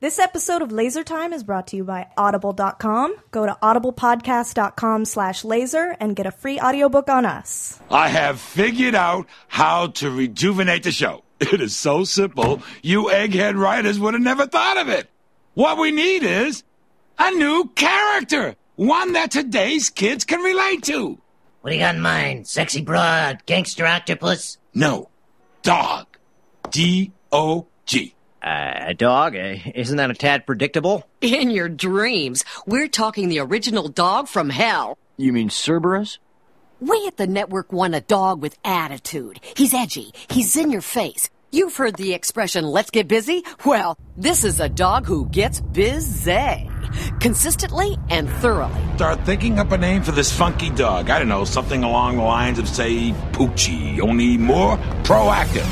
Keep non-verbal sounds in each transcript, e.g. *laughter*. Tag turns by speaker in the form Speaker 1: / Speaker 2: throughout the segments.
Speaker 1: This episode of Laser Time is brought to you by Audible.com. Go to audiblepodcast.com slash laser and get a free audiobook on us.
Speaker 2: I have figured out how to rejuvenate the show. *laughs* It is so simple, you egghead writers would have never thought of it. What we need is a new character, one that today's kids can relate to.
Speaker 3: What do you got in mind? Sexy broad, gangster octopus?
Speaker 2: No, dog. D O G.
Speaker 4: Uh, a dog? Uh, isn't that a tad predictable?
Speaker 5: In your dreams. We're talking the original dog from hell.
Speaker 4: You mean Cerberus?
Speaker 5: We at the network want a dog with attitude. He's edgy. He's in your face. You've heard the expression, let's get busy? Well, this is a dog who gets busy. Consistently and thoroughly.
Speaker 2: Start thinking up a name for this funky dog. I don't know, something along the lines of, say, Poochie, only more proactive.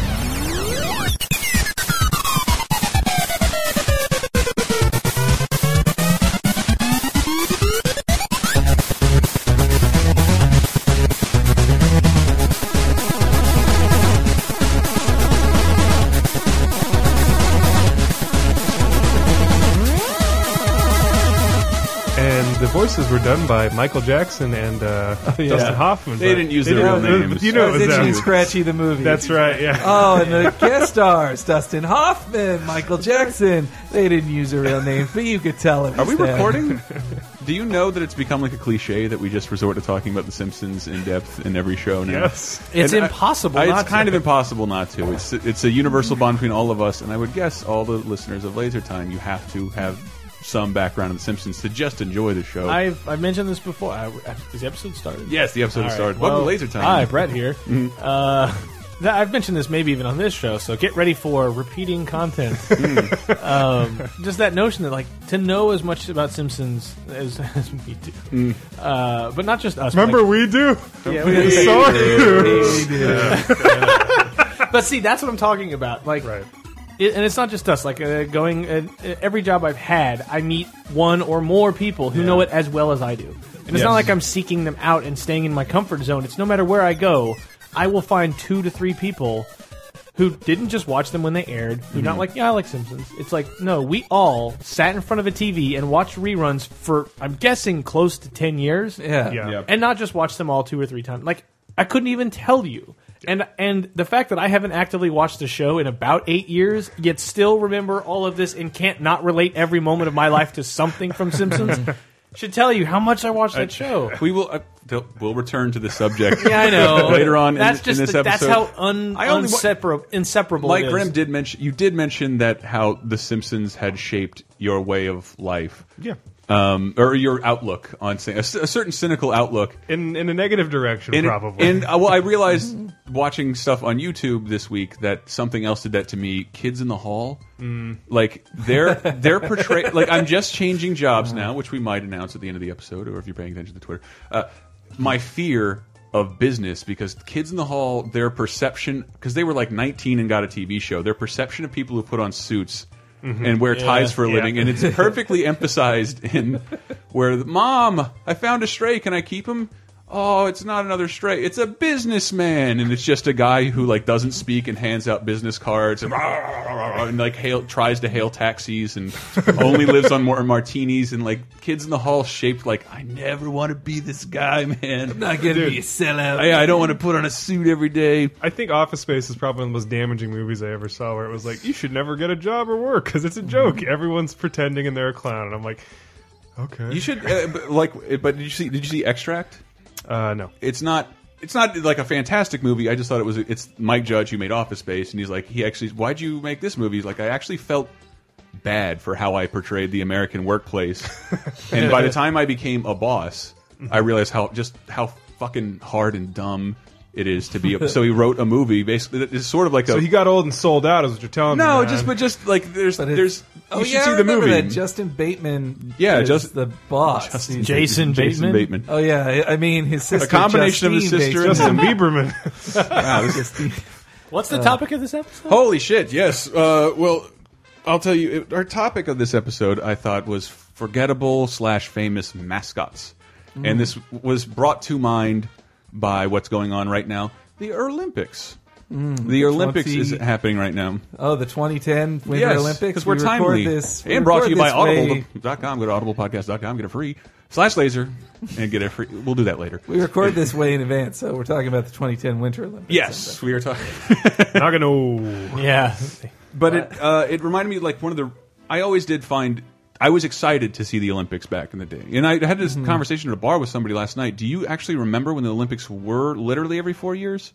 Speaker 6: And the voices were done by Michael Jackson and uh, Dustin Hoffman.
Speaker 7: They
Speaker 6: but-
Speaker 7: didn't use their
Speaker 6: didn't-
Speaker 7: real
Speaker 6: but-
Speaker 7: names.
Speaker 6: But you know it was
Speaker 8: Itchy and
Speaker 6: them.
Speaker 8: Scratchy the movie.
Speaker 6: That's right, yeah.
Speaker 8: Oh, and the guest stars Dustin Hoffman, Michael Jackson. They didn't use their
Speaker 9: *laughs*
Speaker 8: real names, but you could tell it.
Speaker 7: Are we
Speaker 8: was them. *laughs*
Speaker 7: recording? Do you know that it's become like a cliche that we just resort to talking about The Simpsons in depth in every show now?
Speaker 6: Yes.
Speaker 8: It's
Speaker 7: And I-
Speaker 8: impossible.
Speaker 7: I-
Speaker 8: not
Speaker 7: it's kind
Speaker 8: to.
Speaker 7: of impossible not to. It's it's a universal bond between all of us, and I would guess all the listeners of Laser Time. You have to have some background in The Simpsons to just enjoy the show.
Speaker 9: I've I've mentioned this before. I, is the episode started?
Speaker 7: yes, the episode
Speaker 9: All
Speaker 7: has
Speaker 9: right,
Speaker 7: started.
Speaker 9: well,
Speaker 7: Welcome to Laser Time.
Speaker 9: Hi, Brett
Speaker 7: *laughs*
Speaker 9: here. Uh, *laughs* that, I've mentioned this maybe even on this show, so get ready for repeating
Speaker 7: *laughs*
Speaker 9: content.
Speaker 7: Hmm.
Speaker 9: um, just that notion that like to know as much about Simpsons as, *laughs* as we do,
Speaker 7: Hmm.
Speaker 9: uh, but not just us. but,
Speaker 6: Remember,
Speaker 9: like,
Speaker 6: we do.
Speaker 9: we
Speaker 6: Sorry.
Speaker 9: but see, that's what I'm talking about. Like,
Speaker 6: Right.
Speaker 9: it, and it's not just us. Like uh, going uh, every job I've had, I meet one or more people who know it as well as I do, and it's
Speaker 6: Yes.
Speaker 9: not like I'm seeking them out and staying in my comfort zone. It's no matter where I go, I will find two to three people who didn't just watch them when they aired. Who
Speaker 6: Mm-hmm.
Speaker 9: not like, yeah, I like Simpsons. It's like, no, we all sat in front of a TV and watched reruns for, I'm guessing, close to ten years
Speaker 8: Yeah.
Speaker 6: Yeah.
Speaker 7: Yep.
Speaker 9: and not just watch them all two or three times. Like I couldn't even tell you. And and the fact that I haven't actively watched the show in about eight years, yet still remember all of this and can't not relate every moment of my life to something from Simpsons,
Speaker 7: *laughs*
Speaker 9: should tell you how much I watched that show.
Speaker 7: We will uh, they'll- we'll return to the subject.
Speaker 9: *laughs* Yeah, I know.
Speaker 7: later on. in-
Speaker 9: that's
Speaker 7: in,
Speaker 9: just
Speaker 7: this
Speaker 9: the- that's
Speaker 7: episode.
Speaker 9: how un,
Speaker 7: I only wa-
Speaker 9: unsepara- inseparable.
Speaker 7: Mike
Speaker 9: it is.
Speaker 7: Grimm did mention you did mention that how The Simpsons had shaped your way of life.
Speaker 6: Yeah.
Speaker 7: Um, or your outlook on things, a, c- a certain cynical outlook.
Speaker 6: In, in a negative direction,
Speaker 7: And,
Speaker 6: probably.
Speaker 7: And uh, well, I realized watching stuff on YouTube this week that something else did that to me. Kids in the Hall,
Speaker 6: Mm.
Speaker 7: like they're
Speaker 6: *laughs*
Speaker 7: they're portrayed. like I'm just changing jobs now, which we might announce at the end of the episode, or if you're paying attention to Twitter. Uh, my fear of business because Kids in the Hall, their perception, because they were like 19 and got a TV show, their perception of people who put on suits. And wear ties for a
Speaker 6: Mm-hmm. yeah.
Speaker 7: living, and *laughs* it's perfectly emphasized in where the, mom, I found a stray. Can I keep him? Oh, it's not another stray. It's a businessman, and it's just a guy who like doesn't speak and hands out business cards and, and like hail, tries to hail taxis and only lives on more martinis and like kids in the hall shaped like I never want to be this guy, man.
Speaker 8: Not gonna be a
Speaker 9: uh,
Speaker 8: sellout.
Speaker 7: I, I don't want to put on a suit every day.
Speaker 6: I think Office Space is probably one of the most damaging movies I ever saw, where it was like, you should never get a job or work because it's a joke.
Speaker 7: Mm-hmm.
Speaker 6: Everyone's pretending and they're a clown. And I'm like, okay.
Speaker 7: You should uh, but, like, but did you see? Did you see Extract?
Speaker 6: Uh, no.
Speaker 7: it's not it's not like a fantastic movie. I just thought it was it's Mike Judge who made Office Space and he's like he actually why'd you make this movie? He's like I actually felt bad for how I portrayed the American workplace.
Speaker 8: *laughs*
Speaker 7: and by the time I became a boss, I realized how just how fucking hard and dumb it is to be a
Speaker 8: *laughs*
Speaker 7: so he wrote a movie basically that is sort of like a
Speaker 6: So he got old and sold out, is what you're telling me.
Speaker 7: No,
Speaker 6: man.
Speaker 7: just but just like there's
Speaker 8: it's-
Speaker 7: there's
Speaker 8: Oh
Speaker 7: you
Speaker 8: yeah,
Speaker 7: should
Speaker 8: I
Speaker 7: see the
Speaker 8: remember
Speaker 7: movie.
Speaker 8: That Justin Bateman.
Speaker 7: Yeah,
Speaker 8: is
Speaker 7: just-
Speaker 8: the boss. He's-
Speaker 9: Jason Bateman?
Speaker 8: Oh yeah, I- I mean his sister.
Speaker 7: combination of his
Speaker 8: Justine
Speaker 7: sister and *laughs*
Speaker 8: Bateman.
Speaker 6: Justin
Speaker 8: *laughs*
Speaker 6: Bieberman.
Speaker 8: Justine.
Speaker 9: What's the topic of this episode?
Speaker 7: Holy shit! Yes. Uh, well, I'll tell you. It, our topic of this episode, I thought, was forgettable slash famous mascots,
Speaker 8: Mm.
Speaker 7: and this was brought to mind by what's going on right now, the Olympics.
Speaker 8: Mm,
Speaker 7: The Olympics is
Speaker 8: 20
Speaker 7: happening right now.
Speaker 8: Oh, the 2010 Winter
Speaker 7: yes,
Speaker 8: Olympics.
Speaker 7: because we're
Speaker 8: we record
Speaker 7: timely.
Speaker 8: This, we
Speaker 7: and brought to
Speaker 8: record
Speaker 7: you by
Speaker 8: this way-
Speaker 7: Audible.com. Go to audiblepodcast.com, get a free slash laser, and get a free. We'll do that later.
Speaker 8: We record this way in advance, so we're talking about the 2010 Winter Olympics.
Speaker 7: Yes, we are talking.
Speaker 9: Nagano. Yeah.
Speaker 7: But it uh, it reminded me like one of the I always did find I was excited to see the Olympics back in the day, and I had this
Speaker 9: Mm-hmm.
Speaker 7: conversation at a bar with somebody last night. Do you actually remember when the Olympics were literally every four years,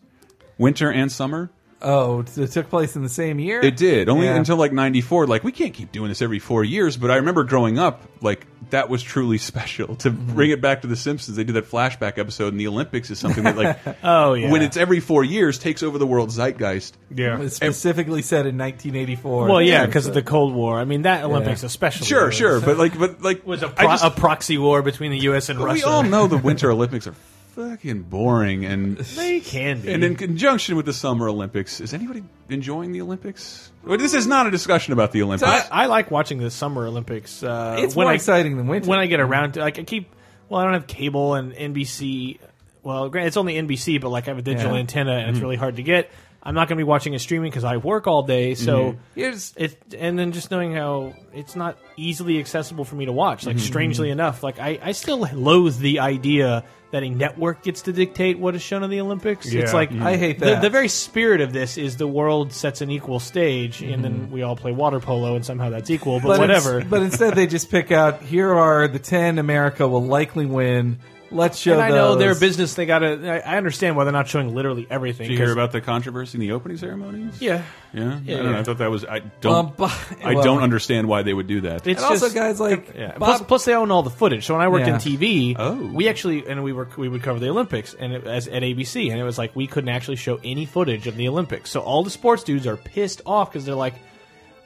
Speaker 7: winter and summer?
Speaker 8: Oh, it took place in the same year.
Speaker 7: It did only
Speaker 8: Yeah.
Speaker 7: until like '94. Like we can't keep doing this every four years. But I remember growing up, like that was truly *laughs* special. To
Speaker 9: Mm-hmm.
Speaker 7: bring it back to the Simpsons, they do that flashback episode, and the Olympics is something that like
Speaker 9: *laughs* Oh, yeah.
Speaker 7: when it's every four years takes over the world zeitgeist.
Speaker 8: It
Speaker 9: yeah.
Speaker 8: was specifically said in 1984.
Speaker 9: Well, yeah, because of the Cold War. I mean, that Olympics especially.
Speaker 7: Sure,
Speaker 9: was-
Speaker 7: sure, but like, but like
Speaker 9: Was a,
Speaker 7: I
Speaker 9: pro-
Speaker 7: just-
Speaker 9: a proxy war between the U.S. and
Speaker 7: But
Speaker 9: Russia.
Speaker 7: We all know the Winter Olympics are fucking boring,
Speaker 9: *laughs*
Speaker 7: and
Speaker 9: they can be.
Speaker 7: and in conjunction with the Summer Olympics, is anybody enjoying the Olympics? Well, this is not a discussion about the Olympics.
Speaker 9: I, I like watching the Summer Olympics. Uh,
Speaker 8: It's
Speaker 9: when
Speaker 8: more
Speaker 9: I,
Speaker 8: exciting than winter.
Speaker 9: When I get around to, like, I keep. Well, I don't have cable and NBC. Well, granted, it's only NBC, but like I have a digital
Speaker 8: Yeah. Mm-hmm.
Speaker 9: antenna, and it's really hard to get. I'm not going to be watching it streaming because I work all day. So
Speaker 8: Mm-hmm. Here's-
Speaker 9: it, and then just knowing how it's not easily accessible for me to watch.
Speaker 8: Mm-hmm.
Speaker 9: Like strangely enough, like I, I still loathe the idea that a network gets to dictate what is shown on the Olympics. It's
Speaker 6: Yeah.
Speaker 9: like
Speaker 8: I hate
Speaker 9: the,
Speaker 8: that.
Speaker 9: the very spirit of this is the world sets an equal stage, and then we all play water polo, and somehow that's equal. Mm-hmm. But,
Speaker 8: but
Speaker 9: whatever.
Speaker 8: ins- but instead, they just pick out here are the 10 America will likely win. Let's show.
Speaker 9: and I know
Speaker 8: those.
Speaker 9: their business. They gotta. I I understand why they're not showing literally everything.
Speaker 7: Did you hear
Speaker 9: 'cause-
Speaker 7: about the controversy in the opening ceremonies?
Speaker 9: yeah,
Speaker 7: yeah. I don't
Speaker 9: yeah.
Speaker 7: know. I thought that was I don't
Speaker 8: Well, bu-
Speaker 7: I
Speaker 8: well-
Speaker 7: don't understand why they would do that.
Speaker 9: it's
Speaker 8: And also,
Speaker 9: just-
Speaker 8: guys like
Speaker 9: Yeah.
Speaker 8: Bob-
Speaker 9: Uh, plus, plus they own all the footage. So when I worked
Speaker 8: Yeah.
Speaker 9: in TV,
Speaker 7: Oh.
Speaker 9: we actually and we were we would cover the Olympics and it, as at ABC, and it was like we couldn't actually show any footage of the Olympics. So all the sports dudes are pissed off because they're like.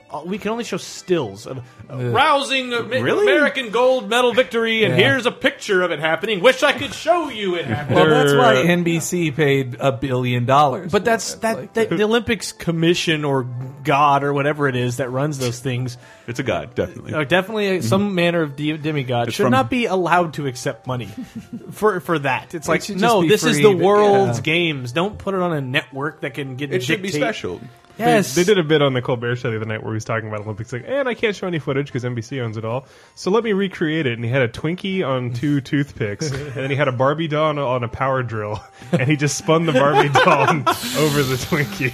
Speaker 9: "Oh, We can only show stills of uh, rousing Am- American gold medal victory, and
Speaker 8: Yeah.
Speaker 9: here's a picture of it happening. Wish I could show you it happening.
Speaker 8: well, that's why NBC paid a billion dollars.
Speaker 9: But that's that, that the Olympics Commission or God or whatever it is that runs those things
Speaker 7: it's a god, definitely.
Speaker 9: are Uh, definitely a- some manner of de- demigod
Speaker 7: Mm-hmm. It's
Speaker 9: should
Speaker 7: from-
Speaker 9: not be allowed to accept
Speaker 7: *laughs*
Speaker 9: money for for that. It's like
Speaker 8: should just
Speaker 9: no,
Speaker 8: be
Speaker 9: this is
Speaker 8: free,
Speaker 9: the
Speaker 8: but-
Speaker 9: world's
Speaker 8: yeah.
Speaker 9: games. Don't put it on a network that can get
Speaker 7: It should be
Speaker 9: dictate-
Speaker 7: special.
Speaker 9: Yes,
Speaker 6: They did a bit on the Colbert Show the other night where he was talking about Olympics, like, and I can't show any footage because NBC owns it all. So let me recreate it. And he had a Twinkie on two toothpicks, and then he had a Barbie doll on a, on a power drill, and he just spun the Barbie doll over the Twinkie.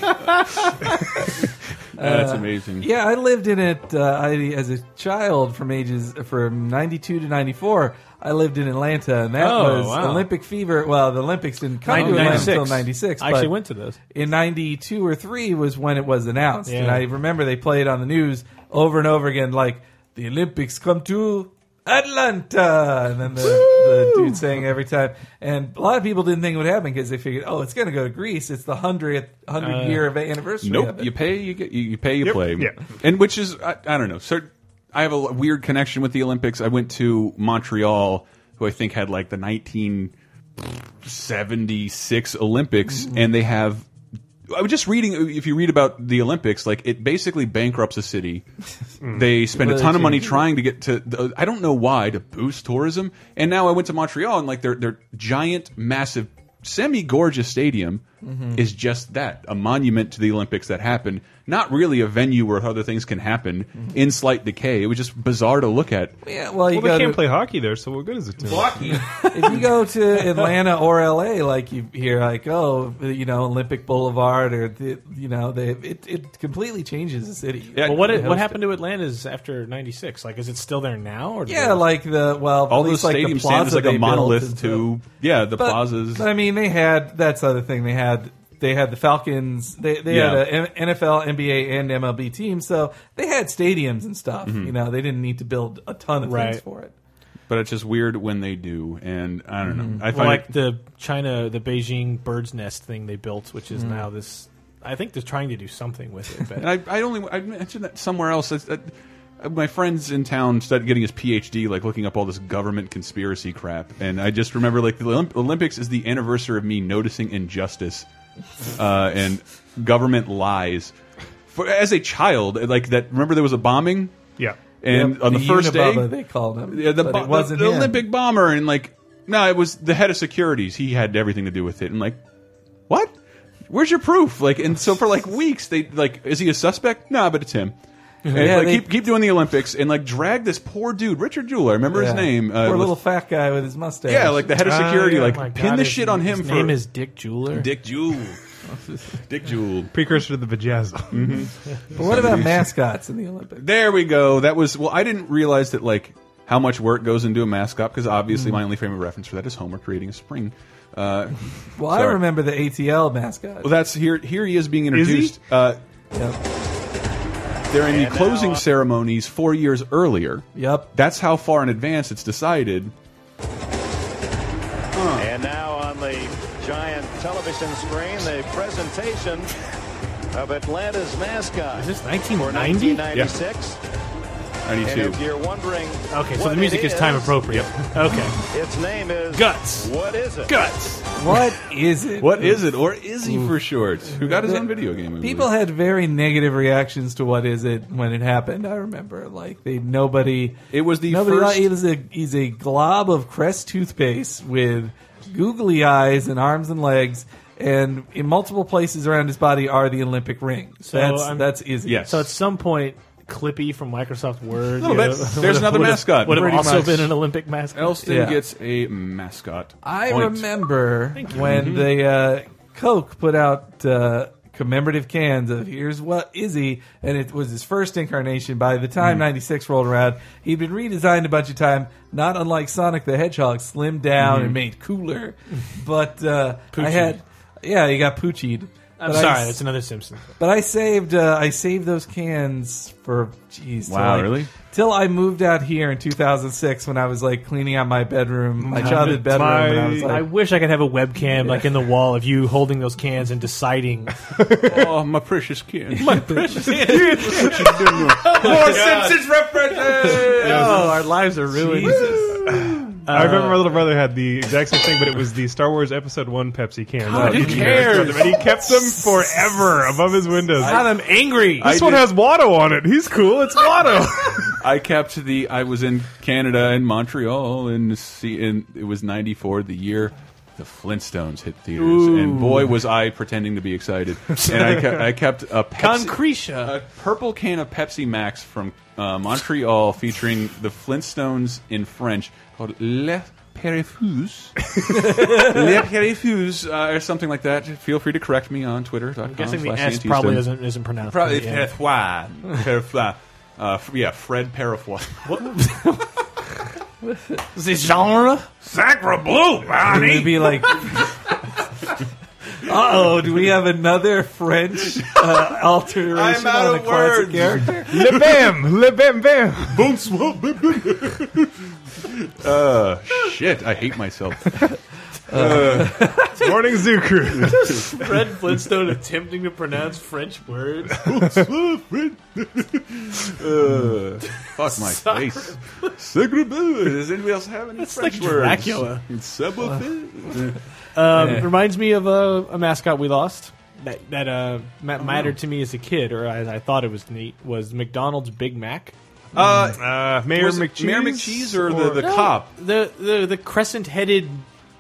Speaker 9: Uh,
Speaker 7: That's amazing.
Speaker 8: Yeah, I lived in it uh, I, as a child from ages from '92 to '94. I lived in Atlanta, and that
Speaker 9: Oh,
Speaker 8: was
Speaker 9: wow.
Speaker 8: Olympic fever. Well, the Olympics didn't come to Atlanta
Speaker 9: 96.
Speaker 8: until '96.
Speaker 9: I actually
Speaker 8: but
Speaker 9: went to those.
Speaker 8: in '92 or three was when it was announced, and
Speaker 9: Yeah.
Speaker 8: I remember they played on the news over and over again, like the Olympics come to Atlanta, and then the, the dude saying every time. And a lot of people didn't think it would happen because they figured, oh, it's going to go to Greece. It's the hundredth
Speaker 9: Uh,
Speaker 8: hundred year of anniversary. of
Speaker 7: Nope.
Speaker 8: it.
Speaker 7: You pay, you get, you, you pay, you play.
Speaker 6: yeah.
Speaker 7: And which is, I, I don't know. Cert, I have a l- weird connection with the Olympics. I went to Montreal, who I think had like the 1976 Olympics, and they have. I was just reading. If you read about the Olympics, like it basically bankrupts a city. they spend a
Speaker 8: Really
Speaker 7: ton of money
Speaker 8: cheap.
Speaker 7: trying to get to. The, I don't know why to boost tourism. And now I went to Montreal, and like their their giant, massive, semi gorgeous stadium
Speaker 8: Mm-hmm.
Speaker 7: is just that a monument to the Olympics that happened. Not really a venue where other things can happen
Speaker 8: Mm-hmm.
Speaker 7: in slight decay. It was just bizarre to look at.
Speaker 8: Yeah, well, you
Speaker 6: Well, they
Speaker 8: go
Speaker 6: can't
Speaker 8: to,
Speaker 6: play hockey there, so what good is it to them?
Speaker 8: if you go to Atlanta or LA, like you hear, like oh, you know, Olympic Boulevard, or the, you know, they, it it completely changes the city.
Speaker 7: Yeah,
Speaker 9: Well, what
Speaker 8: host
Speaker 9: what happened to Atlanta is after '96? Like, is it still there now? Or do
Speaker 8: Yeah,
Speaker 9: they-
Speaker 8: like the well,
Speaker 7: all
Speaker 8: at
Speaker 7: those
Speaker 8: least, like, the
Speaker 7: stadiums stand as
Speaker 8: plaza
Speaker 7: like a
Speaker 8: they built
Speaker 7: monolith
Speaker 8: and
Speaker 7: to
Speaker 8: stuff.
Speaker 7: yeah the
Speaker 8: But-
Speaker 7: plazas.
Speaker 8: But I mean, they had that's the other thing they had. They had the Falcons. They they
Speaker 7: Yeah.
Speaker 8: had an NFL, NBA, and MLB team, so they had stadiums and stuff.
Speaker 7: Mm-hmm.
Speaker 8: You know, they didn't need to build a ton of things
Speaker 9: Right.
Speaker 8: for it.
Speaker 7: But it's just weird when they do, and I don't know. I
Speaker 9: Well,
Speaker 7: find
Speaker 9: like
Speaker 7: it-
Speaker 9: the China, the Beijing bird's nest thing they built, which is now this. I think they're trying to do something with it.
Speaker 7: *laughs*
Speaker 9: But
Speaker 7: And I, I only I mentioned that somewhere else. That's- that- my friend's in town started getting his PhD, like looking up all this government conspiracy crap. And I just remember, like, the Olymp Olympics is the anniversary of me noticing injustice uh, and government lies. For, as a child, like that. Remember, there was a bombing,
Speaker 6: Yeah.
Speaker 7: and
Speaker 8: Yep,
Speaker 7: on the, first day,
Speaker 8: Unabomber, they called him.
Speaker 7: yeah, the,
Speaker 8: but
Speaker 7: bo-
Speaker 8: it wasn't
Speaker 7: the
Speaker 8: him.
Speaker 7: Olympic bomber, and like, no, it was the head of securities. He had everything to do with it, and like, what? where's your proof? Like, and so for like weeks, they like, is he a suspect? Nah, but it's
Speaker 8: *laughs*
Speaker 7: him. And, like,
Speaker 8: they-
Speaker 7: keep keep doing the Olympics and like drag this poor dude, Richard Jewell. I remember his
Speaker 8: Yeah.
Speaker 7: name. uh,
Speaker 8: Poor
Speaker 7: was-
Speaker 8: little Ah, fat guy with his mustache.
Speaker 7: yeah, like the head of Uh, security, like pin the shit on him
Speaker 9: Oh His
Speaker 7: for
Speaker 9: name is Dick Jeweler.
Speaker 7: Dick
Speaker 8: *laughs*
Speaker 7: Jewell. Dick Jewell.
Speaker 6: Precursor to the vajazzle.
Speaker 8: But
Speaker 7: *laughs*
Speaker 8: what about mascots in the Olympics?
Speaker 7: There we go. That was well. I didn't realize that like how much work goes into a mascot because obviously my only frame of reference for that is Homer creating a spring. Uh,
Speaker 8: Well, I
Speaker 7: Sorry.
Speaker 8: remember the ATL mascot.
Speaker 7: well, that's here. Here he is being
Speaker 6: Is he?
Speaker 7: introduced. Uh,
Speaker 8: Yep.
Speaker 7: they're in the closing ceremonies four years earlier.
Speaker 8: Yep.
Speaker 7: That's how far in advance it's decided.
Speaker 10: And now on the giant television screen, the presentation of Atlanta's mascot.
Speaker 9: Is this
Speaker 10: for
Speaker 9: 1990?
Speaker 10: 1996? And
Speaker 7: Ninety-two.
Speaker 10: if you're wondering,
Speaker 9: Okay, so
Speaker 10: what
Speaker 9: the music is
Speaker 10: it
Speaker 9: time appropriate. Okay.
Speaker 10: Its name is
Speaker 9: Guts.
Speaker 10: What is it?
Speaker 9: Guts.
Speaker 8: What is it?
Speaker 7: What is it, or is he for short? Who got his own video game? I believe.
Speaker 8: People had very negative reactions to what is it when it happened. I remember, like they nobody.
Speaker 7: It was the
Speaker 8: nobody
Speaker 7: first-
Speaker 8: liked- it was a he's a glob of Crest toothpaste with googly eyes and arms and legs, and in multiple places around his body are the Olympic rings.
Speaker 9: So
Speaker 8: that's
Speaker 9: I'm-
Speaker 8: that's Izzy.
Speaker 7: Yes.
Speaker 9: So at some point, Clippy from Microsoft Word.
Speaker 7: Little bit.
Speaker 9: would've- *laughs*
Speaker 7: There's another
Speaker 9: would've-
Speaker 7: mascot.
Speaker 9: Would have
Speaker 7: Pretty
Speaker 9: also
Speaker 7: much.
Speaker 9: been an Olympic mascot.
Speaker 7: Elston
Speaker 8: Yeah.
Speaker 7: gets a mascot.
Speaker 8: I
Speaker 7: point.
Speaker 8: remember when the uh, Coke put out uh, commemorative cans of "Here's What Izzy," and it was his first incarnation. By the time '96 rolled around, he'd been redesigned a bunch of time. Not unlike Sonic the Hedgehog, slimmed down and made cooler. But uh, I had, yeah, he got poochied.
Speaker 9: I'm
Speaker 8: But I
Speaker 9: sorry,
Speaker 8: s-
Speaker 9: that's another Simpson.
Speaker 8: but I saved uh, I saved those cans for jeez. till
Speaker 7: Wow,
Speaker 8: I-
Speaker 7: really?
Speaker 8: Till I moved out here in 2006 when I was like cleaning out my bedroom, my childhood bedroom, and I was
Speaker 9: I
Speaker 8: like,
Speaker 9: wish I could have a webcam like in the wall of you holding those cans and deciding.
Speaker 7: oh, my precious kid. My precious kid.
Speaker 8: More Simpsons references. oh, our lives are ruined.
Speaker 6: I remember my little brother had the exact same thing, but it was the Star Wars Episode One Pepsi can.
Speaker 7: God, who
Speaker 6: He kept them, And he kept them forever above his windows.
Speaker 9: I'm angry.
Speaker 6: this
Speaker 7: I
Speaker 6: one
Speaker 7: did-
Speaker 6: has Watto on it. He's cool. It's Watto.
Speaker 7: I kept the. I was in Canada in Montreal and see, and it was '94, the year the Flintstones hit theaters, and boy was I pretending to be excited. and I, kept, I kept a Pepsi,
Speaker 9: Concretia.
Speaker 7: a purple can of Pepsi Max from uh, Montreal featuring the Flintstones in French called Le Perifuse. Le Perifuse, uh, or something like that. Feel free to correct me on Twitter.
Speaker 9: I'm guessing the S probably isn't isn't pronounced.
Speaker 7: Probably
Speaker 9: but yeah.
Speaker 7: Perfois. Perfois. Uh, f- yeah, Fred Parafois.
Speaker 9: The genre.
Speaker 2: Sacra blue, Bonnie.
Speaker 8: It'd
Speaker 7: *laughs*
Speaker 8: be like. Uh oh! Do we have another French uh,
Speaker 7: I'm
Speaker 8: alteration
Speaker 7: out
Speaker 8: on a
Speaker 7: of
Speaker 8: classic
Speaker 7: words.
Speaker 8: character?
Speaker 6: Le bam, le bam bam.
Speaker 7: Boom, swoop, boom, boom. uh, *laughs* shit, I hate myself.
Speaker 6: Morning Zoo Crew.
Speaker 9: Fred Flintstone attempting to pronounce French words.
Speaker 7: Uh, fuck my face. Sacre bleu. Does anybody else have any
Speaker 9: That's
Speaker 7: French
Speaker 9: like
Speaker 7: words?
Speaker 9: Dracula.
Speaker 7: It's Subwoofer.
Speaker 9: Um, Reminds me of a, a mascot we lost that that uh, ma- mattered to me as a kid, or as I thought it was neat, was McDonald's Big Mac.
Speaker 7: Uh,
Speaker 6: Uh, Mayor
Speaker 7: Was it
Speaker 6: McCheese.
Speaker 7: Mayor McCheese or the- the- Cop.
Speaker 9: the the the crescent-headed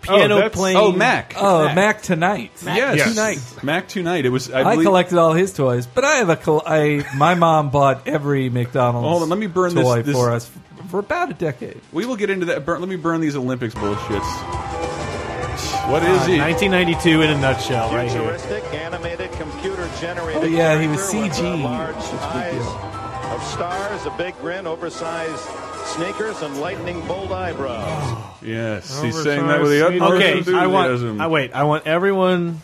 Speaker 9: piano
Speaker 6: that's-
Speaker 9: playing.
Speaker 7: oh, Mac.
Speaker 8: Oh, Mac tonight.
Speaker 7: yes.
Speaker 6: Yes.
Speaker 8: Tonight.
Speaker 7: Mac tonight. It was. I,
Speaker 8: I
Speaker 7: believe,
Speaker 8: collected all his toys, but I have a col- I my mom bought every McDonald's
Speaker 7: Hold on, let me burn this-
Speaker 8: toy
Speaker 7: this-
Speaker 8: for us f- for about a decade.
Speaker 7: We will get into that. Burn, let me burn these Olympics bullshits. What is he?
Speaker 9: 1992 in a nutshell, right here.
Speaker 10: Futuristic animated computer generated.
Speaker 8: Oh, yeah, he was CG.
Speaker 10: Large
Speaker 8: That's a big
Speaker 10: eyes
Speaker 8: deal.
Speaker 10: of stars, a big grin, oversized sneakers, and lightning bolt eyebrows.
Speaker 7: Yes, he's saying that with the
Speaker 6: Oversized
Speaker 7: utmost
Speaker 9: Okay, I
Speaker 7: enthusiasm.
Speaker 9: want. I wait. I want everyone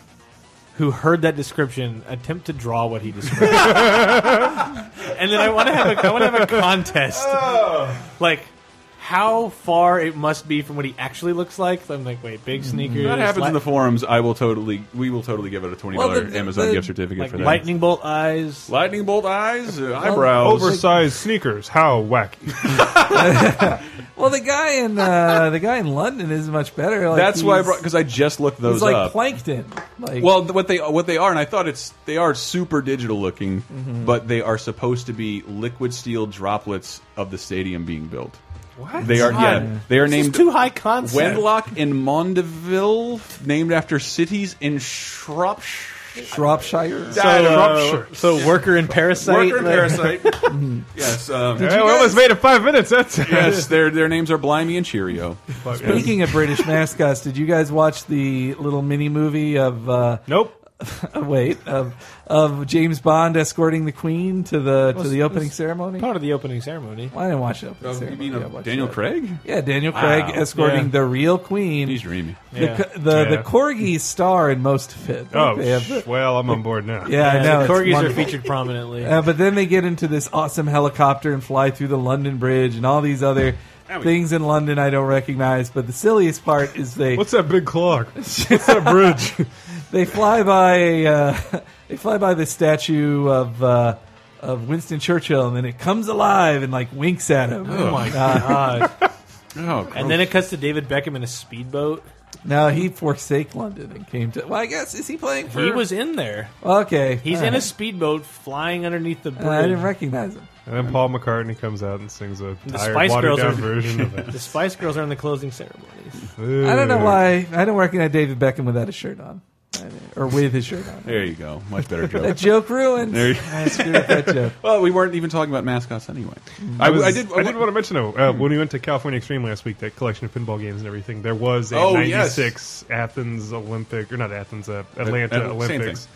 Speaker 9: who heard that description attempt to draw what he
Speaker 7: *laughs*
Speaker 9: described, and then I want to have a I want to have a contest,
Speaker 7: Oh.
Speaker 9: like how far it must be from what he actually looks like. So I'm like, wait, big sneakers.
Speaker 7: If Mm, that happens in
Speaker 9: li-
Speaker 7: the forums, I will totally. We will totally give out a twenty dollar
Speaker 8: Well, the-
Speaker 7: Amazon
Speaker 8: the-
Speaker 7: gift certificate
Speaker 9: like
Speaker 7: for that.
Speaker 9: lightning bolt eyes.
Speaker 7: Lightning bolt eyes, uh, eyebrows.
Speaker 6: Oversized sneakers. How wacky.
Speaker 8: Well, the guy in uh, the guy in London is much better. Like,
Speaker 7: That's why I
Speaker 8: he's-
Speaker 7: brought because I just looked those
Speaker 8: he's like
Speaker 7: up.
Speaker 8: plankton. Like,
Speaker 7: Well, th- what they what they are, and I thought it's they are super digital looking,
Speaker 9: Mm-hmm.
Speaker 7: but they are supposed to be liquid steel droplets of the stadium being built. What they are? Yeah, they are
Speaker 9: This is
Speaker 7: named
Speaker 9: too high concept.
Speaker 7: Wenlock and Mondeville, named after cities in Shropshire.
Speaker 8: Shropshire.
Speaker 9: So, uh, so worker and parasite.
Speaker 7: Worker and
Speaker 9: like- *laughs*
Speaker 7: *laughs* parasite. yes. Um,
Speaker 6: Hey, we almost made it five minutes. That's
Speaker 7: yes. Their their names are Blimey and *laughs* Cheerio.
Speaker 8: Speaking of British *laughs* mascots, did you guys watch the little mini movie of uh, *laughs* oh,
Speaker 6: Nope.
Speaker 8: wait of of James Bond escorting the Queen to the to
Speaker 9: Was-
Speaker 8: the opening
Speaker 9: was-
Speaker 8: ceremony?
Speaker 9: Part of the opening ceremony.
Speaker 8: Well, I didn't watch it. opening
Speaker 7: you
Speaker 8: ceremony.
Speaker 7: mean
Speaker 8: I
Speaker 7: uh,
Speaker 8: watched
Speaker 7: Daniel
Speaker 8: that.
Speaker 7: Craig?
Speaker 8: Yeah, Daniel Craig
Speaker 9: Wow.
Speaker 8: escorting
Speaker 9: Yeah.
Speaker 8: the real Queen.
Speaker 7: He's dreamy.
Speaker 8: the
Speaker 9: Yeah.
Speaker 8: co- the, the
Speaker 6: Yeah.
Speaker 8: corgis star in most fit.
Speaker 6: Oh,
Speaker 8: They have the-
Speaker 6: sh- well, I'm on board now.
Speaker 8: yeah, I know.
Speaker 9: the
Speaker 8: it's
Speaker 9: corgis are
Speaker 8: wonderful.
Speaker 9: featured prominently.
Speaker 8: *laughs* Uh, but then they get into this awesome helicopter and fly through the London Bridge and all these other things in London I don't recognize. But the silliest part is they
Speaker 6: What's that big clock? What's that bridge?
Speaker 8: they fly by uh, *laughs* they fly by the statue of uh, of Winston Churchill and then it comes alive and like winks at him. Uh,
Speaker 9: oh my god!
Speaker 7: *laughs* Oh, gross.
Speaker 9: and then it cuts to David Beckham in a speedboat.
Speaker 8: Now he forsake London and came to. Well, I guess is he playing for?
Speaker 9: He was in there.
Speaker 8: okay.
Speaker 9: He's
Speaker 8: all
Speaker 9: in a
Speaker 8: right.
Speaker 9: speedboat flying underneath the bridge.
Speaker 8: I didn't recognize him.
Speaker 6: and then Paul McCartney comes out and sings a
Speaker 9: The
Speaker 6: tired,
Speaker 9: Spice
Speaker 6: watered
Speaker 9: Girls
Speaker 6: down
Speaker 9: are-
Speaker 6: version of
Speaker 9: *laughs*
Speaker 6: it.
Speaker 9: the Spice Girls are in the closing ceremonies.
Speaker 8: I don't know why. I don't recognize David Beckham without his shirt on, or with his shirt on.
Speaker 7: there you go. Much *laughs* better
Speaker 8: That
Speaker 7: joke.
Speaker 8: joke ruined.
Speaker 7: There you-
Speaker 8: I screwed up that joke.
Speaker 7: well, we weren't even talking about mascots anyway.
Speaker 6: I,
Speaker 7: I,
Speaker 6: was,
Speaker 7: I Hmm. did.
Speaker 6: I did want to mention though, uh, when we went to California Extreme last week, that collection of pinball games and everything. There was a
Speaker 7: Oh, yes.
Speaker 6: '96 Athens Olympic, or not Athens, uh, Atlanta
Speaker 7: Atl- same
Speaker 6: Olympics,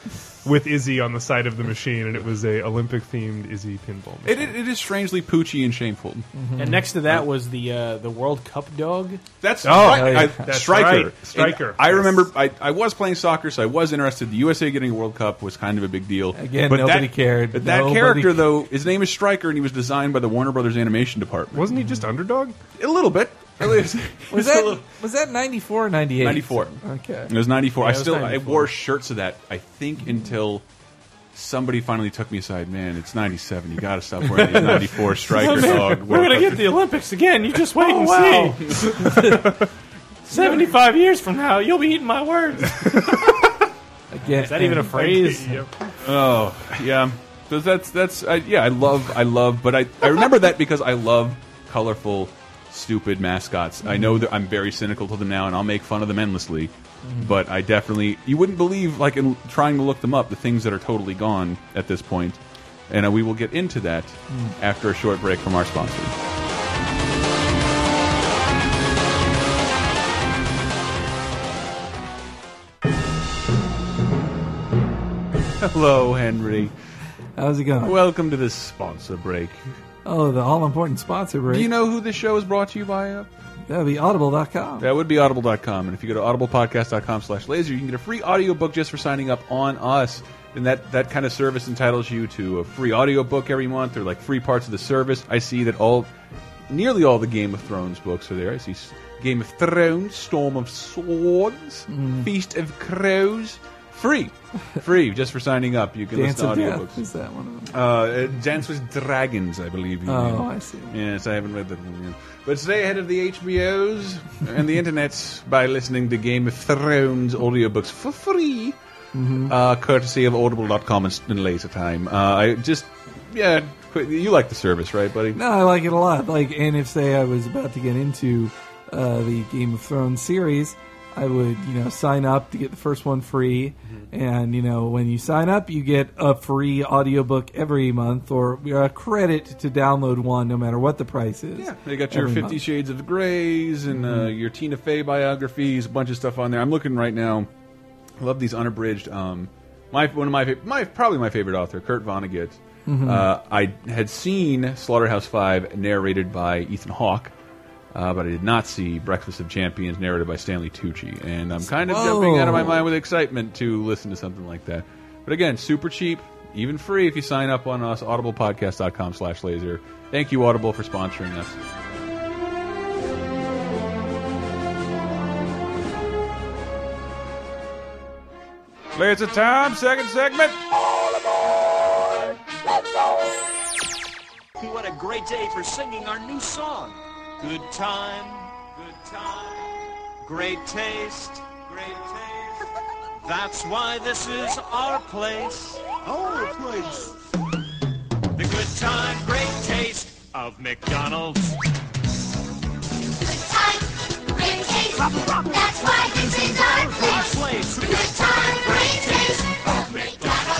Speaker 6: with Izzy on the side of the machine, and it was a Olympic themed Izzy pinball.
Speaker 7: It,
Speaker 6: Machine.
Speaker 7: it, it is strangely poochy and shameful.
Speaker 9: And next to that was the uh, the World Cup dog.
Speaker 7: That's
Speaker 8: oh,
Speaker 7: right.
Speaker 8: yeah.
Speaker 7: I,
Speaker 6: That's
Speaker 7: striker.
Speaker 6: right. Striker.
Speaker 7: And I
Speaker 6: Yes.
Speaker 7: remember I, I was playing soccer, so I was interested. The USA getting a World Cup was kind of a big deal.
Speaker 8: Again, nobody
Speaker 7: that,
Speaker 8: cared.
Speaker 7: But that
Speaker 8: Nobody-
Speaker 7: character, though, his name is Striker, and he was designed by the Warner Brothers Animation Department.
Speaker 6: Wasn't he just underdog?
Speaker 7: A little *laughs* bit. At least-
Speaker 8: *laughs* Was
Speaker 7: just a
Speaker 8: that
Speaker 7: little-
Speaker 8: was that ninety four or ninety eight?
Speaker 7: 94.
Speaker 8: Okay.
Speaker 7: It was 94. I
Speaker 9: was
Speaker 7: still I
Speaker 9: 94.
Speaker 7: wore shirts of that, I think, until somebody finally took me aside. Man, it's 97. You got to stop wearing these 94 Striker dog.
Speaker 9: *laughs* We're gonna get the Olympics again. You just wait and see. *laughs* Seventy five years from now, you'll be eating my words. Is
Speaker 8: Again,
Speaker 9: that even a phrase?
Speaker 7: Oh yeah, so that's that's I, yeah. I love I love, but I I remember that because I love colorful, stupid mascots. I know that I'm very cynical to them now, and I'll make fun of them endlessly.
Speaker 9: Mm-hmm.
Speaker 7: But I definitely you wouldn't believe like in trying to look them up the things that are totally gone at this point, and uh, we will get into that
Speaker 9: Mm.
Speaker 7: after a short break from our sponsors. Hello, Henry.
Speaker 8: How's it going?
Speaker 7: Welcome to this sponsor break.
Speaker 8: oh, the all important sponsor break.
Speaker 7: Do you know who this show is brought to you by? Uh,
Speaker 8: That'd be audible.com.
Speaker 7: that would be audible.com. And if you go to audiblepodcast.com slash laser, you can get a free audiobook just for signing up on us. And that, that kind of service entitles you to a free audiobook every month or like free parts of the service. I see that all, nearly all the Game of Thrones books are there. I see S- Game of Thrones, Storm of Swords,
Speaker 8: Mm.
Speaker 7: Feast of Crows. Free. Free just for signing up. You can
Speaker 8: Dance
Speaker 7: listen
Speaker 8: of
Speaker 7: to
Speaker 8: Death.
Speaker 7: audiobooks.
Speaker 8: Is that one of them?
Speaker 7: Uh, Dance with Dragons, I believe. you mean.
Speaker 8: Oh, I see.
Speaker 7: Yes, I haven't read that one yet. But stay ahead of the HBOs and the internets by listening to Game of Thrones audiobooks for free, uh, courtesy of audible.com and, and Laser Time. Uh, I just, yeah, qu- you like the service, right, buddy?
Speaker 8: No, I like it a lot. Like, and if say I was about to get into uh, the Game of Thrones series, I would you know sign up to get the first one free,
Speaker 7: Mm-hmm.
Speaker 8: and you know when you sign up, you get a free audiobook every month or a credit to download one, no matter what the price is.
Speaker 7: Yeah, they got your
Speaker 8: every
Speaker 7: Fifty
Speaker 8: month. Mm-hmm.
Speaker 7: Shades of Greys and uh, your Tina Fey biographies, a bunch of stuff on there. I'm looking right now. I love these unabridged. Um, my one of my fa- my probably my favorite author, Kurt Vonnegut.
Speaker 8: Mm-hmm.
Speaker 7: Uh, I had seen Slaughterhouse Five narrated by Ethan Hawke. Uh, but I did not see Breakfast of Champions narrated by Stanley Tucci, and I'm kind of jumping out of my
Speaker 8: Whoa.
Speaker 7: mind with excitement to listen to something like that. But again, super cheap, even free if you sign up on us, audiblepodcast.com/laser. Thank you, Audible, for sponsoring us. Laser time, second segment.
Speaker 11: What a great day for singing our new song. Good time, good time, great taste, great *laughs* taste. That's why this is our place. Our place. The good time, great taste of McDonald's.
Speaker 12: Good time, great taste. That's why this is our place. Good time, great taste.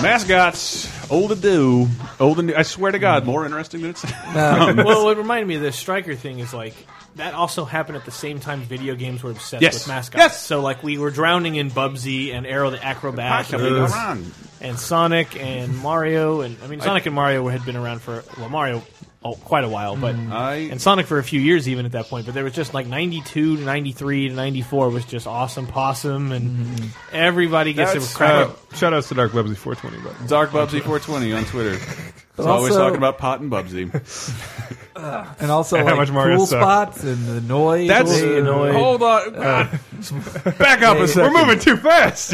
Speaker 7: Mascots, old and new, old and new. I swear to God, more interesting than it sounds.
Speaker 9: well, what reminded me of the striker thing is like that also happened at the same time video games were obsessed
Speaker 7: Yes.
Speaker 9: with mascots. Yes. So like we were drowning in Bubsy and Arrow the Acrobat
Speaker 7: Possibly
Speaker 9: and,
Speaker 7: go wrong.
Speaker 9: and Sonic and Mario and I mean Sonic and Mario had been around for well Mario oh, quite a while, but and Sonic for a few years even at that point. But there was just like 92 to 93 to 94 was just awesome possum and everybody gets
Speaker 7: That's-
Speaker 9: a crack.
Speaker 6: Uh, shout outs to Dark Bubsy 420. *laughs* But
Speaker 7: Dark Bubsy 420 on
Speaker 8: *laughs*
Speaker 7: Twitter. It's
Speaker 8: But
Speaker 7: always
Speaker 8: also-
Speaker 7: talking about pot and
Speaker 8: *laughs*
Speaker 7: Bubsy.
Speaker 8: and also
Speaker 7: And how
Speaker 8: like
Speaker 7: much Mario
Speaker 8: cool
Speaker 7: sucked.
Speaker 8: spots and the noise.
Speaker 7: That's
Speaker 8: They-
Speaker 7: hold on.
Speaker 8: Uh.
Speaker 7: God. Back up a second.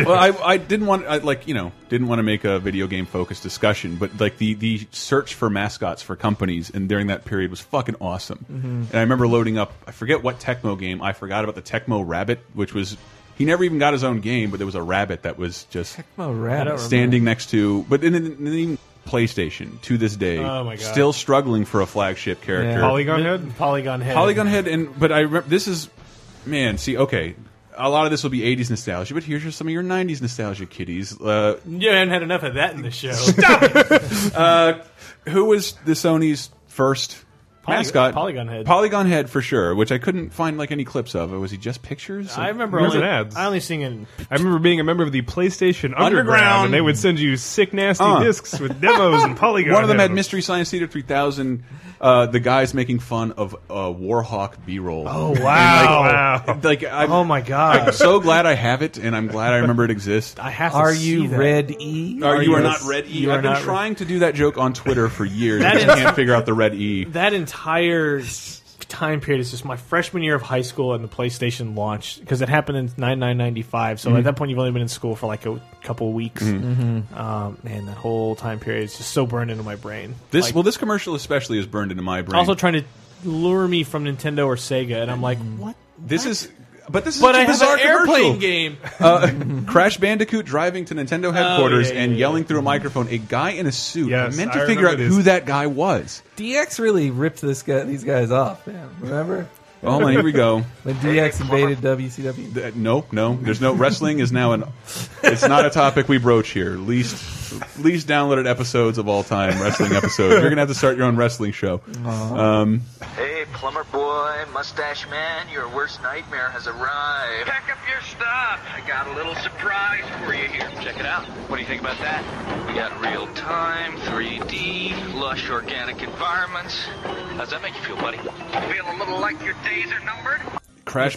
Speaker 7: well, I, I didn't want I, like you know didn't want to make a video game focused discussion, but like the the search for mascots for companies and during that period was fucking awesome.
Speaker 8: Mm-hmm.
Speaker 13: Mhm.
Speaker 7: And I remember loading up. I forget what Tecmo game. I forgot about the Tecmo Rabbit, which was he never even got his own game, but there was a rabbit that was just
Speaker 8: Tecmo Rabbit. I don't
Speaker 7: standing next to. But then, then even PlayStation to this day,
Speaker 9: Oh my God.
Speaker 7: still struggling for a flagship character.
Speaker 9: Polygon Head? Polygon Head.
Speaker 7: Polygon Head, and but I remember this is man. See, okay, a lot of this will be '80s nostalgia, but here's just some of your '90s nostalgia kiddies. Uh,
Speaker 9: You haven't had enough of that in the show.
Speaker 7: uh, who was the Sony's first
Speaker 9: Polygon-
Speaker 7: mascot?
Speaker 9: Polygon Head.
Speaker 7: Polygon Head for sure, which I couldn't find like any clips of. Was he just pictures?
Speaker 9: I remember
Speaker 7: It was
Speaker 9: only,
Speaker 7: an ad.
Speaker 9: I only sing in
Speaker 6: I remember being a member of the PlayStation Underground,
Speaker 7: Underground.
Speaker 6: and they would send you sick, nasty
Speaker 7: Uh.
Speaker 6: discs with demos and polygon.
Speaker 7: *laughs* One of them
Speaker 6: head
Speaker 7: had Mystery Science Theater 3000. Uh, the guys making fun of uh, Warhawk B-roll.
Speaker 9: Oh,
Speaker 7: And,
Speaker 9: wow.
Speaker 7: Like, *laughs* like,
Speaker 9: *laughs*
Speaker 7: I'm,
Speaker 9: Oh, my God.
Speaker 7: I'm so glad I have it, and I'm glad I remember it exists.
Speaker 9: I have. To
Speaker 8: Are
Speaker 9: see
Speaker 8: you
Speaker 9: that.
Speaker 8: Red E?
Speaker 7: Are you are not red E.
Speaker 9: You are
Speaker 7: I've been
Speaker 9: not-
Speaker 7: trying to do that joke on
Speaker 9: *laughs*
Speaker 7: Twitter for years.
Speaker 9: That
Speaker 7: and
Speaker 9: is-
Speaker 7: can't figure out the
Speaker 9: *laughs*
Speaker 7: red E.
Speaker 9: That entire time period is just my freshman year of high school and the PlayStation launch because it happened in nine nine ninety five. So
Speaker 6: Mhm.
Speaker 7: Mm-hmm.
Speaker 9: at that point, you've only been in school for like a couple of weeks.
Speaker 7: Mhm.
Speaker 9: Um, man, that whole time period is just so burned into my brain.
Speaker 7: This
Speaker 9: Like,
Speaker 7: well, this commercial especially is burned into my brain.
Speaker 9: also trying to lure me from Nintendo or Sega, and I'm like,
Speaker 7: Mm-hmm.
Speaker 9: what?
Speaker 7: this is, but this is
Speaker 9: But
Speaker 7: such a
Speaker 9: I have
Speaker 7: bizarre
Speaker 9: an airplane
Speaker 7: commercial.
Speaker 9: game. Oh,
Speaker 7: Uh, *laughs* Crash Bandicoot driving to Nintendo headquarters
Speaker 8: yeah, yeah,
Speaker 7: and yelling
Speaker 9: Mm-hmm.
Speaker 7: through a microphone. A guy in a suit. I meant to
Speaker 8: I
Speaker 7: figure out
Speaker 8: remember this.
Speaker 7: who that guy was.
Speaker 8: DX really ripped this guy, these guys off, man. Remember?
Speaker 7: Oh man, here
Speaker 9: *laughs*
Speaker 7: we go.
Speaker 8: When DX invaded WCW.
Speaker 7: Th- No, no, there's no wrestling is now an. It's not a topic we broach here. Least, least downloaded episodes of all time wrestling episodes. You're gonna have to start your own wrestling show. Um,
Speaker 14: Hey, plumber boy, mustache man, your worst nightmare has arrived. Pack up your stuff. I got a little surprise for you here. Check it out. What do you think about that? We got real time, 3D, lush organic environments. How's that make you feel, buddy? Feel a little like your days are numbered?
Speaker 7: Crash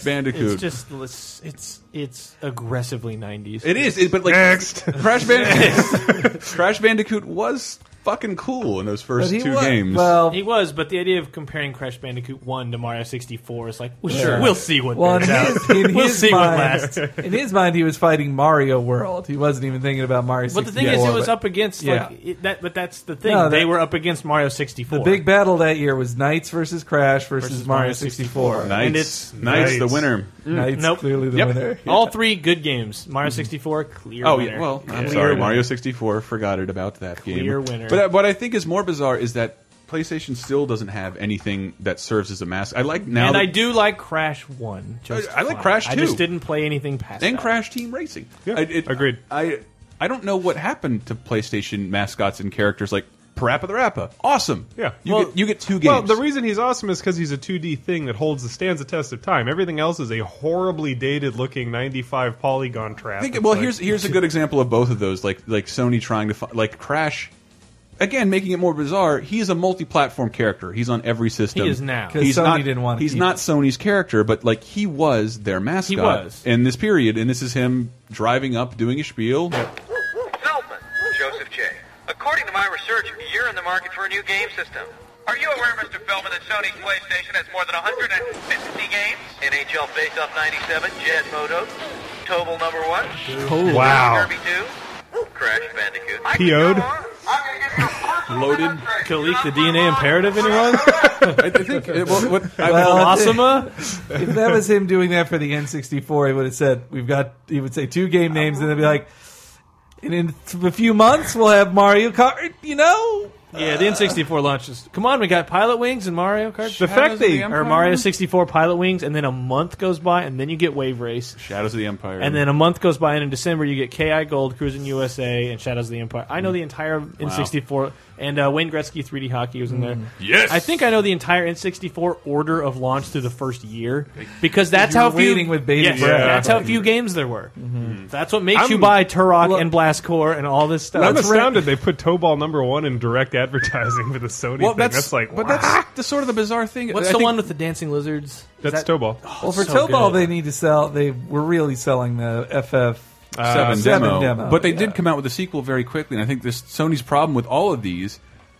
Speaker 9: *laughs*
Speaker 7: Bandicoot.
Speaker 9: It's just it's it's, it's aggressively nineties.
Speaker 7: It is, it- but like Crash
Speaker 6: *laughs*
Speaker 7: Bandicoot. Crash Bandicoot was fucking cool in those first two games.
Speaker 9: he was, but the idea of comparing Crash Bandicoot One to Mario sixty four is like, well,
Speaker 8: Sure.
Speaker 9: we'll see what
Speaker 8: Well, in
Speaker 9: bears out.
Speaker 8: his,
Speaker 9: *laughs*
Speaker 8: in
Speaker 9: we'll
Speaker 8: his
Speaker 9: see
Speaker 8: mind,
Speaker 9: what lasts.
Speaker 8: In his mind, he was fighting Mario World. He wasn't even thinking about Mario.
Speaker 9: But the thing
Speaker 8: 64,
Speaker 9: is, it was
Speaker 8: but-
Speaker 9: up against
Speaker 8: yeah.
Speaker 9: like it, that. But that's the thing;
Speaker 8: No,
Speaker 9: they
Speaker 8: that-
Speaker 9: were up against Mario sixty
Speaker 8: the
Speaker 9: four.
Speaker 8: big battle that year was Knights versus Crash versus,
Speaker 9: Versus
Speaker 8: Mario
Speaker 9: Mario
Speaker 8: 64.
Speaker 9: 64. And it's-
Speaker 7: Knights, the winner.
Speaker 8: Knights
Speaker 9: nope.
Speaker 8: clearly the
Speaker 9: Yep.
Speaker 8: winner.
Speaker 9: *laughs*
Speaker 8: Mm-hmm.
Speaker 9: All three good games: Mario sixty four, clear.
Speaker 7: Oh
Speaker 9: winner.
Speaker 7: yeah, well, I'm
Speaker 9: Clear
Speaker 7: sorry,
Speaker 9: winner.
Speaker 7: Mario 64 forgot it about that
Speaker 9: Clear
Speaker 7: game.
Speaker 9: winner.
Speaker 7: But uh, what I think is more bizarre is that PlayStation still doesn't have anything that serves as a mask. I like now.
Speaker 9: and
Speaker 7: that-
Speaker 9: I do like Crash One. Just
Speaker 7: I like
Speaker 9: fine.
Speaker 7: Crash
Speaker 9: I just
Speaker 7: 2.
Speaker 9: didn't play anything past.
Speaker 7: and
Speaker 9: that.
Speaker 7: Crash Team Racing. Yeah, I, it, agreed. I I don't know what happened to PlayStation mascots and characters like Parappa the Rappa. Awesome.
Speaker 6: Yeah,
Speaker 7: you get you get two games.
Speaker 6: Well, the reason he's awesome is because he's a 2D thing that holds the stands the test of time. Everything else is a horribly dated looking 95 polygon trap.
Speaker 7: I think,
Speaker 6: It's
Speaker 7: well,
Speaker 6: like-
Speaker 7: here's here's a good example of both of those. Like like Sony trying to fi- like Crash, again making it more bizarre. He is a multi-platform character. He's on every system.
Speaker 9: He is now. 'Cause
Speaker 7: He's
Speaker 9: Sony
Speaker 7: not,
Speaker 9: didn't want to
Speaker 7: He's
Speaker 9: keep
Speaker 7: not Sony's character, but like he was their mascot
Speaker 9: was.
Speaker 7: in this period. And this is him driving up, doing a spiel.
Speaker 14: Feldman, Joseph J. According to my research, you're in the market for a new game system. Are you aware, Mr. Feldman, that Sony's PlayStation has more than 150 games? NHL Face Off 97, Jet Moto, Tobal Number 1,
Speaker 6: Oh, wow.
Speaker 14: Kirby 2, Crash Bandicoot.
Speaker 6: PO'd.
Speaker 7: Loaded.
Speaker 9: Kalik the DNA imperative. Anyone?
Speaker 7: I think it, well, what, I,
Speaker 8: *laughs* Well,
Speaker 7: *laughs*
Speaker 8: if-
Speaker 9: Awesome-a?
Speaker 8: If that was him doing that for the N64, he would have said, "We've got." He would say two game names, and they'd be like, "And in a few months, we'll have Mario Kart." You know,
Speaker 9: Yeah, the N64 launches. Come on, we got Pilot Wings and Mario Kart.
Speaker 6: The fact that-
Speaker 9: or Mario 64 Pilot Wings, and then a month goes by, and then you get Wave Race.
Speaker 7: Shadows of the Empire.
Speaker 9: And then a month goes by, and in December you get KI Gold, Cruising USA, and Shadows of the Empire. I know the entire N64, and uh, Wayne Gretzky 3D Hockey was in there.
Speaker 7: Yes!
Speaker 9: I think I know the entire N64 order of launch through the first year because that's
Speaker 8: You
Speaker 9: how
Speaker 8: were
Speaker 9: few
Speaker 8: waiting with
Speaker 9: Yes,
Speaker 8: bated breath.
Speaker 9: That's how few games there were. That's what makes you buy Turok and Blastcore and all this stuff.
Speaker 6: I'm
Speaker 9: That's
Speaker 6: astounded they put Tobal number one in direct advertising for the Sony
Speaker 9: Well,
Speaker 6: thing.
Speaker 9: that's-
Speaker 6: That's, like,
Speaker 9: but
Speaker 6: wow.
Speaker 7: that's the sort of the bizarre thing.
Speaker 9: What's
Speaker 6: I
Speaker 9: the
Speaker 6: think-
Speaker 9: one with the dancing lizards? Is
Speaker 6: That's
Speaker 9: that-
Speaker 6: Tobal.
Speaker 8: well, for
Speaker 9: so
Speaker 8: Tobal,
Speaker 9: good.
Speaker 8: they need to sell. They were really selling the FF
Speaker 7: seven, demo.
Speaker 8: Uh, demo.
Speaker 7: But they did come out with a sequel very quickly, and I think this Sony's problem with all of these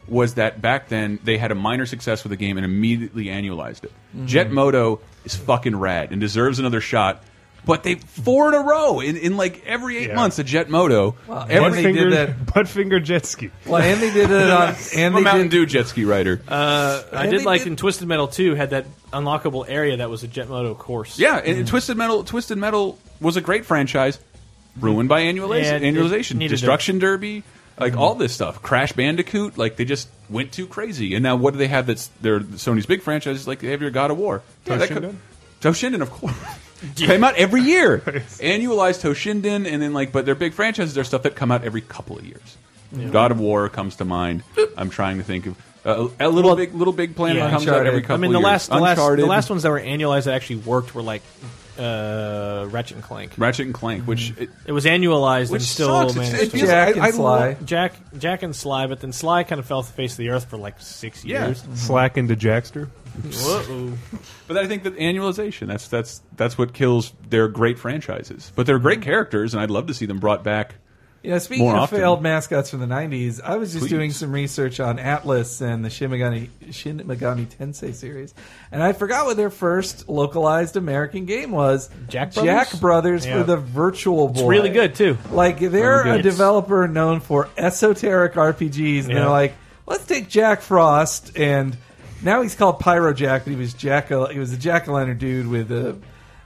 Speaker 7: was that back then they had a minor success with a game and immediately annualized it.
Speaker 8: Mm-hmm.
Speaker 6: Mhm.
Speaker 7: Jet Moto is fucking rad and deserves another shot. But they four in a row in, in like every eight months a Jet Moto.
Speaker 8: Well,
Speaker 7: every
Speaker 8: and they did *laughs* that-
Speaker 6: butt finger jet ski.
Speaker 8: Well, and they did it on-
Speaker 7: I'm
Speaker 8: and
Speaker 7: a
Speaker 8: they
Speaker 7: Mountain
Speaker 8: did-
Speaker 7: Dew jet ski rider.
Speaker 9: Uh, I
Speaker 7: And
Speaker 9: did
Speaker 7: they
Speaker 9: like
Speaker 7: did-
Speaker 9: in Twisted Metal 2 had that unlockable area that was a Jet Moto course.
Speaker 7: Yeah, and, and Twisted Metal Twisted Metal was a great franchise, ruined by annualization.
Speaker 9: Yeah, it
Speaker 7: annualization,
Speaker 9: needed Mm.
Speaker 7: Destruction Derby, like all this stuff. Crash Bandicoot, like they just went too crazy. And now what do they have that's their Sony's big franchises? Like they have your God of War, Yeah, that could- Toshinden,
Speaker 9: *laughs*
Speaker 7: of course. Came out every year, annualized Toshinden, and then like, but their big franchises are stuff that come out every couple of years.
Speaker 6: Yeah.
Speaker 7: God of War comes to mind. I'm trying to think of uh, a little big, little big planet
Speaker 9: Yeah.
Speaker 7: comes out every couple.
Speaker 9: I mean, the
Speaker 7: of years.
Speaker 9: last, the last, the
Speaker 7: Uncharted.
Speaker 9: last ones that were annualized that actually worked were like uh, Ratchet and Clank.
Speaker 7: Ratchet and Clank, which it,
Speaker 9: was annualized
Speaker 7: Which
Speaker 9: and still
Speaker 7: sucks. It's-
Speaker 9: managed
Speaker 7: it
Speaker 9: to-
Speaker 7: feels Jack like- and I- I Sly. lo-
Speaker 9: Jack, Jack and Sly, but then Sly kind of fell off the face of the earth for like six
Speaker 7: Yeah.
Speaker 9: years.
Speaker 6: Slack into Jackster.
Speaker 9: Whoa.
Speaker 7: But I think that annualization that's that's that's what kills their great franchises. But they're
Speaker 9: Mm-hmm.
Speaker 7: great characters, and I'd love to see them brought back.
Speaker 8: Yeah, speaking
Speaker 7: more
Speaker 8: of
Speaker 7: often.
Speaker 8: failed mascots from the '90s, I was just
Speaker 7: Please.
Speaker 8: doing some research on Atlas and the Shin Megami, Shin Megami Tensei series, and I forgot what their first localized American game was.
Speaker 9: Jack
Speaker 8: Jack Brothers
Speaker 9: Yeah.
Speaker 8: for the Virtual Boy.
Speaker 9: It's really good, too.
Speaker 8: Like they're
Speaker 9: Really good.
Speaker 8: a developer known for esoteric RPGs, and
Speaker 9: Yeah.
Speaker 8: they're like, let's take Jack Frost and now he's called Pyro Jack, but he was Jack. He was a jack o' lantern dude with a.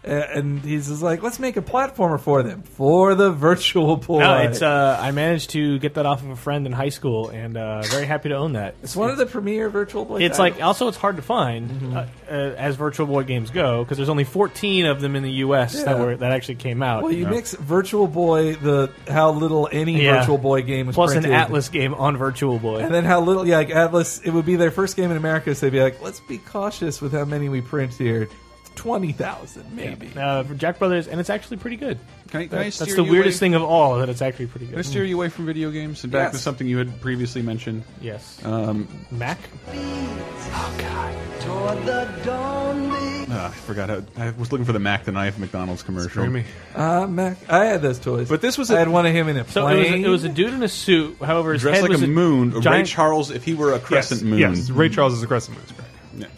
Speaker 8: And he's just like, let's make a platformer for them for the Virtual Boy.
Speaker 9: No, it's uh, I managed to get that off of a friend in high school, and uh, very happy to own that.
Speaker 8: It's one of the premier Virtual Boy.
Speaker 9: It's
Speaker 8: titles.
Speaker 9: like also it's hard to find uh, uh, as Virtual Boy games go because there's only 14 of them in the U.S. that
Speaker 8: Yeah.
Speaker 9: were that actually came out.
Speaker 8: well, you
Speaker 9: know?
Speaker 8: mix Virtual Boy, the how little any
Speaker 9: Yeah.
Speaker 8: Virtual Boy game was
Speaker 9: plus
Speaker 8: printed,
Speaker 9: an Atlas game on Virtual Boy,
Speaker 8: and then how little, yeah, like Atlas. It would be their first game in America, so they'd be like, let's be cautious with how many we print here, twenty thousand maybe.
Speaker 9: uh, for Jack Brothers, and it's actually pretty good.
Speaker 7: Can I- can I
Speaker 9: That-
Speaker 7: steer
Speaker 9: that's the
Speaker 7: you
Speaker 9: weirdest
Speaker 7: away-
Speaker 9: thing of all that it's actually pretty
Speaker 7: Can I
Speaker 9: good.
Speaker 7: steer you away from video games and back
Speaker 9: Yes.
Speaker 7: to something you had previously mentioned?
Speaker 9: Yes.
Speaker 7: Um,
Speaker 9: Mac.
Speaker 12: Oh God. Toward the dawn
Speaker 7: ah, I forgot. How, I was looking for the Mac the Knife McDonald's commercial.
Speaker 6: Screw me.
Speaker 8: Uh, Mac, I had those toys, but
Speaker 7: this was
Speaker 8: I had one of him in a
Speaker 9: So it was,
Speaker 8: plane.
Speaker 9: a, it was a dude in a suit. However, his
Speaker 7: Dressed
Speaker 9: head
Speaker 7: like
Speaker 9: was
Speaker 7: a moon. Ray
Speaker 9: giant-
Speaker 7: Charles, if he were a crescent moon.
Speaker 6: Yes, Ray Charles is a crescent moon.
Speaker 7: *laughs*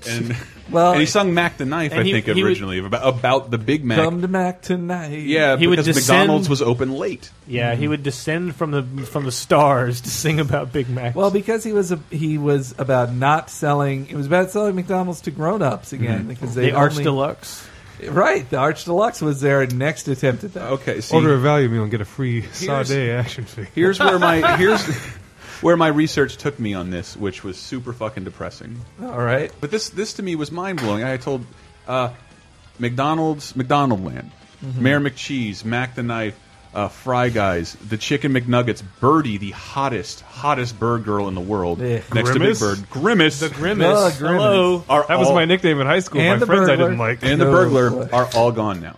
Speaker 7: And,
Speaker 6: Well-
Speaker 7: and he sung Mac the Knife,
Speaker 6: And
Speaker 7: I
Speaker 6: he-
Speaker 7: think,
Speaker 6: he would-
Speaker 7: originally, about, about the Big Mac.
Speaker 8: Come to Mac tonight.
Speaker 7: yeah,
Speaker 9: He would
Speaker 7: because
Speaker 9: descend-
Speaker 7: McDonald's was open late.
Speaker 9: Yeah, he would descend from the from the stars to sing about Big Mac.
Speaker 8: Well, because he was a, he was about not selling. It was about selling McDonald's to grown-ups again
Speaker 9: Mhm.
Speaker 8: because
Speaker 9: The
Speaker 8: they
Speaker 9: Arch
Speaker 8: only-
Speaker 9: Deluxe.
Speaker 8: Right, the Arch Deluxe was their next attempt at that.
Speaker 7: Okay, see-
Speaker 6: Order a value meal and get a free
Speaker 7: Here's-
Speaker 6: Sade action figure.
Speaker 7: Here's where
Speaker 6: *laughs*
Speaker 7: my here's where my research took me on this, which was super fucking depressing.
Speaker 8: All right,
Speaker 7: but this this to me was mind blowing. I told uh, McDonald's McDonaldland,
Speaker 6: Mhm.
Speaker 7: Mayor McCheese, Mac the Knife, uh, Fry Guys, the Chicken McNuggets, Birdie, the hottest hottest bird girl in the world,
Speaker 6: Yeah.
Speaker 7: next to Big
Speaker 6: Grimace?
Speaker 7: Bird, Grimace, the
Speaker 6: Grimace. The Grimace. Hello. That was my Oh, nickname in high school. And My the friends I burglar. didn't like.
Speaker 7: and the
Speaker 6: No.
Speaker 7: burglar are all gone now.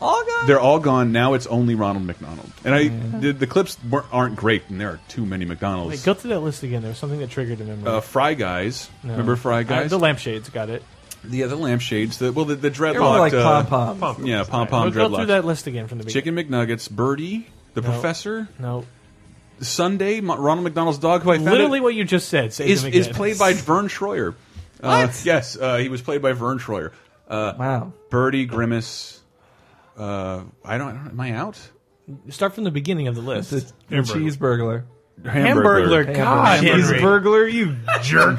Speaker 8: All gone.
Speaker 7: They're all gone now. It's only Ronald McDonald, and I the, the clips weren't, aren't great, and there are too many McDonald's.
Speaker 9: Wait, go through that list again. There was something that triggered a memory.
Speaker 7: Uh, Fry Guys.
Speaker 9: No.
Speaker 7: Remember Fry Guys?
Speaker 9: Uh, the lampshades got it.
Speaker 7: yeah, the lampshades. The, well, the, the dreadlock.
Speaker 9: They're more like
Speaker 7: uh,
Speaker 9: pom-poms. Pom-poms.
Speaker 7: Yeah, pom pom
Speaker 9: Alright, go-
Speaker 7: dreadlocks.
Speaker 9: go through that list again from the
Speaker 7: Chicken McNuggets, Birdie, the
Speaker 9: No.
Speaker 7: Professor.
Speaker 9: No.
Speaker 7: Sunday, Mo- Ronald McDonald's dog, who I found
Speaker 9: Literally
Speaker 7: out
Speaker 9: what you just said. Saved
Speaker 7: is,
Speaker 9: him
Speaker 7: is
Speaker 9: again.
Speaker 7: played by
Speaker 9: *laughs*
Speaker 7: Vern Troyer. Uh, yes, uh, he was played by Vern Troyer. Uh,
Speaker 8: wow.
Speaker 7: Birdie, Grimace. Uh, I, don't, I don't. Am I out?
Speaker 9: Start from the beginning of the list.
Speaker 8: The cheese burglar. Hamburglar.
Speaker 6: Hamburglar. God,
Speaker 8: Hamburglar.
Speaker 6: cheeseburglar, you jerk.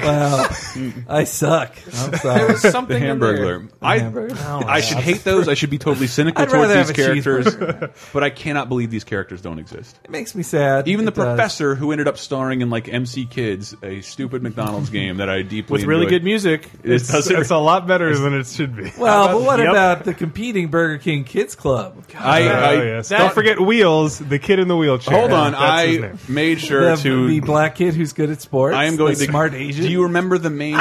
Speaker 7: *laughs*
Speaker 8: Wow. I suck. I'm sorry.
Speaker 7: There was something The in Hamburglar. there. I-
Speaker 9: Oh
Speaker 8: Hamburglar.
Speaker 7: I should hate those. I should be
Speaker 9: *laughs*
Speaker 7: totally cynical
Speaker 8: I'd
Speaker 7: towards
Speaker 8: rather have
Speaker 7: these
Speaker 8: a
Speaker 7: characters,
Speaker 8: cheeseburger.
Speaker 7: but I cannot believe these characters don't exist.
Speaker 8: It makes me sad.
Speaker 7: Even the
Speaker 8: It does.
Speaker 7: professor who ended up starring in like MC Kids, a stupid McDonald's game that I deeply
Speaker 9: With really
Speaker 7: enjoyed.
Speaker 9: good music.
Speaker 7: It
Speaker 9: It's-
Speaker 7: doesn't-
Speaker 9: it's a
Speaker 6: lot better than it should be. Uh,
Speaker 8: Well,
Speaker 9: How
Speaker 8: but what
Speaker 9: Yep.
Speaker 8: about the competing Burger King Kids Club?
Speaker 7: *laughs* I, I
Speaker 6: oh, yes. Don't forget Wheels, the kid in the wheelchair.
Speaker 7: Hold on,
Speaker 6: That's his
Speaker 7: I
Speaker 6: name.
Speaker 7: made sure
Speaker 8: the,
Speaker 7: to.
Speaker 8: the black kid who's good at sports.
Speaker 7: I am going
Speaker 8: the
Speaker 7: to
Speaker 8: smart Asian.
Speaker 7: Do you remember the
Speaker 8: *laughs*
Speaker 7: main,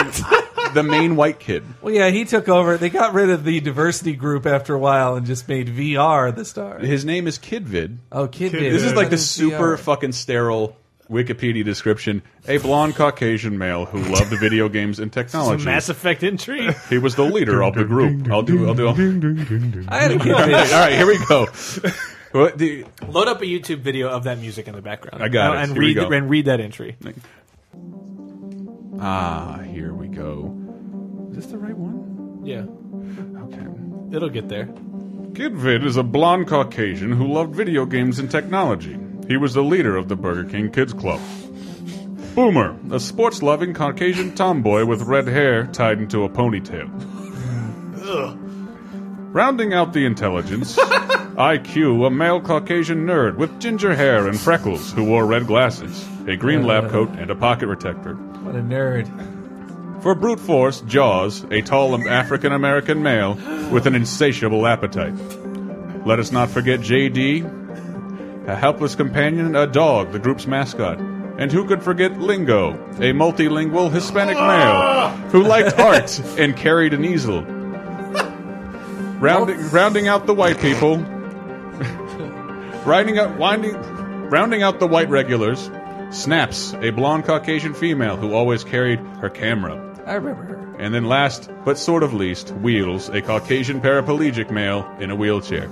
Speaker 7: the main white kid?
Speaker 8: well, yeah, he took over. They got rid of the diversity group after a while and just made VR the star.
Speaker 7: His name is Kidvid.
Speaker 8: Oh, Kidvid.
Speaker 7: This is like
Speaker 8: What
Speaker 7: the
Speaker 8: is
Speaker 7: super
Speaker 8: VR?
Speaker 7: fucking sterile Wikipedia description. A blonde Caucasian male who loved video games and
Speaker 9: It's
Speaker 7: technology.
Speaker 9: a Mass Effect entry.
Speaker 7: He was the leader of the group. I'll do. I'll do.
Speaker 9: I
Speaker 7: *laughs*
Speaker 9: had a
Speaker 7: all
Speaker 9: Kidvid.
Speaker 7: right, all right, here we go. *laughs* What the,
Speaker 9: Load up a YouTube video of that music in the background.
Speaker 7: I
Speaker 8: Oh,
Speaker 7: got
Speaker 9: and,
Speaker 7: it.
Speaker 9: And
Speaker 7: Here we
Speaker 9: read
Speaker 7: go.
Speaker 9: and read that entry.
Speaker 7: ah, here we go. Is this the right one?
Speaker 9: Yeah.
Speaker 7: Okay.
Speaker 9: It'll get there.
Speaker 7: Kidvid is a blonde Caucasian who loved video games and technology. He was the leader of the Burger King Kids Club. Boomer, a sports loving Caucasian tomboy with red hair tied into a ponytail. Rounding out
Speaker 9: *laughs*
Speaker 7: the intelligence, IQ, a male Caucasian nerd with ginger hair and freckles who wore red glasses, a green lab coat, and a pocket protector.
Speaker 8: What a nerd.
Speaker 7: For brute force, Jaws, a tall African American male with an insatiable appetite. Let us not forget JD, a helpless companion, a dog, the group's mascot. And who could forget Lingo, a multilingual Hispanic male who liked art and carried an easel. Rounding, rounding out the white people, riding up, winding, rounding out the white regulars, Snaps, a blonde Caucasian female who always carried her camera.
Speaker 8: I remember her.
Speaker 7: And then last, but sort of least, Wheels, a Caucasian paraplegic male in a wheelchair.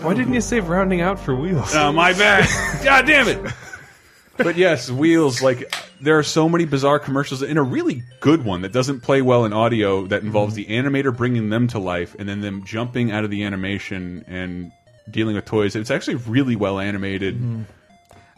Speaker 6: Why didn't you save rounding out for Wheels?
Speaker 7: Oh, my *laughs* bad. God damn it. But yes, Wheels, like, there are so many bizarre commercials and a really good one that doesn't play well in audio that involves the animator bringing them to life and then them jumping out of the animation and dealing with toys. It's actually really well animated.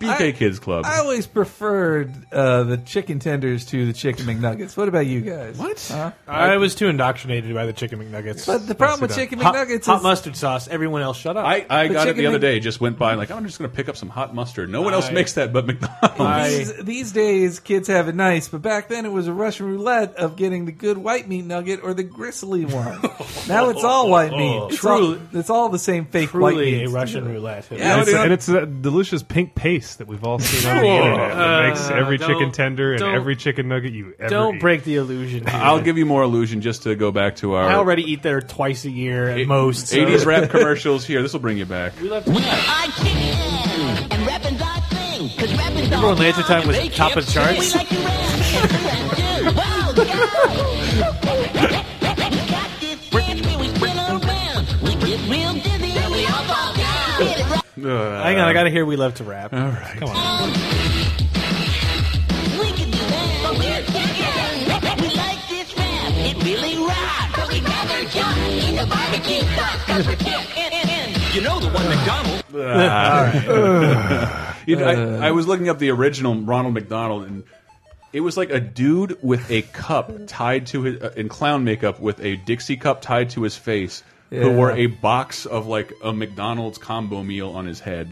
Speaker 7: BK
Speaker 8: I-
Speaker 7: Kids Club.
Speaker 8: I always preferred uh, the chicken tenders to the chicken McNuggets. What about you guys? What?
Speaker 9: I was too indoctrinated by the chicken McNuggets.
Speaker 8: But the problem
Speaker 9: Sit
Speaker 8: with
Speaker 9: down.
Speaker 8: chicken
Speaker 9: Hot-
Speaker 8: McNuggets
Speaker 9: hot
Speaker 8: is-
Speaker 9: mustard sauce. Everyone else, shut up.
Speaker 7: I, I
Speaker 8: But
Speaker 7: got it
Speaker 8: chicken
Speaker 7: the other
Speaker 8: Mc-
Speaker 7: day. Just went by and like I'm just going to pick up some hot mustard. No one else
Speaker 9: I-
Speaker 7: makes that but McDonald's.
Speaker 8: these, these days, kids have it nice, but back then it was a Russian roulette of getting the good white meat nugget or the gristly
Speaker 6: *laughs*
Speaker 8: one. now it's all white
Speaker 6: Oh.
Speaker 8: meat. It's all,
Speaker 9: Truly-
Speaker 8: it's all the same fake white
Speaker 9: Truly
Speaker 8: meat.
Speaker 9: a
Speaker 8: *laughs*
Speaker 9: Russian roulette.
Speaker 8: Yeah,
Speaker 6: and, it's,
Speaker 8: it's-
Speaker 6: and it's that delicious pink paste that we've all seen on the
Speaker 9: Whoa.
Speaker 6: internet that makes
Speaker 9: Uh,
Speaker 6: every
Speaker 9: don't-
Speaker 6: chicken tender and
Speaker 9: don't-
Speaker 6: every chicken nugget you ever
Speaker 9: Don't
Speaker 6: eat.
Speaker 9: break the illusion. Here.
Speaker 7: I'll give you more illusion just to go back to
Speaker 9: I
Speaker 7: our
Speaker 9: already eat there twice a year at most. so-
Speaker 7: 80s rap commercials. Here, this will bring you back.
Speaker 12: I kick it and rapping's our thing. Cause rapping's
Speaker 9: Remember
Speaker 12: our
Speaker 9: when Laser Time was
Speaker 12: They
Speaker 9: top of
Speaker 12: can't
Speaker 9: charts?
Speaker 12: say we like to rap. Rap do. Wow, go. We got this dance where we spin around. We get real dizzy and we all fall down. Hit it right.
Speaker 7: Uh,
Speaker 9: Hang on, I gotta hear "We Love to Rap."
Speaker 7: All right.
Speaker 9: Come on.
Speaker 12: We can do that. But we're kicking. We like this rap. It really rocks. But we'd rather jump in the barbecue sauce. Cause we're kicking.
Speaker 11: You know the one McDonald.
Speaker 7: uh,
Speaker 8: *laughs* Uh,
Speaker 7: You know, I, I was looking up the original Ronald McDonald, and it was like a dude with a cup tied to his uh, in clown makeup with a Dixie cup tied to his face. Who
Speaker 8: Yeah.
Speaker 7: wore a box of like a McDonald's combo meal on his head?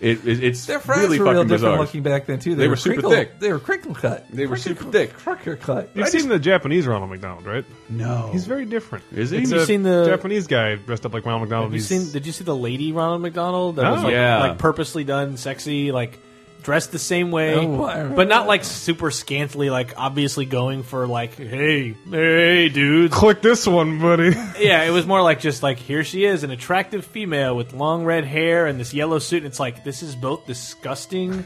Speaker 7: It, it, it's
Speaker 8: Mm-hmm. Their fries
Speaker 7: really
Speaker 8: were
Speaker 7: fucking
Speaker 8: real different
Speaker 7: bizarre.
Speaker 8: looking back then, too.
Speaker 7: They were super
Speaker 8: crinkle,
Speaker 7: thick.
Speaker 8: They were crinkle cut.
Speaker 7: They were super thick.
Speaker 8: Crinkle cut.
Speaker 6: You've seen the Japanese Ronald McDonald, right?
Speaker 7: No,
Speaker 6: He's very different.
Speaker 7: Oh. Is he?
Speaker 6: It's
Speaker 9: Have you
Speaker 6: a
Speaker 9: seen the-
Speaker 6: Japanese guy dressed up like Ronald McDonald?
Speaker 9: Have you
Speaker 6: He's-
Speaker 9: seen? Did you see the lady Ronald McDonald? That was
Speaker 6: Oh.
Speaker 9: like,
Speaker 7: Yeah.
Speaker 9: like purposely done, sexy, like dressed the same way,
Speaker 8: Oh, I remember
Speaker 9: but not like super scantily, like obviously going for like, hey, hey, dudes.
Speaker 6: Click this one, *laughs* buddy.
Speaker 9: yeah, it was more like just like here she is, an attractive female with long red hair and this yellow suit. And it's like this is both disgusting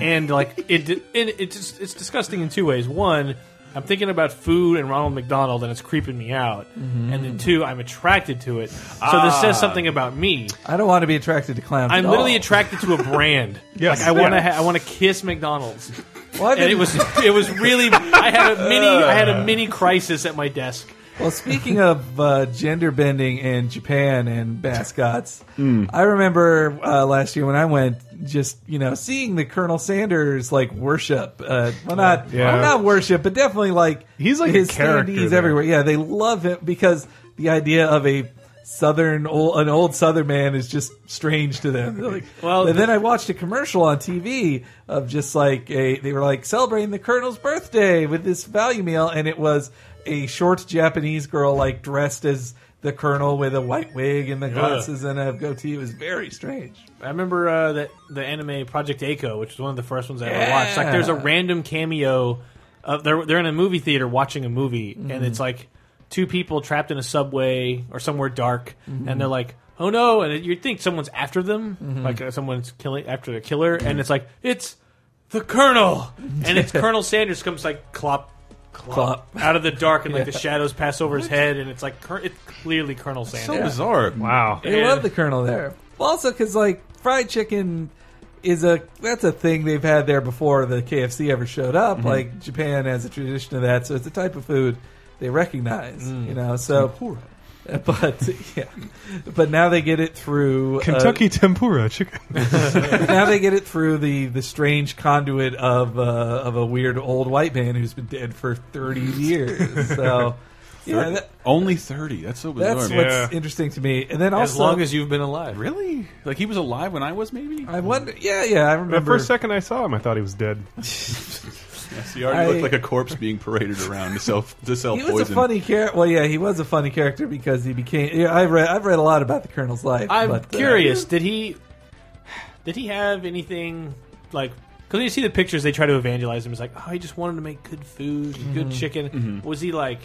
Speaker 9: and like it, it, it just, it's disgusting in two ways. One, I'm thinking about food and Ronald McDonald, and it's creeping me out. And then two, I'm attracted to it. So this says something about me.
Speaker 8: I don't want to be attracted to clowns.
Speaker 9: I'm
Speaker 8: at
Speaker 9: literally
Speaker 8: all.
Speaker 9: attracted to a brand.
Speaker 6: Oh. *laughs* Yes.
Speaker 9: Like I want to,
Speaker 6: Yeah.
Speaker 9: ha- I want to kiss McDonald's.
Speaker 8: Well, I
Speaker 9: And it
Speaker 8: didn't-
Speaker 9: was, it was really. I had a mini, I had a mini crisis at my desk
Speaker 8: Well, speaking of uh, gender bending in Japan and mascots,
Speaker 12: Hmm.
Speaker 8: I remember uh, last year when I went, just you know, seeing the Colonel Sanders like worship. Uh, well, not
Speaker 6: Yeah.
Speaker 8: well, not worship, but definitely like he's
Speaker 6: like a
Speaker 8: his
Speaker 6: character
Speaker 8: standees
Speaker 6: there.
Speaker 8: everywhere. Yeah, they love it because the idea of a southern old, an old southern man is just strange to them. They're like,
Speaker 9: Well,
Speaker 8: and then I watched a commercial on TV of just like a they were like celebrating the colonel's birthday with this value meal, and it was a short Japanese girl like dressed as the colonel with a white wig and the
Speaker 9: Yeah.
Speaker 8: glasses and a goatee. It was very strange.
Speaker 9: I remember uh, that the anime Project Eiko, which was one of the first ones I ever
Speaker 8: Yeah.
Speaker 9: watched. Like, there's a random cameo. Of, they're they're in a movie theater watching a movie,
Speaker 8: Mhm.
Speaker 9: and it's like two people trapped in a subway or somewhere dark,
Speaker 8: Mhm.
Speaker 9: and they're like, "Oh no!" And it- you'd think someone's after them,
Speaker 8: Mhm.
Speaker 9: like uh, someone's killing after the killer, and it's like it's the *laughs* Colonel, and it's Colonel Sanders comes like clop. Clop,
Speaker 8: Clop.
Speaker 9: out of the dark and *laughs* like the
Speaker 8: Yeah.
Speaker 9: shadows pass over his head and it's like cur- it's clearly Colonel Sanders.
Speaker 8: so bizarre.
Speaker 9: Wow,
Speaker 8: They love the colonel there. Well, also because like fried chicken is a that's a thing they've had there before the KFC ever showed up.
Speaker 6: Mhm.
Speaker 8: Like Japan has a tradition of that, so it's a type of food they recognize.
Speaker 6: Mm.
Speaker 8: You know, so *laughs* but yeah, but now they get it through uh,
Speaker 6: Kentucky tempura chicken.
Speaker 8: *laughs* now they get it through the the strange conduit of uh, of a weird old white man who's been dead for
Speaker 6: *laughs*
Speaker 8: thirty years. So yeah,
Speaker 7: Thirty-
Speaker 8: that-
Speaker 7: only thirty. That's so bizarre.
Speaker 8: That's what's interesting to me. And then also,
Speaker 9: you've been alive,
Speaker 7: really? Like he was alive when I was, maybe.
Speaker 8: I wonder. Yeah, yeah, I remember.
Speaker 6: The first second I saw him, I thought he was dead.
Speaker 7: Yes, he already
Speaker 8: I-
Speaker 7: looked like a corpse being paraded around to self to self
Speaker 8: *laughs* he
Speaker 7: poison.
Speaker 8: was a funny character. Well, yeah, he was a funny character because he became. Yeah, I read. I've read a lot about the Colonel's life.
Speaker 9: I'm
Speaker 8: but, uh,
Speaker 9: curious. Did he did he have anything like? Because you see the pictures, they try to evangelize him. It's like, oh, he just wanted to make good food, and good
Speaker 8: Mhm.
Speaker 9: chicken.
Speaker 8: Mhm.
Speaker 9: Was he like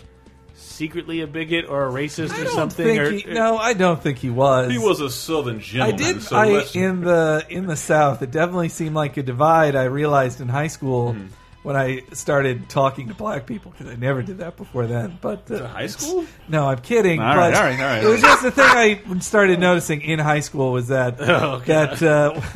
Speaker 9: secretly a bigot or a racist or
Speaker 8: I don't
Speaker 9: something?
Speaker 8: think
Speaker 9: or, uh,
Speaker 8: he- no, I don't think he was.
Speaker 7: a southern
Speaker 8: I did. I, in the in the South, it definitely seemed like a divide. I realized in high school
Speaker 7: Mm-hmm.
Speaker 8: when I started talking to black people because I never did that before then. But uh,
Speaker 7: high school?
Speaker 8: No, I'm kidding.
Speaker 7: All right,
Speaker 8: but
Speaker 7: all right, all right.
Speaker 8: It was just the thing I started noticing in high school was that
Speaker 7: *laughs* Oh, God.
Speaker 8: that uh, *laughs*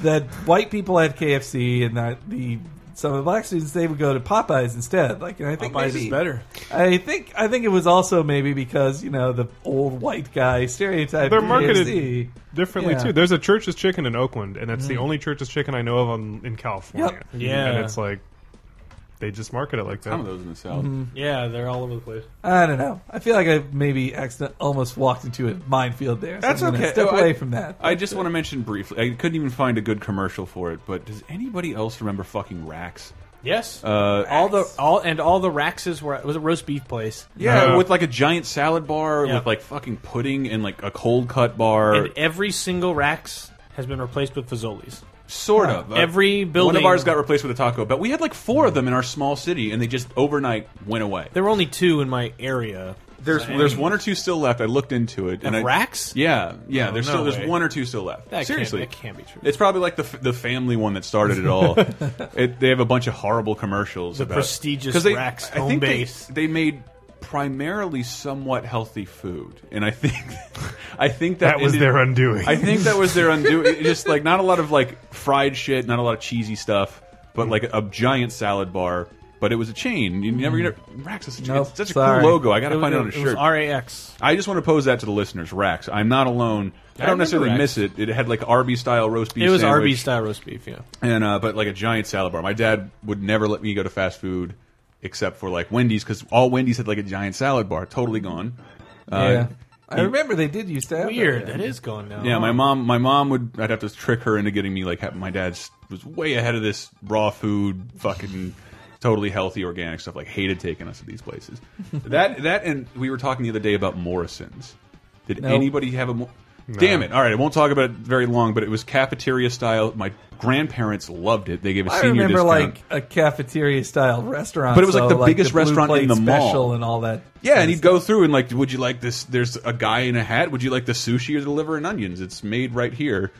Speaker 8: that white people had KFC and that the some of the black students they would go to Popeyes instead. Like, and I
Speaker 7: Oh,
Speaker 8: think
Speaker 9: Popeyes is
Speaker 8: maybe-
Speaker 9: better.
Speaker 8: I think I think it was also maybe because you know the old white guy stereotype.
Speaker 6: They're
Speaker 8: of
Speaker 6: marketed
Speaker 8: KFC.
Speaker 6: differently
Speaker 8: Yeah.
Speaker 6: too. There's a Church's Chicken in Oakland, and that's the
Speaker 8: Mm.
Speaker 6: only Church's Chicken I know of on, in California.
Speaker 9: Yep. Yeah.
Speaker 6: and it's like they just market it like that.
Speaker 7: Some of those in the South.
Speaker 8: Mhm.
Speaker 9: Yeah, they're all over the place.
Speaker 8: I don't know. I feel like I maybe accident almost walked into a minefield there. so
Speaker 7: That's
Speaker 8: I'm gonna
Speaker 7: okay.
Speaker 8: Step
Speaker 7: Oh,
Speaker 8: away
Speaker 7: I,
Speaker 8: from that.
Speaker 7: I just want to mention briefly. I couldn't even find a good commercial for it. But does anybody else remember fucking Racks?
Speaker 9: Yes.
Speaker 7: Uh,
Speaker 9: all the all and all the Raxes were it was a roast beef place.
Speaker 7: Yeah, Uh, with like a giant salad bar
Speaker 9: Yeah.
Speaker 7: with like fucking pudding and like a cold cut bar.
Speaker 9: and every single Rax has been replaced with Fazoli's.
Speaker 7: Sort of.
Speaker 9: Every building.
Speaker 7: One of ours got replaced with a Taco Bell. We had like four of them in our small city, and they just overnight went away.
Speaker 9: There were only two in my area.
Speaker 7: There's there's one or two still left. I looked into it.
Speaker 9: Of
Speaker 7: I,
Speaker 9: racks?
Speaker 7: Yeah, yeah.
Speaker 9: Oh,
Speaker 7: there's
Speaker 9: no
Speaker 7: still there's
Speaker 9: way.
Speaker 7: one or two still left.
Speaker 9: That can't-
Speaker 7: Seriously,
Speaker 9: that can't be true.
Speaker 7: It's probably like the f- the family one that started
Speaker 9: *laughs*
Speaker 7: it all. it, they have a bunch of horrible commercials.
Speaker 9: The
Speaker 7: about,
Speaker 9: prestigious
Speaker 7: 'cause they,
Speaker 9: racks
Speaker 7: I
Speaker 9: home
Speaker 7: think they-
Speaker 9: base.
Speaker 7: They, made primarily somewhat healthy food, and I think I think that,
Speaker 6: That was
Speaker 7: ended-
Speaker 6: their undoing.
Speaker 7: I think that was
Speaker 9: *laughs*
Speaker 7: their undoing. It just like not a lot of like fried shit, not a lot of cheesy stuff,
Speaker 9: Mm.
Speaker 7: but like a giant salad bar. But it was a chain. You never, you never Rax is such, a-
Speaker 9: Mm. Nope,
Speaker 7: it's such a
Speaker 9: sorry.
Speaker 7: cool logo. I got
Speaker 9: It
Speaker 7: to
Speaker 9: was-
Speaker 7: find it on a
Speaker 9: it was
Speaker 7: shirt.
Speaker 9: RAX.
Speaker 7: I just want to pose that to the listeners. Rax. I'm not alone.
Speaker 9: I
Speaker 7: I don't
Speaker 9: remember
Speaker 7: necessarily
Speaker 9: Rax.
Speaker 7: miss it. It had like Arby style roast beef.
Speaker 9: It was
Speaker 7: sandwich
Speaker 9: RB style roast beef. Yeah.
Speaker 7: and uh, but like a giant salad bar. My dad would never let me go to fast food except for like Wendy's because all Wendy's had like a giant salad bar. Totally gone.
Speaker 8: yeah, I
Speaker 7: he-
Speaker 8: remember they did used to have
Speaker 9: Weird.
Speaker 8: That,
Speaker 9: That is gone now.
Speaker 7: Yeah, my mom. My mom would. I'd have to trick her into getting me like ha- my dad's was way ahead of this raw food, fucking totally healthy organic stuff. Like hated taking us to these
Speaker 8: *laughs*
Speaker 7: places. that that and we were talking the other day about Morrison's. Did
Speaker 6: Nope.
Speaker 7: anybody have a? Mo
Speaker 6: No.
Speaker 7: Damn it! All right, I won't talk about it very long. But it was cafeteria style. My grandparents loved it. They gave a
Speaker 8: I
Speaker 7: senior
Speaker 8: remember
Speaker 7: discount.
Speaker 8: like a cafeteria style restaurant,
Speaker 7: But it was, like,
Speaker 8: so,
Speaker 7: the biggest
Speaker 8: Blue
Speaker 7: restaurant in
Speaker 8: Plate
Speaker 7: the mall.
Speaker 8: special and all that.
Speaker 7: Yeah, and he'd go through and like, would you like this? There's a guy in a hat. Would you like the sushi or the liver and onions? It's made right here,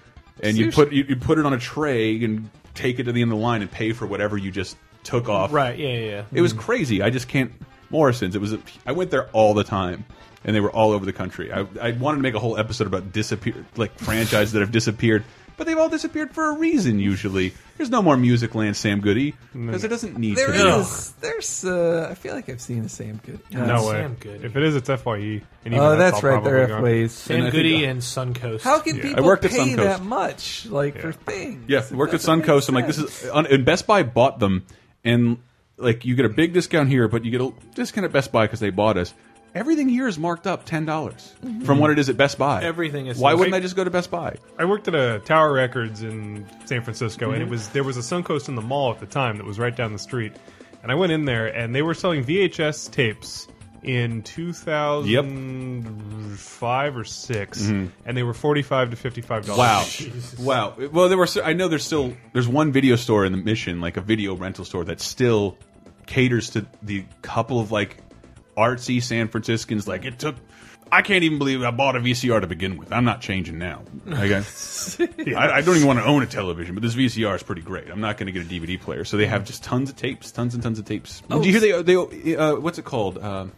Speaker 7: and you
Speaker 9: Sushi.
Speaker 7: put you, you put it on a tray and take it to the end of the line and pay for whatever you just took off.
Speaker 9: Right. Yeah. Yeah.
Speaker 7: It was crazy. I just can't. Morrison's. It was. A, I went there all the time, and they were all over the country. I, I wanted to make a whole episode about disappear like franchises that have disappeared. but they've all disappeared for a reason. Usually, there's no more Music Land Sam Goody because it doesn't need
Speaker 8: There
Speaker 7: to. be.
Speaker 8: is. There's. Uh, I feel like I've seen the same good.
Speaker 6: no way. If it is, it's FYE. And even
Speaker 8: Oh, that's
Speaker 6: all
Speaker 8: right. They're
Speaker 6: probably gone.
Speaker 8: FYEs.
Speaker 9: Sam Goody and Suncoast.
Speaker 8: How can
Speaker 7: Yeah. I
Speaker 8: people
Speaker 7: worked at
Speaker 8: pay
Speaker 7: Suncoast.
Speaker 8: that much, like for things?
Speaker 7: Yeah, worked at Suncoast. I'm like, this is on- and Best Buy bought them, and like you get a big discount here, but you get a discount at Best Buy because they bought us. Everything here is marked up ten dollars
Speaker 6: Mhm.
Speaker 7: from what it is at Best Buy.
Speaker 6: Everything is-
Speaker 7: Why wouldn't I just go to Best Buy?
Speaker 6: I worked at a Tower Records in San Francisco, and it
Speaker 7: Mhm.
Speaker 6: was there was a Suncoast in the mall at the time that was right down the street, and I went in there and they were selling VHS tapes in 2005 or 6
Speaker 7: Mhm.
Speaker 6: and they were 45 to 55 dollars
Speaker 7: Wow, wow. *laughs* Well, there were. I know there's still there's one video store in the Mission, like a video rental store that still caters to the couple of like artsy San Franciscans. Like it took. I can't even believe I bought a VCR to begin with. I'm not changing now. Like,
Speaker 6: *laughs*
Speaker 7: I, I, I don't even want to own a television, but this VCR is pretty great. I'm not going to get a DVD player, so they have just tons of tapes, tons and tons of tapes.
Speaker 6: Oh.
Speaker 7: Do you hear they they uh, what's it called? Um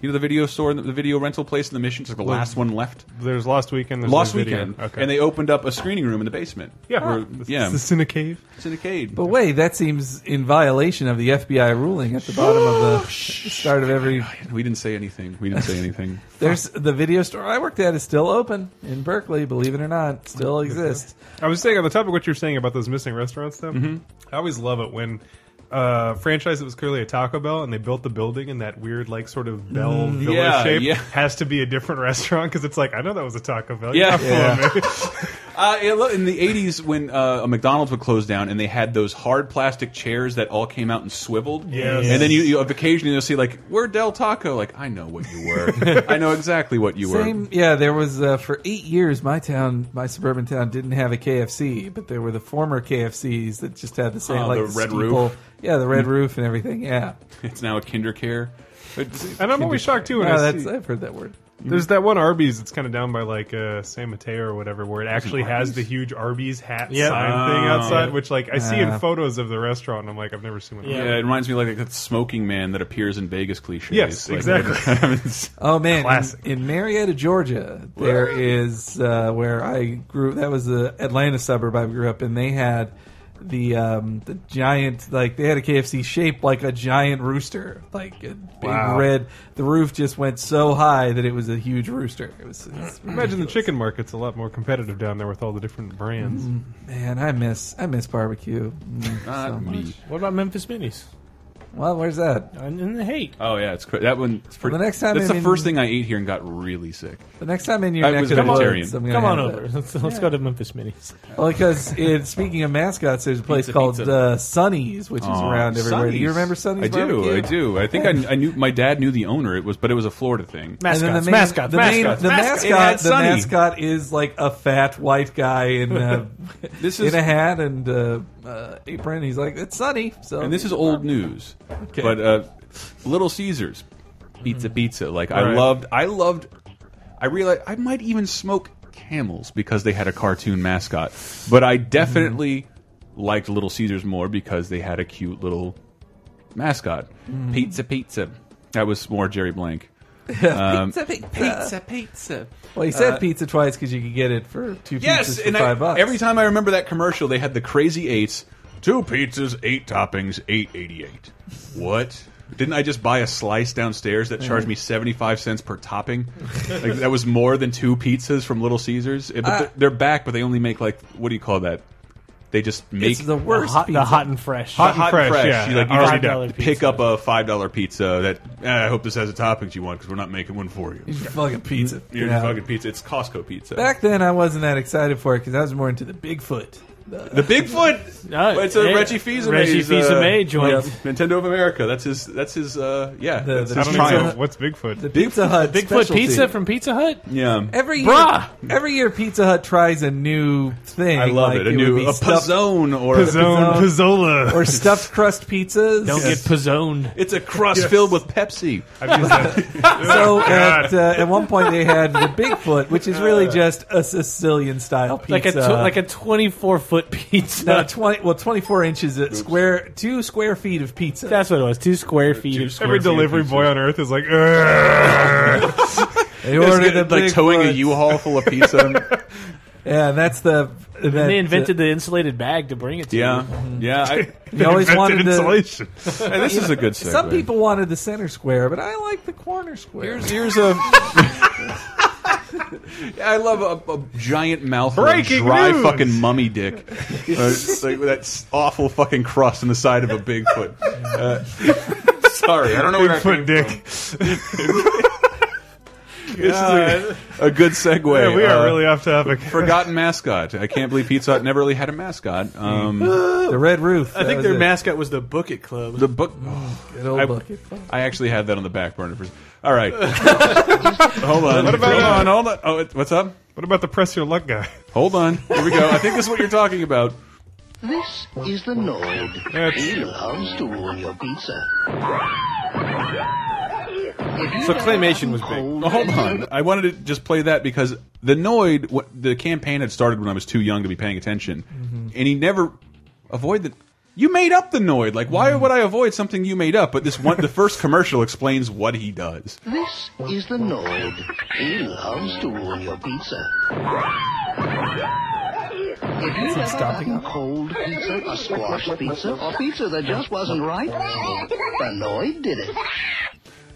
Speaker 7: you know the video store, the video rental place in the Mission. It's like the last one left.
Speaker 6: There's last weekend. There's
Speaker 7: Last
Speaker 6: no video.
Speaker 7: weekend,
Speaker 6: Okay.
Speaker 7: and they opened up a screening room in the basement.
Speaker 6: Yeah.
Speaker 7: Where- yeah.
Speaker 6: It's in a cave.
Speaker 7: It's in a cave.
Speaker 8: But wait, that seems in violation of the FBI ruling at the bottom of the start of every.
Speaker 7: We didn't say anything. We didn't say
Speaker 6: *laughs*
Speaker 7: anything.
Speaker 8: There's the video store I worked at is still open in Berkeley. Believe it or not, still exists.
Speaker 6: I was saying on the topic of what you're saying about those missing restaurants, though.
Speaker 7: Mm-hmm.
Speaker 6: I always love it when uh, franchise that was clearly a Taco Bell and they built the building in that weird, like, sort of bell
Speaker 7: Mm,
Speaker 6: villa
Speaker 7: yeah,
Speaker 6: shape
Speaker 7: yeah.
Speaker 6: has to be a different *laughs* restaurant because it's like I know that was a Taco Bell.
Speaker 7: Yeah.
Speaker 6: *laughs* You're not fooling me.
Speaker 7: Uh, yeah, look, in the '80s, when uh, a McDonald's would close down, and they had those hard plastic chairs that all came out and swiveled.
Speaker 6: Yes.
Speaker 7: And then you, you occasionally you'll see like, "We're Del Taco." Like, I know what you
Speaker 6: *laughs*
Speaker 7: were. I know exactly what you were.
Speaker 8: Same, yeah. There was uh, for eight years my town, my suburban town, didn't have a KFC, but there were the former KFCs that just had the same,
Speaker 7: Oh,
Speaker 8: like
Speaker 7: the red
Speaker 8: steeple.
Speaker 7: roof.
Speaker 8: yeah, the red roof and everything. Yeah,
Speaker 7: *laughs* It's now a Kinder Care. It's-
Speaker 6: and I'm always shocked too. When
Speaker 8: Yeah,
Speaker 6: I
Speaker 8: that's-
Speaker 6: see-
Speaker 8: I've heard that word.
Speaker 7: Mm-hmm.
Speaker 6: There's that one Arby's that's kind of down by like uh, San Mateo or whatever, where it actually has the huge Arby's hat
Speaker 7: Yeah.
Speaker 6: sign thing outside,
Speaker 7: Oh.
Speaker 6: which like I see in
Speaker 7: Yeah.
Speaker 6: photos of the restaurant. and I'm like, I've never seen one. of
Speaker 7: Yeah.
Speaker 6: those.
Speaker 7: it reminds me like that smoking man that appears in Vegas cliches.
Speaker 6: Yes,
Speaker 7: Like, *laughs*
Speaker 6: exactly.
Speaker 8: Oh man,
Speaker 6: Classic.
Speaker 8: In, in Marietta, Georgia, there is uh, where I grew. That was the Atlanta suburb I grew up in. They had the um, the giant, like they had a KFC shaped like a giant rooster, like a big
Speaker 6: Wow.
Speaker 8: red. The roof just went so high that it was a huge rooster. It was. It was
Speaker 6: Imagine the chicken market's a lot more competitive down there with all the different brands.
Speaker 7: Mm-hmm.
Speaker 8: Mm, man, I miss I miss barbecue. Mm,
Speaker 7: Not
Speaker 8: so
Speaker 7: Uh, me.
Speaker 8: much.
Speaker 9: What about Memphis Minis?
Speaker 8: Well, where's that?
Speaker 9: And, and the hate.
Speaker 7: Oh yeah, it's cra- that one. It's pretty,
Speaker 8: Well, the next time
Speaker 7: that's
Speaker 8: I'm
Speaker 7: the
Speaker 8: in-
Speaker 7: first thing I ate here and got really sick.
Speaker 8: The next time in your
Speaker 7: I
Speaker 8: neck
Speaker 7: was
Speaker 8: of the
Speaker 7: vegetarian.
Speaker 8: woods, I'm gonna
Speaker 9: Come on
Speaker 8: have that.
Speaker 9: over. *laughs* Let's, let's go to Memphis Minis.
Speaker 8: Well, because it, speaking of mascots, there's a place
Speaker 9: Pizza,
Speaker 8: called
Speaker 9: pizza.
Speaker 8: Uh, Sonny's, which is
Speaker 7: Aw,
Speaker 8: around everywhere. Do
Speaker 7: Oh,
Speaker 8: you
Speaker 7: Sonny's.
Speaker 8: remember Sonny's?
Speaker 7: I do.
Speaker 8: Barbecue?
Speaker 7: I do. I think I, I knew my dad knew the owner. It was, but it was a Florida thing.
Speaker 8: And then the
Speaker 7: It had
Speaker 8: main- the main- the mascot, the
Speaker 7: Sonny.
Speaker 8: mascot is like a fat white guy in a,
Speaker 7: *laughs* This is-
Speaker 8: in a hat and uh, uh, apron. He's like, it's Sonny. So
Speaker 7: And this is old news, but uh, Little Caesars,
Speaker 8: Hmm.
Speaker 7: pizza, pizza. Like I
Speaker 6: Right.
Speaker 7: loved. I loved. I realized I might even smoke camels because they had a cartoon mascot, but I definitely
Speaker 8: Hmm.
Speaker 7: liked Little Caesars more because they had a cute little mascot.
Speaker 8: Mhm.
Speaker 7: Pizza, pizza. That was more Jerry Blank. Um,
Speaker 8: pizza, pizza,
Speaker 12: Pizza, pizza.
Speaker 8: Uh, Well, he said
Speaker 7: Uh,
Speaker 8: pizza twice because you could get it for two
Speaker 7: Yes,
Speaker 8: pizzas for
Speaker 7: and I,
Speaker 8: five bucks.
Speaker 7: every time I remember that commercial, they had the crazy eights, two pizzas, eight toppings, eight eighty eight. What? Didn't I just buy a slice downstairs that charged me seventy five cents per topping?
Speaker 8: *laughs*
Speaker 7: like, that was more than two pizzas from Little Caesars. Eh, but
Speaker 8: I-
Speaker 7: they're, they're back, but they only make like what do you call that? They just make
Speaker 8: it's the worst.
Speaker 9: hot- the
Speaker 8: pizza.
Speaker 9: hot and fresh.
Speaker 7: Hot, hot and fresh.
Speaker 6: yeah.
Speaker 7: You, like,
Speaker 6: Already
Speaker 7: you
Speaker 6: done.
Speaker 7: just pick up a five dollar pizza. That eh, I hope this has the toppings you want because we're not making one for you.
Speaker 8: It's fucking pizza.
Speaker 7: You're
Speaker 8: Yeah.
Speaker 7: fucking pizza. It's Costco pizza.
Speaker 8: Back then, I wasn't that excited for it because I was more into the Bigfoot.
Speaker 9: *laughs*
Speaker 7: The Bigfoot.
Speaker 9: No,
Speaker 7: it's a
Speaker 9: Uh, hey,
Speaker 7: Reggie Fils-Aimé. uh,
Speaker 9: Reggie Fils-Aimé joint.
Speaker 7: Nintendo of America. That's his. That's his. Uh, yeah.
Speaker 8: The-
Speaker 7: that's
Speaker 8: the
Speaker 7: his
Speaker 8: Pizza
Speaker 7: triumph.
Speaker 8: Hut-
Speaker 6: What's Bigfoot?
Speaker 8: The Pizza Hut
Speaker 9: Bigfoot
Speaker 8: specialty.
Speaker 9: pizza from Pizza Hut.
Speaker 7: Yeah.
Speaker 8: Every year,
Speaker 9: Bruh!
Speaker 8: every year Pizza Hut tries a new thing.
Speaker 7: I love
Speaker 8: like
Speaker 7: it. A
Speaker 8: would
Speaker 7: new
Speaker 8: be
Speaker 7: a
Speaker 8: stuffed-
Speaker 7: pizzone or
Speaker 6: Pizzone, Pizzola.
Speaker 8: or stuffed crust pizzas.
Speaker 9: Don't get pizzoned.
Speaker 7: It's a crust filled with Pepsi.
Speaker 6: I've used
Speaker 9: *laughs*
Speaker 6: that.
Speaker 8: so at, uh, at one point they had the Bigfoot, which is really just a Sicilian style pizza,
Speaker 9: Like a tw- like a twenty four foot pizza.
Speaker 8: no, twenty well twenty four inches uh, square, two square feet of pizza.
Speaker 9: That's what it was. Two square feet. of square
Speaker 6: Every
Speaker 9: feet.
Speaker 6: delivery boy on earth is like, "Ugh."
Speaker 8: They ordered
Speaker 7: It's
Speaker 8: the
Speaker 7: like towing a
Speaker 8: Bigfoot. *laughs*
Speaker 7: U-Haul full of pizza.
Speaker 8: Yeah, that's the. uh,
Speaker 9: And
Speaker 8: that-
Speaker 9: they invented the insulated bag to bring it to
Speaker 7: Yeah.
Speaker 9: you.
Speaker 7: Yeah,
Speaker 8: *laughs*
Speaker 7: I-
Speaker 8: You always wanted to-
Speaker 7: *laughs* Hey, this is a good segue.
Speaker 8: Some people wanted the center square, but I like the corner square.
Speaker 7: *laughs* Here's here's a. I love a, a giant mouth of
Speaker 8: Breaking
Speaker 7: dry
Speaker 8: news!
Speaker 7: fucking mummy *laughs* dick, uh, it's like with that s- awful fucking crust on the side of a bigfoot. Uh, *laughs* sorry, I don't know where
Speaker 6: Bigfoot
Speaker 7: that came
Speaker 6: dick.
Speaker 7: from. This is a, a good segue.
Speaker 6: Yeah, we are
Speaker 7: Uh,
Speaker 6: really off
Speaker 7: *laughs*
Speaker 6: topic.
Speaker 7: Forgotten mascot. I can't believe Pizza Hut never really had a mascot. *laughs* Um,
Speaker 8: the Red Roof.
Speaker 9: I think their mascot was the Bucket Club.
Speaker 7: The book.
Speaker 8: Good old
Speaker 7: I,
Speaker 8: bucket.
Speaker 7: I actually had that on the back burner for. All *laughs* right. hold on.
Speaker 6: What about,
Speaker 7: hold
Speaker 6: uh,
Speaker 7: on. Hold on. Oh, it- what's up?
Speaker 6: What about the press your luck guy?
Speaker 7: Hold on. Here we go. I think this is what you're talking about.
Speaker 12: This is the Nord. He loves to ruin your pizza.
Speaker 7: So claymation was big. Oh, Hold on. I wanted to just play that because the Noid, what, the campaign had started when I was too young to be paying attention,
Speaker 8: Mm-hmm.
Speaker 7: and he never avoid the. You made up the Noid. Like, why
Speaker 8: Mm-hmm.
Speaker 7: would I avoid something you made up? But this one, the first commercial explains what he does.
Speaker 12: This is the Nord. He loves to ruin your pizza. If you've ever gotten cold pizza, a squash pizza, or pizza that just wasn't right, the Nord did it.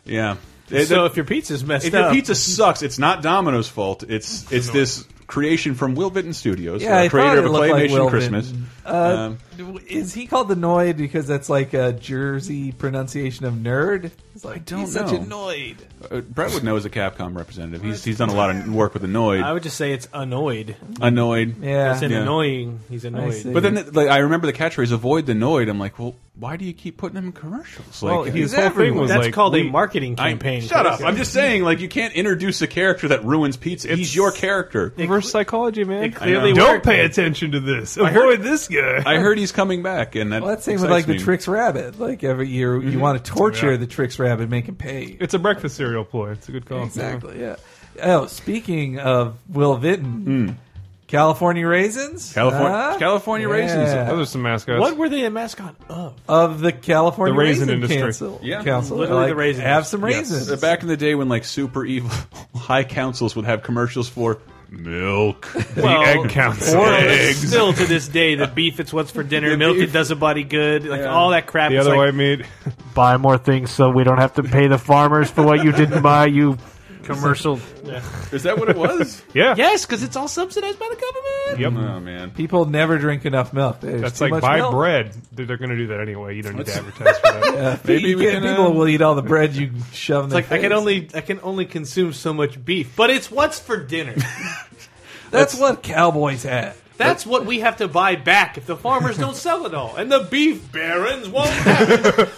Speaker 7: Yeah.
Speaker 9: So if your pizza's messed
Speaker 7: if your
Speaker 9: up-
Speaker 7: pizza sucks, it's not Domino's fault. It's it's this creation from Will Vinton Studios, uh,
Speaker 8: it
Speaker 7: creator of a
Speaker 8: probably looked like
Speaker 7: claymation
Speaker 8: Will
Speaker 7: Christmas.
Speaker 8: Vinton. Uh,
Speaker 7: Um,
Speaker 8: is he called the Noid because that's like a Jersey pronunciation of nerd? It's like,
Speaker 7: don't
Speaker 8: he's such
Speaker 7: know.
Speaker 8: a Noid.
Speaker 7: uh, Brett would know as a Capcom representative. He's he's done a lot of work with Annoyed.
Speaker 9: I would just say it's annoyed.
Speaker 7: Annoyed.
Speaker 8: Uh, Yeah.
Speaker 9: It's an
Speaker 7: Yeah.
Speaker 9: annoying. He's annoyed.
Speaker 7: But then, like, I remember the catchphrase "Avoid the Noid." I'm like, well, why do you keep putting him in commercials? Like,
Speaker 9: Well, *laughs* his whole thing was That's like, called *laughs* a we- marketing
Speaker 7: I-
Speaker 9: campaign,
Speaker 7: shut up!
Speaker 9: Chris.
Speaker 7: I'm just saying, like, you can't introduce a character that ruins pizza. He's your character.
Speaker 6: Reverse psychology, man.
Speaker 9: it clearly
Speaker 6: don't
Speaker 9: worked.
Speaker 6: pay attention to this. Avoid this guy.
Speaker 7: I heard he's coming back, and that
Speaker 8: Well, that same with
Speaker 7: excites
Speaker 8: like the
Speaker 7: me. Mm-hmm.
Speaker 8: Tricks Rabbit. Like every year, you want to torture
Speaker 6: Yeah.
Speaker 8: the Tricks Rabbit, make him pay.
Speaker 6: It's a breakfast cereal ploy. It's a good call.
Speaker 8: Exactly. Yeah. Oh, speaking of Will Vinton,
Speaker 7: Hmm.
Speaker 8: California raisins.
Speaker 7: California,
Speaker 8: Huh?
Speaker 7: California
Speaker 8: Yeah.
Speaker 7: raisins.
Speaker 6: Those are some mascots.
Speaker 9: What were they a mascot of?
Speaker 8: of the California
Speaker 6: The raisin industry.
Speaker 8: Council.
Speaker 7: Yeah.
Speaker 8: Council.
Speaker 9: Literally
Speaker 8: Like,
Speaker 9: the raisins.
Speaker 8: Have some
Speaker 9: Yes.
Speaker 8: raisins.
Speaker 7: Uh, Back in the day when like super evil *laughs* high councils would have commercials for milk,
Speaker 6: Well, egg counts.
Speaker 9: Or
Speaker 6: Eggs.
Speaker 9: still to this day, the beef it's what's for dinner, milk it does a body good, like all that crap.
Speaker 6: the
Speaker 9: it's
Speaker 6: other
Speaker 9: like,
Speaker 6: white meat. *laughs*
Speaker 9: buy more things so we don't have to pay the farmers for what you didn't buy.
Speaker 8: *laughs*
Speaker 9: You commercial.
Speaker 7: Is that what
Speaker 9: *laughs*
Speaker 7: it was?
Speaker 6: Yeah.
Speaker 9: Yes, because it's all subsidized by the government.
Speaker 6: Yep.
Speaker 7: Oh man,
Speaker 8: People never drink enough milk. There's
Speaker 6: That's
Speaker 8: too
Speaker 6: like
Speaker 8: much
Speaker 6: buy
Speaker 8: milk.
Speaker 6: bread. They're, they're going to do that anyway. You don't need to advertise for that.
Speaker 8: Yeah,
Speaker 7: Maybe
Speaker 8: you
Speaker 7: we
Speaker 8: get-
Speaker 7: can,
Speaker 8: people
Speaker 7: uh,
Speaker 8: will eat all the bread you shove in
Speaker 9: It's
Speaker 8: their
Speaker 9: like I can
Speaker 8: face.
Speaker 9: only I can only consume so much beef, but it's what's for
Speaker 8: *laughs*
Speaker 9: dinner.
Speaker 8: That's what cowboys had.
Speaker 9: That's what we have to buy back if the farmers
Speaker 8: *laughs*
Speaker 9: don't sell it all, and the beef barons won't. Have it.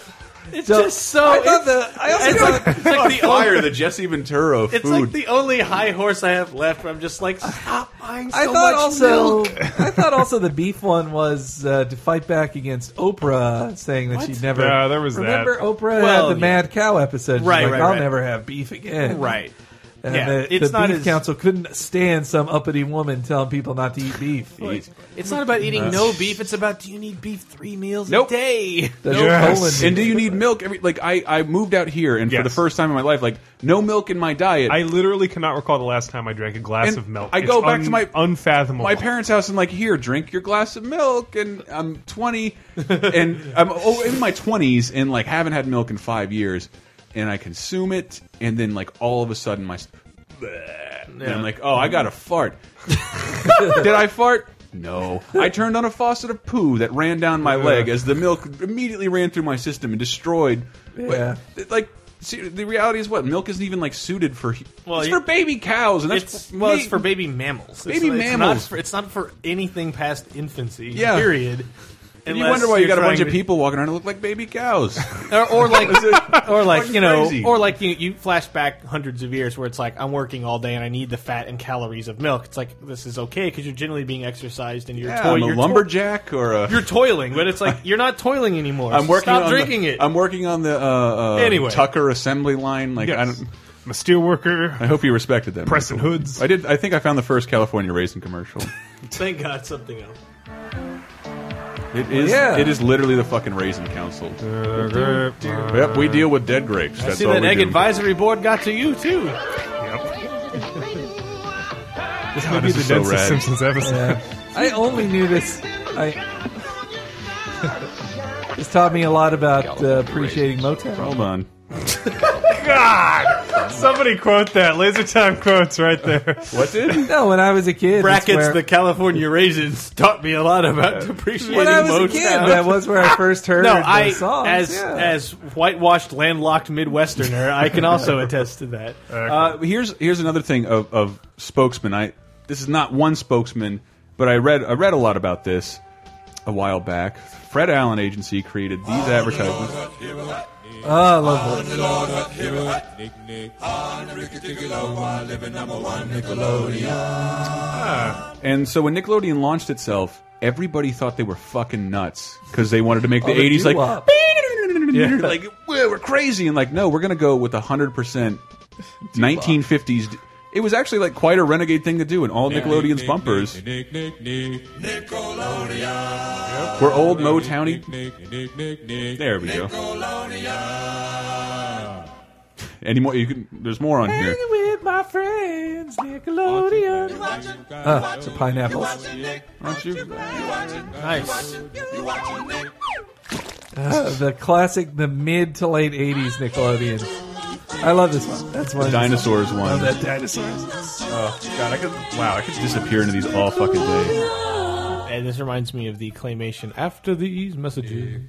Speaker 9: It's
Speaker 8: So,
Speaker 9: just so.
Speaker 8: I thought
Speaker 9: it's-
Speaker 8: the- I also
Speaker 9: it's
Speaker 8: thought- *laughs*
Speaker 9: like, it's like the only,
Speaker 7: fire the Jesse Ventura of
Speaker 9: It's
Speaker 7: food.
Speaker 9: like the only high horse I have left. Where I'm just like, stop buying so
Speaker 8: I thought
Speaker 9: much
Speaker 8: also.
Speaker 9: milk. *laughs*
Speaker 8: I thought also the beef one was uh, to fight back against Oprah saying that she'd never.
Speaker 6: Yeah, there was that.
Speaker 8: remember Oprah
Speaker 9: Well,
Speaker 8: had the
Speaker 9: yeah.
Speaker 8: Mad Cow episode. She's
Speaker 9: Right,
Speaker 8: like,
Speaker 9: right,
Speaker 8: I'll
Speaker 9: right.
Speaker 8: never have beef again.
Speaker 9: Right.
Speaker 8: And
Speaker 9: Yeah,
Speaker 8: the,
Speaker 9: it's
Speaker 8: the
Speaker 9: not
Speaker 8: beef
Speaker 9: as-
Speaker 8: council couldn't stand some uppity woman telling people not to
Speaker 9: *laughs*
Speaker 8: eat beef.
Speaker 7: Eat.
Speaker 9: It's not about
Speaker 8: Uh,
Speaker 9: eating no beef. It's about do you need beef three meals
Speaker 7: Nope.
Speaker 9: a day?
Speaker 8: The
Speaker 6: Yes.
Speaker 8: Poland-
Speaker 7: and do you need milk? Every like I, I moved out here, and for
Speaker 6: Yes.
Speaker 7: the first time in my life, like no milk in my diet.
Speaker 6: I literally cannot recall the last time I drank a glass
Speaker 7: And
Speaker 6: of milk.
Speaker 7: I go
Speaker 6: It's
Speaker 7: back to my-
Speaker 6: unfathomable.
Speaker 7: my parents' house and like here, drink your glass of milk. And I'm 20, and I'm oh, in my 20s, and like haven't had milk in five years, and I consume it, and then like all of a sudden my, and I'm like, oh, I got a fart. *laughs* Did I fart? No. I turned on a faucet of poo that ran down my leg as the milk immediately ran through my system and destroyed.
Speaker 8: Yeah.
Speaker 7: But, like. See, the reality is what milk isn't even like suited for.
Speaker 9: Well,
Speaker 7: it's
Speaker 9: you-
Speaker 7: for baby cows, and that's
Speaker 9: It's well, it's
Speaker 7: me-
Speaker 9: for baby mammals.
Speaker 7: Baby
Speaker 9: it's, It's not,
Speaker 7: mammals.
Speaker 9: for, it's not for anything past infancy.
Speaker 7: Yeah.
Speaker 9: Period.
Speaker 7: And you
Speaker 9: Unless
Speaker 7: wonder why you
Speaker 9: you're
Speaker 7: got a bunch
Speaker 9: trying
Speaker 7: of
Speaker 9: to-
Speaker 7: people walking around who look like
Speaker 9: *laughs*
Speaker 7: baby cows.
Speaker 9: or, or like, or like
Speaker 7: Fucking
Speaker 9: you know,
Speaker 7: crazy.
Speaker 9: or like you, you flash back hundreds of years where it's like I'm working all day and I need the fat and calories of milk. It's like this is okay because you're generally being exercised and you're
Speaker 7: yeah,
Speaker 9: toi-
Speaker 7: I'm a
Speaker 9: you're toi-
Speaker 7: lumberjack or a.
Speaker 9: you're toiling, but it's like you're not toiling anymore.
Speaker 7: I'm
Speaker 9: so
Speaker 7: working
Speaker 9: Stop
Speaker 7: on
Speaker 9: drinking
Speaker 7: the,
Speaker 9: it.
Speaker 7: I'm working on the uh, uh,
Speaker 9: Anyway.
Speaker 7: Tucker assembly line. Like I,
Speaker 6: Yes.
Speaker 7: don't,
Speaker 6: I'm a
Speaker 8: *laughs*
Speaker 6: steel worker.
Speaker 7: I hope you respected them.
Speaker 6: Preston Hoods.
Speaker 7: I did. I think I found the first California raisin commercial.
Speaker 9: Thank God something else.
Speaker 7: It is.
Speaker 8: Yeah.
Speaker 7: It is literally the fucking raisin council.
Speaker 6: Yep.
Speaker 7: Yep, we deal with dead grapes. That's
Speaker 9: Uh, See
Speaker 7: all
Speaker 9: that
Speaker 7: we
Speaker 9: egg
Speaker 7: do.
Speaker 9: advisory board got to you too.
Speaker 6: This
Speaker 7: God,
Speaker 6: might be
Speaker 7: this
Speaker 6: the
Speaker 7: is so
Speaker 6: densest
Speaker 7: rad.
Speaker 6: Simpsons episode.
Speaker 8: Yeah. I only knew this. I. *laughs* this taught me a lot about uh, appreciating Motown.
Speaker 7: Hold on.
Speaker 6: God! Somebody quote that. Laser time quotes right there.
Speaker 7: What did?
Speaker 8: No, when I was a kid.
Speaker 6: Brackets, the
Speaker 8: California raisins
Speaker 13: taught me a lot about appreciating
Speaker 8: When I was a
Speaker 13: Motown.
Speaker 8: kid, that was where I first
Speaker 9: *laughs*
Speaker 8: heard
Speaker 9: no,
Speaker 8: the
Speaker 9: I
Speaker 8: songs.
Speaker 9: as
Speaker 8: yeah.
Speaker 9: as whitewashed, landlocked Midwesterner, I can
Speaker 7: *laughs*
Speaker 9: also attest to that.
Speaker 7: Uh, here's here's another thing of, of spokesman. I this is not one spokesman, but I read I read a lot about this a while back. Fred Allen Agency created these advertisements.
Speaker 8: Oh, I love that.
Speaker 7: Ah. And so when Nickelodeon launched itself, everybody thought they were fucking nuts because they wanted to make the
Speaker 13: Oh, the
Speaker 7: 80s like *laughs*
Speaker 13: doo-wop.
Speaker 7: Yeah. like "Whoa, we're crazy and like no, we're gonna go with hundred percent 1950s. d- It was actually like quite a renegade thing to do, and all Nickelodeon's bumpers were old Motowny. There we go. Any more? You can. There's more on here.
Speaker 8: with my friends, Nickelodeon. Ah, it's a pineapple.
Speaker 7: Aren't you?
Speaker 9: Nice.
Speaker 8: Ah, the classic, the mid to late '80s Nickelodeon. I love this one. That's one.
Speaker 7: The
Speaker 8: of the-
Speaker 7: dinosaurs
Speaker 8: Oh,
Speaker 7: one.
Speaker 8: *laughs* that dinosaurs.
Speaker 7: Oh God, I could. Wow, I could disappear into these all fucking day.
Speaker 9: And this reminds me of the claymation after these messages.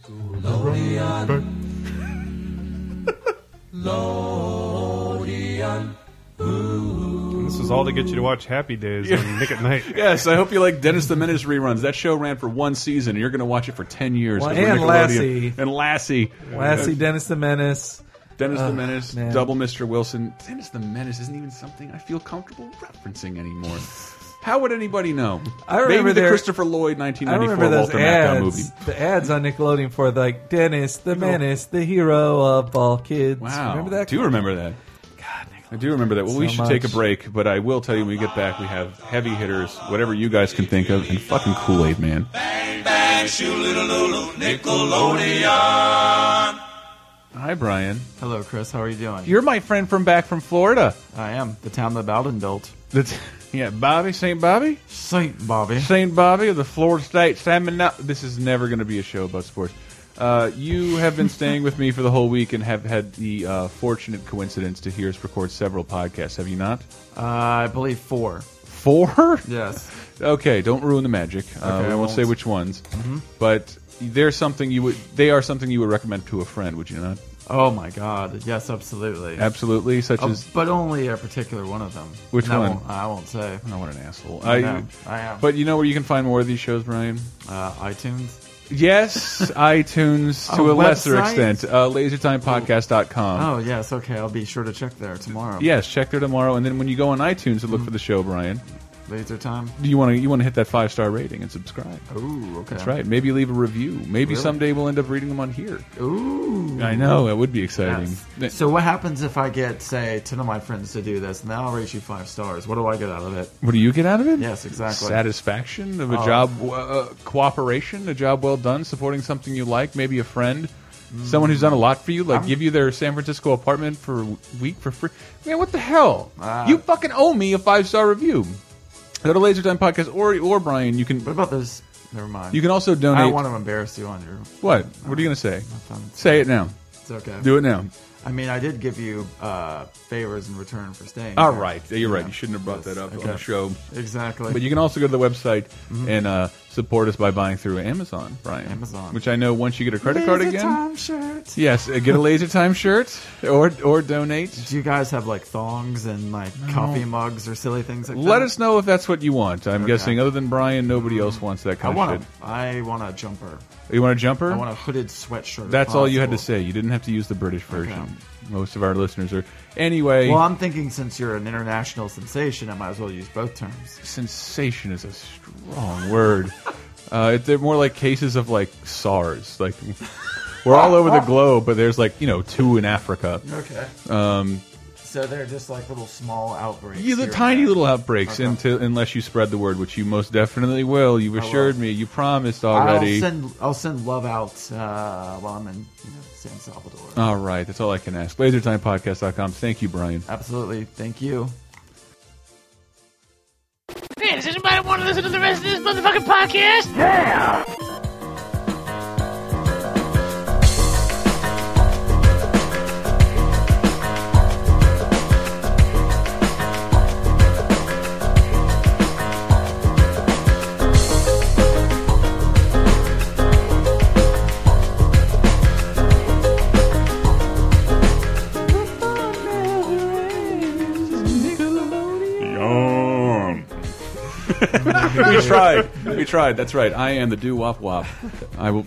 Speaker 6: And this was all to get you to watch Happy Days on Nick at Night.
Speaker 7: Yes, I hope you like Dennis the Menace reruns. That show ran for one season, and you're going to watch it for ten years.
Speaker 8: Well,
Speaker 7: 'cause we're
Speaker 8: and
Speaker 7: Nickelodeon.
Speaker 8: Lassie.
Speaker 7: and Lassie,
Speaker 8: Lassie, Dennis the Menace.
Speaker 7: Dennis
Speaker 8: Ah,
Speaker 7: the Menace,
Speaker 8: man.
Speaker 7: Double Mr. Wilson. Dennis the Menace isn't even something I feel comfortable referencing anymore. How would anybody know?
Speaker 8: I remember
Speaker 7: Maybe the
Speaker 8: their-
Speaker 7: Christopher Lloyd
Speaker 8: I remember
Speaker 7: 1994
Speaker 8: those
Speaker 7: Walter Matthau movie.
Speaker 8: ads, the ads on Nickelodeon for like Dennis the Menace, the hero of all kids.
Speaker 7: Wow,
Speaker 8: remember that?
Speaker 7: I do remember that. I do remember that. Well, we
Speaker 8: So
Speaker 7: should take a
Speaker 8: much.
Speaker 7: break, but I will tell you when we get back, we have heavy hitters, whatever you guys can think of, and fucking Kool Aid Man. Hi, Brian.
Speaker 15: Hello, Chris. How are you doing?
Speaker 7: You're my friend from back from Florida.
Speaker 15: I am the town that Bowden built.
Speaker 7: That's *laughs* yeah, Bobby St. Bobby,
Speaker 15: Saint Bobby,
Speaker 7: St. Bobby of the Florida State Salmon. No, this is never going to be a show about sports. Uh, you have been staying with me for the whole week and have had the uh, fortunate coincidence to hear us record several podcasts. Have you not?
Speaker 15: Uh, I believe four.
Speaker 7: Four?
Speaker 15: Yes.
Speaker 7: Okay, don't ruin the magic. Uh,
Speaker 15: Okay,
Speaker 7: we
Speaker 15: I
Speaker 7: won't
Speaker 15: won't.
Speaker 7: say which ones,
Speaker 15: Mhm.
Speaker 7: but there's something you would. They are something you would recommend to a friend, would you not?
Speaker 15: Oh my God! Yes, absolutely.
Speaker 7: Absolutely, such
Speaker 15: Oh,
Speaker 7: as-
Speaker 15: but only a particular one of them.
Speaker 7: Which
Speaker 15: And I
Speaker 7: one?
Speaker 15: won't- I won't say.
Speaker 7: Oh, what an asshole!
Speaker 15: I, know. I am.
Speaker 7: But you know where you can find more of these shows, Brian?
Speaker 15: Uh, iTunes. *laughs*
Speaker 7: Yes, iTunes to
Speaker 15: Oh,
Speaker 7: a lesser
Speaker 15: website?
Speaker 7: extent. Uh, LaserTimePodcast.com.
Speaker 15: Oh yes. Okay. I'll be sure to check there tomorrow.
Speaker 7: Yes, check there tomorrow, and then when you go on iTunes to look for the show, Brian,
Speaker 15: Laser time.
Speaker 7: you want to you want to hit that five star rating and subscribe.
Speaker 15: Ooh. Okay.
Speaker 7: That's right. Maybe leave a review. Maybe
Speaker 15: Really?
Speaker 7: someday we'll end up reading them on here.
Speaker 15: Ooh.
Speaker 7: I know that would be exciting.
Speaker 15: Yes. So what happens if I get, say, ten of my friends to do this, and then I'll rate you five stars? What do I get out of it?
Speaker 7: What do you get out of it?
Speaker 15: Yes, exactly.
Speaker 7: Satisfaction of a
Speaker 15: Oh.
Speaker 7: job, uh, cooperation, a job well done, supporting something you like, maybe a friend, someone who's done a lot for you, like
Speaker 15: I'm-
Speaker 7: give you their San Francisco apartment for a week for free. Man, what the hell?
Speaker 15: Ah.
Speaker 7: you fucking owe me a five star review. Go to Laser Time Podcast or or Brian. You can. What
Speaker 15: about those? Never mind.
Speaker 7: You can also
Speaker 15: I
Speaker 7: donate.
Speaker 15: don't want to embarrass you, Andrew.
Speaker 7: What? What are you gonna say? Say it now.
Speaker 15: It's okay.
Speaker 7: Do it now.
Speaker 15: I mean, I did give you uh, favors in return for staying.
Speaker 7: All
Speaker 15: here.
Speaker 7: Ah, right, you're right.
Speaker 15: Yeah.
Speaker 7: You shouldn't have brought
Speaker 15: Yes.
Speaker 7: that up
Speaker 15: Okay.
Speaker 7: on the show.
Speaker 15: Exactly.
Speaker 7: But you can also go to the website
Speaker 15: Mhm.
Speaker 7: and uh, support us by buying through Amazon, Brian.
Speaker 15: Amazon.
Speaker 7: which I know once you get a credit card
Speaker 15: Laser
Speaker 7: again.
Speaker 15: Time shirt.
Speaker 7: Yes, uh, get a laser time shirt or or donate.
Speaker 15: Do you guys have like thongs and like coffee mugs or silly things like
Speaker 7: Let
Speaker 15: that?
Speaker 7: us know if that's what you want. I'm
Speaker 15: Okay. Mm-hmm.
Speaker 7: guessing other than Brian, nobody else wants that
Speaker 15: I
Speaker 7: kind of
Speaker 15: want
Speaker 7: shit.
Speaker 15: a, I want a jumper.
Speaker 7: You want a jumper?
Speaker 15: I want a hooded sweatshirt. if
Speaker 7: That's all you had to
Speaker 15: possible.
Speaker 7: say. You didn't have to use the British version.
Speaker 15: Okay.
Speaker 7: Most of our listeners are anyway.
Speaker 15: Well, I'm thinking since you're an international sensation, I might as well use both terms.
Speaker 7: Sensation is a strong word. Uh, it- they're more like cases of like SARS. Like we're all over the globe, but there's like you know two in Africa.
Speaker 15: Okay.
Speaker 7: Um,
Speaker 15: So they're just like little small outbreaks.
Speaker 7: Yeah, the
Speaker 15: here.
Speaker 7: tiny little outbreaks
Speaker 15: Okay.
Speaker 7: until unless you spread the word, which you most definitely will. You've
Speaker 15: I will.
Speaker 7: assured me. You promised already.
Speaker 15: I'll send I'll send love out uh, while I'm in you know, San Salvador.
Speaker 7: all right, that's all I can ask. LaserTimePodcast.com. Thank you, Brian.
Speaker 15: Absolutely. Thank you.
Speaker 12: might want to listen to the rest of this motherfucking podcast. Yeah.
Speaker 7: we tried.
Speaker 9: *laughs*
Speaker 7: We tried. That's right. I am the doo wop wop. I will.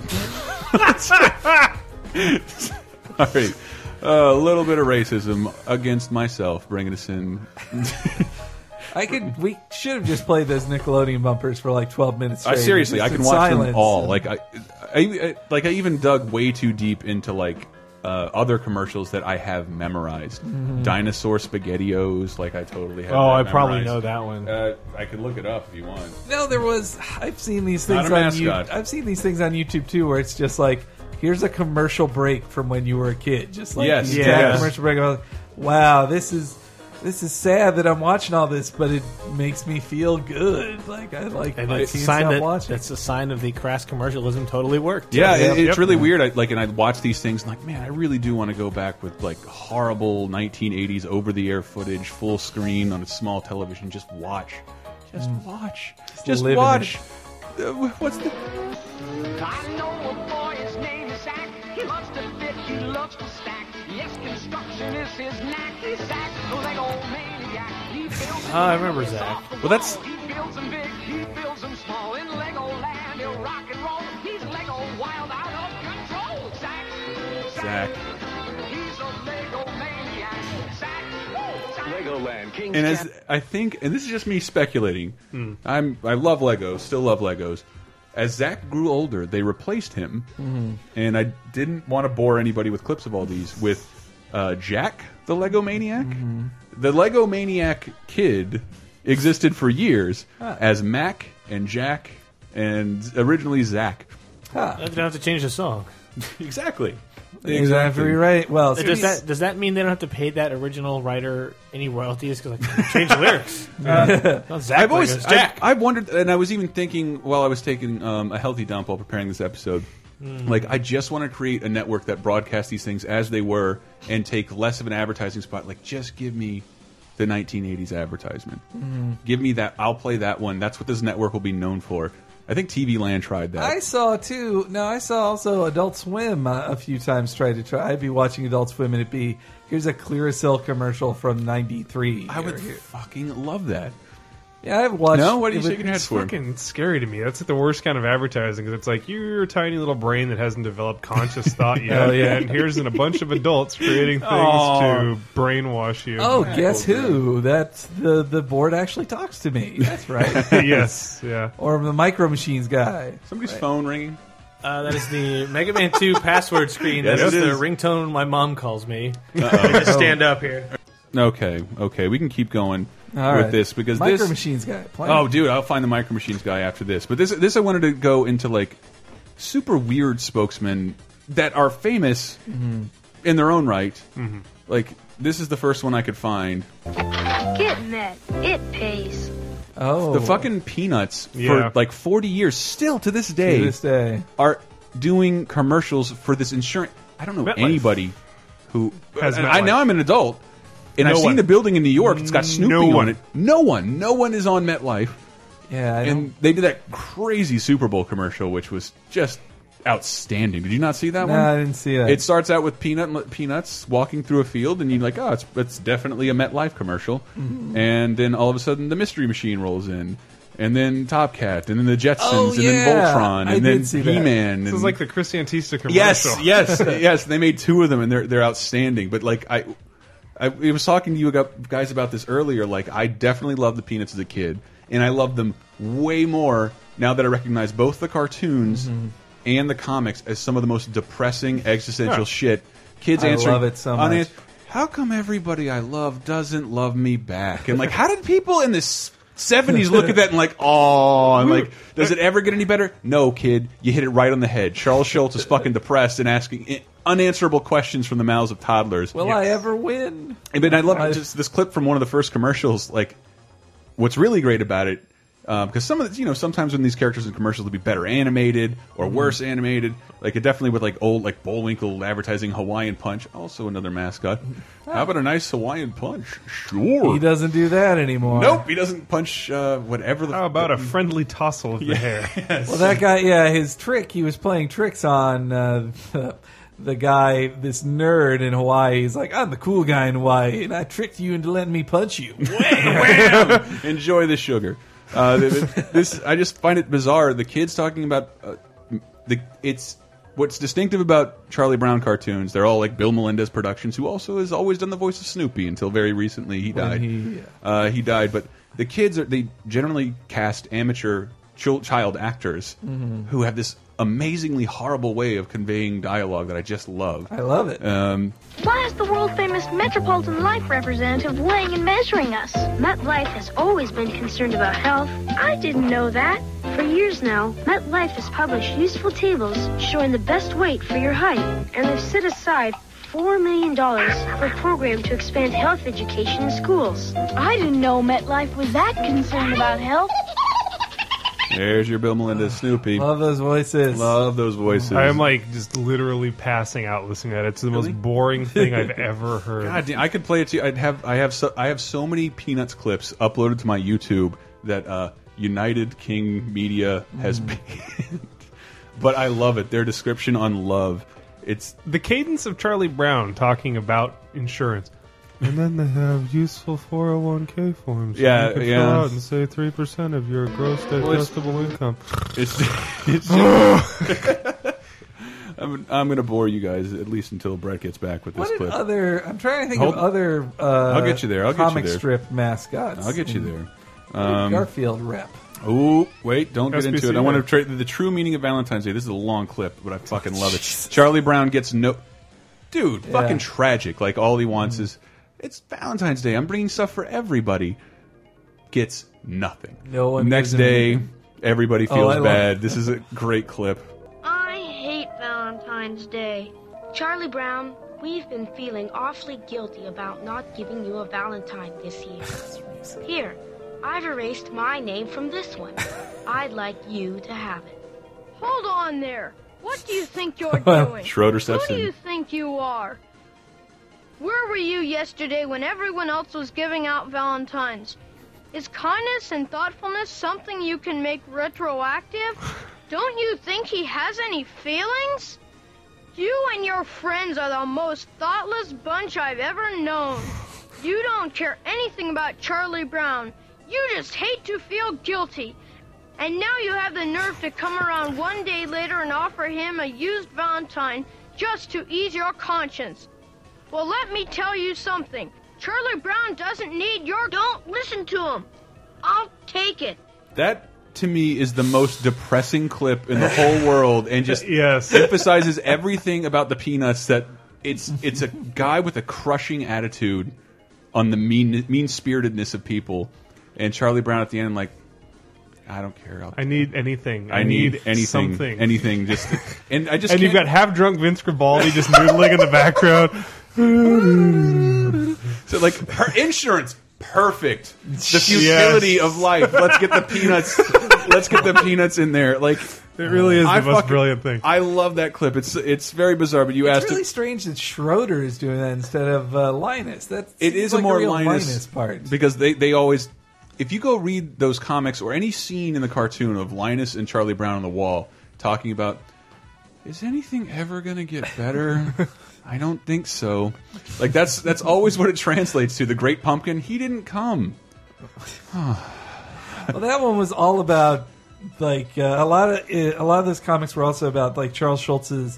Speaker 7: *laughs* All right. A little bit of racism against myself, bringing us in.
Speaker 8: I could. We should have just played those Nickelodeon bumpers for like twelve minutes.
Speaker 7: I
Speaker 8: straight,
Speaker 7: seriously,
Speaker 8: just
Speaker 7: I can
Speaker 8: in
Speaker 7: watch
Speaker 8: silence.
Speaker 7: them all. Like I, I, I- like I even dug way too deep into like uh, other commercials that I have memorized.
Speaker 9: Mhm.
Speaker 7: Dinosaur SpaghettiOs, like I totally have.
Speaker 9: Oh, I
Speaker 7: that
Speaker 9: probably
Speaker 7: memorized.
Speaker 9: know that one.
Speaker 7: Uh, I could look it up if you want.
Speaker 8: No, there was. I've seen these
Speaker 7: Not
Speaker 8: things
Speaker 7: a
Speaker 8: on you,
Speaker 7: mascot.
Speaker 8: I've seen these things on YouTube too, where it's just like, here's a commercial break from when you were a kid. Just like
Speaker 7: Yes,
Speaker 8: you
Speaker 7: yes.
Speaker 8: tag a commercial break. I was like, wow, this is this is sad that I'm watching all this, but it makes me feel good. Like I like
Speaker 9: And
Speaker 8: my
Speaker 9: it's a
Speaker 8: teens
Speaker 9: sign
Speaker 8: not
Speaker 9: that-
Speaker 8: watching.
Speaker 9: that's a sign of the crass commercialism totally worked.
Speaker 7: Yeah, it- it's
Speaker 9: Yep.
Speaker 7: really weird. I, like, and I watch these things, and like, man, I really do want to go back with like horrible 1980s over-the-air footage, full screen on a small television. Just watch, just watch, just
Speaker 8: live in
Speaker 7: watch.
Speaker 8: it.
Speaker 7: Uh, wh- What's the?
Speaker 12: I know a boy, his name is Zach. He loves to fit, he loves to stack. Yes, construction is his knack. Zach, the leg old maniac. He builds
Speaker 9: Ah, I remember Zach.
Speaker 7: Well, that's
Speaker 12: He builds them big, he builds them small. In Lego land, he'll rock and roll. He's Lego wild out of control. Zach,
Speaker 7: Zach.
Speaker 12: he's a Lego maniac. Zach,
Speaker 10: Legoland, King's
Speaker 7: And as I think, and this is just me speculating, I'm I love Legos, still love Legos. As Zach grew older, they replaced him,
Speaker 12: Mhm.
Speaker 7: and I didn't want to bore anybody with clips of all these. With uh, Jack, the Lego maniac, the Lego maniac kid existed for years
Speaker 9: Huh.
Speaker 7: as Mac and Jack, and originally Zach.
Speaker 9: They don't have to change the song.
Speaker 7: exactly.
Speaker 8: Exactly right. Well, so
Speaker 9: does
Speaker 8: he's-
Speaker 9: that does that mean they don't have to pay that original writer any royalties because I *laughs* change the
Speaker 7: *laughs*
Speaker 9: lyrics?
Speaker 7: Uh,
Speaker 9: Not Zach
Speaker 7: I've always
Speaker 9: Legos, Jack.
Speaker 7: I've, I've wondered, and I was even thinking while I was taking um, a healthy dump while preparing this episode.
Speaker 8: Hmm.
Speaker 9: Mm.
Speaker 7: Like, I just want to create a network that broadcasts these things as they were and take less of an advertising spot. Like, just give me the 1980s advertisement.
Speaker 8: Mhm.
Speaker 7: Give me that. I'll play that one. That's what this network will be known for. I think TV Land tried that.
Speaker 8: I saw too. No, I saw also Adult Swim uh, a few times. Try to try. I'd be watching Adult Swim and it'd be here's a Clearasil commercial from '93. I would
Speaker 7: fucking love that.
Speaker 8: Yeah, I've watched. it would-
Speaker 6: it's fucking scary to me. That's like the worst kind of advertising because it's like you're a tiny little brain that hasn't developed conscious thought yet.
Speaker 8: Oh, yeah.
Speaker 6: and here's an, a bunch of adults creating things
Speaker 8: Aw.
Speaker 6: to brainwash you.
Speaker 8: Oh, guess who? That's the the board actually talks to me.
Speaker 7: *laughs*
Speaker 8: That's right.
Speaker 6: Yes, yeah.
Speaker 8: Or the micro machines guy.
Speaker 7: Somebody's
Speaker 8: Right.
Speaker 7: phone ringing.
Speaker 9: Uh, that is the Mega Man
Speaker 7: *laughs*
Speaker 9: 2 password screen.
Speaker 7: Yes,
Speaker 9: that is
Speaker 7: it
Speaker 9: the
Speaker 7: is.
Speaker 9: ringtone my mom calls me.
Speaker 7: Uh-oh.
Speaker 9: *laughs* I just stand up here.
Speaker 7: Okay, okay, we can keep going
Speaker 8: All
Speaker 7: with
Speaker 8: right.
Speaker 7: this because
Speaker 8: Micro
Speaker 7: this
Speaker 8: Machines guy, play
Speaker 7: Oh,
Speaker 8: it.
Speaker 7: dude, I'll find the micro machines guy after this. But this, this I wanted to go into like super weird spokesmen that are famous
Speaker 6: Mm-hmm.
Speaker 12: Mhm.
Speaker 7: in their own right.
Speaker 12: Mhm.
Speaker 7: Like this is the first one I could find.
Speaker 12: Getting that. It pays.
Speaker 8: Oh,
Speaker 7: the fucking Peanuts
Speaker 6: Yeah.
Speaker 7: for like forty years, still to this day,
Speaker 8: To this day.
Speaker 7: are doing commercials for this insurance. I don't know
Speaker 6: MetLife.
Speaker 7: anybody who
Speaker 6: Has
Speaker 7: and I
Speaker 6: MetLife.
Speaker 7: now I'm an adult, and
Speaker 6: No
Speaker 7: I've
Speaker 6: one.
Speaker 7: seen the building in New York. It's got Snoopy
Speaker 6: No one.
Speaker 7: on it. No one, no one is on MetLife.
Speaker 8: Yeah, I
Speaker 7: and they did that crazy Super Bowl commercial, which was just outstanding. Did you not see that
Speaker 8: No,
Speaker 7: one?
Speaker 8: I didn't see that.
Speaker 7: It starts out with peanut peanuts walking through a field, and you're like, oh, it's, it's definitely a MetLife commercial.
Speaker 8: Mhm.
Speaker 7: And then all of a sudden, the Mystery Machine rolls in. And then Top Cat, and then the Jetsons,
Speaker 6: Oh,
Speaker 7: and
Speaker 6: yeah.
Speaker 7: then Voltron, and
Speaker 6: I
Speaker 7: then
Speaker 6: did see that.
Speaker 7: He-Man.
Speaker 6: This
Speaker 7: and-
Speaker 6: is like the Chris Antista commercial.
Speaker 7: Yes, yes, *laughs* yes. They made two of them, and they're they're outstanding. But like I, I, I was talking to you gu- guys about this earlier. Like I definitely loved the Peanuts as a kid, and I love them way more now that I recognize both the cartoons
Speaker 8: Mm-hmm.
Speaker 7: and the comics as some of the most depressing existential
Speaker 8: Yeah.
Speaker 7: shit. Kids
Speaker 8: I
Speaker 7: answering
Speaker 8: love it so
Speaker 7: on
Speaker 8: much.
Speaker 7: ans- How come everybody I love doesn't love me back? And like, how did people in this? 70s look at that and like oh and like does it ever get any better no kid you hit it right on the head charles schultz is fucking depressed and asking i- unanswerable questions from the mouths of toddlers
Speaker 8: Will I ever win?
Speaker 7: and then i love just this clip from one of the first commercials like what's really great about it because some of the, you know sometimes when these characters in commercials will be better animated or worse animated. Like it definitely with like old like Bullwinkle advertising Hawaiian Punch, also another mascot. How about a nice Hawaiian Punch? Sure.
Speaker 8: He doesn't do that anymore.
Speaker 7: Nope, he doesn't punch uh, whatever the. How
Speaker 6: about a friendly tossle of the hair?
Speaker 8: Well, that guy, yeah, his trick, he was playing tricks on uh, the, the guy, this nerd in Hawaii. He's like, I'm the cool guy in Hawaii, and I tricked you into letting me punch you.
Speaker 7: *laughs* Enjoy the sugar. Uh, th- th- this I just find it bizarre. The kids talking about uh, the it's what's distinctive about Charlie Brown cartoons. They're all like Bill Melendez Productions, who also has always done the voice of Snoopy until very recently. He
Speaker 8: When
Speaker 7: died.
Speaker 8: he-
Speaker 7: uh, he died, but the kids are they generally cast amateur chil child actors
Speaker 8: Mhm.
Speaker 7: who have this amazingly horrible way of conveying dialogue that I just love.
Speaker 8: I love it.
Speaker 7: Um,
Speaker 16: Why is the world famous Metropolitan Life representative weighing and measuring us? MetLife has always been concerned about health. I didn't know that. For years now, MetLife has published useful tables showing the best weight for your height, and they've set aside $4 million for a program to expand health education in schools. I didn't know MetLife was that concerned about health.
Speaker 7: there's your Bill Melendez Snoopy.
Speaker 8: Love those voices.
Speaker 7: Love those voices.
Speaker 6: I am like just literally passing out listening to that. It's the most boring thing
Speaker 7: *laughs*
Speaker 6: I've ever heard.
Speaker 7: God damn, I could play it to you. I'd have I have so, I have so many Peanuts clips uploaded to my YouTube that uh, United King Media
Speaker 8: Hmm.
Speaker 7: has banned. *laughs* but I love it. Their description on love. It's
Speaker 6: the cadence of Charlie Brown talking about insurance. And then they have useful 401k forms.
Speaker 7: that Yeah, you can fill yeah. out
Speaker 6: and say 3% of your gross
Speaker 7: it's-
Speaker 6: income.
Speaker 7: It's, *laughs* it's
Speaker 8: *laughs*
Speaker 7: I'm, I'm going to bore you guys at least until Brett gets back with this
Speaker 8: What
Speaker 7: clip.
Speaker 8: other? I'm trying to think
Speaker 7: Hold-
Speaker 8: of other. Uh,
Speaker 7: I'll get you there. I'll get you
Speaker 8: comic
Speaker 7: there.
Speaker 8: strip mascots.
Speaker 7: I'll get you
Speaker 8: Mm.
Speaker 7: there. Um,
Speaker 8: Garfield rep.
Speaker 7: Oh, wait, don't get
Speaker 8: SBC
Speaker 7: into it. I want to
Speaker 8: rep.
Speaker 7: tra- the true meaning of Valentine's Day. This is a long clip, but I fucking love it. Charlie Brown gets no. Dude,
Speaker 8: Yeah.
Speaker 7: fucking tragic. Like, all he wants is. It's Valentine's Day. I'm bringing stuff for everybody. Gets nothing.
Speaker 8: No one
Speaker 7: Next
Speaker 8: gives him
Speaker 7: day,
Speaker 8: anything.
Speaker 7: everybody
Speaker 8: Oh,
Speaker 7: feels
Speaker 8: I love
Speaker 7: bad.
Speaker 8: it.
Speaker 7: This is a great clip.
Speaker 16: I hate Valentine's Day. Charlie Brown, we've been feeling awfully guilty about not giving you a Valentine this year. Here, I've erased my name from this one. I'd like you to have it.
Speaker 17: Hold on there. What do you think you're
Speaker 7: *laughs*
Speaker 17: doing?
Speaker 7: Schroeder steps
Speaker 17: Who do
Speaker 7: in.
Speaker 17: you think you are? Where were you yesterday when everyone else was giving out Valentines? Is kindness and thoughtfulness something you can make retroactive? Don't you think he has any feelings? You and your friends are the most thoughtless bunch I've ever known. You don't care anything about Charlie Brown. You just hate to feel guilty. And now you have the nerve to come around one day later and offer him a used Valentine just to ease your conscience. Well, let me tell you something. Charlie Brown doesn't need your. Don't listen to him. I'll take it.
Speaker 7: That to me is the most depressing clip in the
Speaker 6: *laughs*
Speaker 7: whole world, and just
Speaker 6: Yes.
Speaker 7: emphasizes everything about the Peanuts. That it's it's a guy with a crushing attitude on the mean mean spiritedness of people, and Charlie Brown at the end, like I don't care. I'll,
Speaker 6: I need anything.
Speaker 7: I need, anything,
Speaker 6: Something.
Speaker 7: anything. Just
Speaker 6: *laughs*
Speaker 7: and I just
Speaker 6: and you've
Speaker 7: can't-
Speaker 6: got half drunk Vince Gribaldi just noodling in
Speaker 8: *laughs*
Speaker 6: the background.
Speaker 7: So like her insurance, perfect. The futility
Speaker 6: Yes.
Speaker 7: of life. Let's get the peanuts. let's get
Speaker 6: *laughs*
Speaker 7: the peanuts in there. Like it
Speaker 6: really is the most brilliant thing.
Speaker 7: I love that clip. It's it's very bizarre. But you
Speaker 8: It's
Speaker 7: asked.
Speaker 8: really
Speaker 7: if-
Speaker 8: strange that Schroeder is doing that instead of uh, Linus. That's
Speaker 7: it is a more
Speaker 8: real
Speaker 7: Linus,
Speaker 8: Linus. part.
Speaker 7: because they they always. If you go read those comics or any scene in the cartoon of Linus and Charlie Brown on the wall talking about, is anything ever going to get
Speaker 8: *laughs*
Speaker 7: better? I don't think so. Like that's that's always what it translates to. The Great Pumpkin, he didn't come.
Speaker 8: well, that one was all about like uh, a lot of uh, a lot of those comics were also about like Charles Schultz's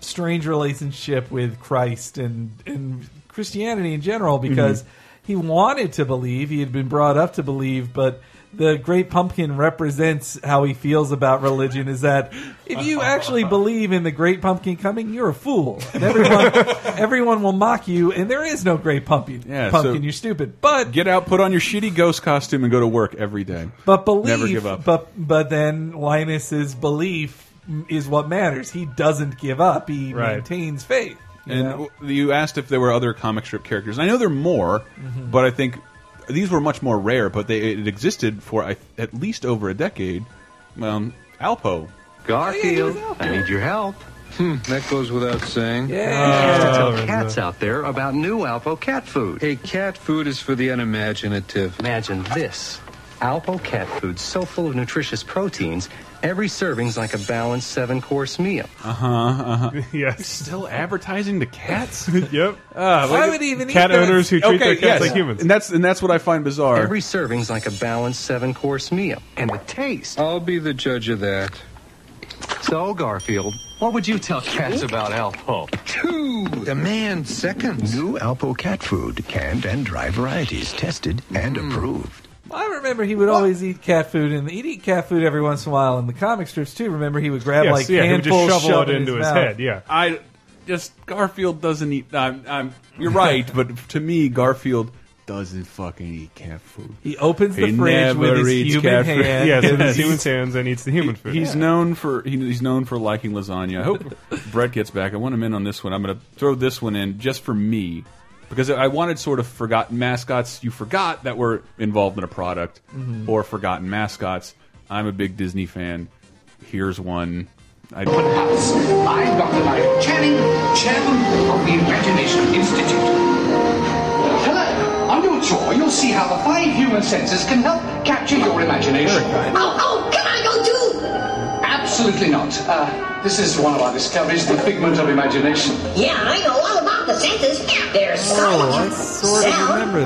Speaker 8: strange relationship with Christ and and Christianity in general
Speaker 7: Mm-hmm.
Speaker 8: because
Speaker 15: Mhm.
Speaker 8: he wanted to believe he had been brought up to believe, but the Great Pumpkin represents how he feels about religion. Is that if you actually believe in the Great Pumpkin coming, you're a fool. And everyone
Speaker 7: *laughs*
Speaker 8: everyone will mock you, and there is no Great Pumpkin.
Speaker 7: Yeah,
Speaker 8: pumpkin,
Speaker 7: so-
Speaker 8: you're stupid. But
Speaker 7: Get out, put on your shitty ghost costume, and go to work every day.
Speaker 8: But belief,
Speaker 7: Never give up.
Speaker 8: But but then Linus's belief is what matters. He doesn't give up. He
Speaker 7: Right.
Speaker 8: maintains faith. you
Speaker 7: and
Speaker 8: know?
Speaker 7: w- you asked if there were other comic strip characters. I know there are more,
Speaker 8: Mhm.
Speaker 7: but I think these were much more rare, but they it existed for I, at least over a decade. Um, Alpo.
Speaker 18: Garfield, I need your help. Hmm, that goes without saying.
Speaker 7: Yeah.
Speaker 18: You should
Speaker 7: Oh,
Speaker 18: tell cats out there about new Alpo cat food. Hey, cat food is for the unimaginative. Imagine this. Alpo cat food so full of nutritious proteins, every serving's like a balanced seven-course meal.
Speaker 7: Uh-huh, uh-huh.
Speaker 6: *laughs* yes. *laughs*
Speaker 7: Still advertising to *laughs* cats?
Speaker 6: yep.
Speaker 7: Uh,
Speaker 18: Why
Speaker 7: like-
Speaker 18: would he even
Speaker 6: Cat eat that? owners who treat their cats like humans.
Speaker 7: And that's and that's what I find bizarre.
Speaker 18: Every serving's like a balanced seven course meal. And the taste. I'll be the judge of that. So, Garfield, what would you tell cats about Alpo?
Speaker 19: Two. Demand seconds. New Alpo cat food, canned and dry varieties, tested and approved.
Speaker 8: I remember he would always eat cat food, and he'd eat cat food every once in a while. In the comic strips too, remember he would grab
Speaker 6: Yes,
Speaker 8: like
Speaker 6: yeah, he would just
Speaker 8: handfuls,
Speaker 6: shovel
Speaker 8: shove
Speaker 6: it into his
Speaker 8: mouth.
Speaker 6: head, yeah.
Speaker 7: I just Garfield doesn't eat. I'm, I'm, *laughs* you're right, but to me, Garfield doesn't fucking eat cat food.
Speaker 8: He opens the
Speaker 7: He
Speaker 8: fridge with
Speaker 7: never
Speaker 8: his
Speaker 7: eats
Speaker 8: human
Speaker 7: cat
Speaker 8: hand.
Speaker 7: food.
Speaker 6: *laughs* Yes, with his human hands and eats the human food.
Speaker 7: He's
Speaker 6: Yeah.
Speaker 7: known for he, he's known for liking lasagna. I hope Brett gets back. I want him in on this one. I'm going to throw this one in just for me because I wanted sort of forgotten mascots you forgot that were involved in a product
Speaker 6: Mhm.
Speaker 7: or forgotten mascots. I'm a big Disney fan. Here's one. I uh,
Speaker 12: By Dr. Lyle Channing, chairman of the Imagination Institute. Hello. On your tour, you'll see how the five human senses can help capture your imagination.
Speaker 20: oh, can I go too?
Speaker 12: Absolutely not. Uh, this is one of our discoveries, the figment of imagination.
Speaker 20: Yeah, I know all about the senses. There's sight,
Speaker 12: Oh, I sort of
Speaker 20: sound,
Speaker 12: remember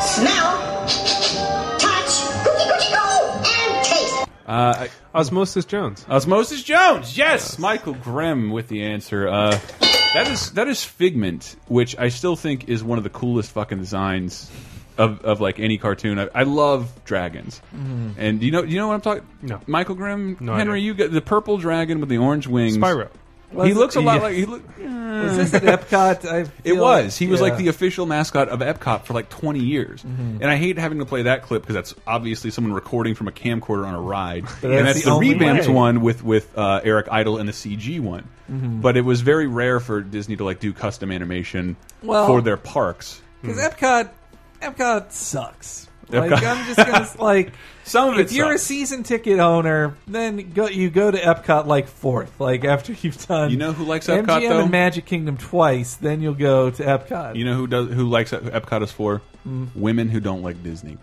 Speaker 20: smell, touch, cookie cookie go, and taste.
Speaker 7: Uh,
Speaker 6: Osmosis Jones.
Speaker 7: Osmosis Jones. Yes, Michael Grimm with the answer. Uh, that is that is Figment, which I still think is one of the coolest fucking designs of, of like any cartoon. I, I love dragons,
Speaker 6: Mhm.
Speaker 7: and do you know do you know what I'm talking.
Speaker 6: No.
Speaker 7: Michael Grimm,
Speaker 6: No
Speaker 7: Henry, you got the purple dragon with the orange wings.
Speaker 6: Spyro.
Speaker 7: he
Speaker 6: Was
Speaker 7: looks a
Speaker 6: it-
Speaker 7: lot
Speaker 6: yeah.
Speaker 7: like he look, uh,
Speaker 8: Was this at Epcot? I
Speaker 7: it
Speaker 8: feel
Speaker 7: was. He was
Speaker 8: yeah.
Speaker 7: like the official mascot of Epcot for like 20 years.
Speaker 8: Mhm.
Speaker 7: And I hate having to play that clip because that's obviously someone recording from a camcorder on a ride.
Speaker 8: But
Speaker 7: and
Speaker 8: that's
Speaker 7: that's
Speaker 8: the
Speaker 7: the,
Speaker 8: only
Speaker 7: revamped
Speaker 8: way.
Speaker 7: one with with uh, Eric Idle and the CG one.
Speaker 8: Mhm.
Speaker 7: But it was very rare for Disney to like do custom animation
Speaker 8: Well-
Speaker 7: for their parks.
Speaker 8: Because Epcot, Epcot sucks.
Speaker 7: Epcot-
Speaker 8: Like I'm just gonna like
Speaker 7: *laughs* some of it
Speaker 8: If you're a
Speaker 7: sucks.
Speaker 8: season ticket owner, then go you go to Epcot like fourth. Like after you've done,
Speaker 7: You know who likes
Speaker 8: MGM
Speaker 7: Epcot, though?
Speaker 8: and Magic Kingdom twice, then you'll go to Epcot.
Speaker 7: You know who does who likes who Epcot is for?
Speaker 8: Mm. Oh.
Speaker 7: Women who don't like Disney.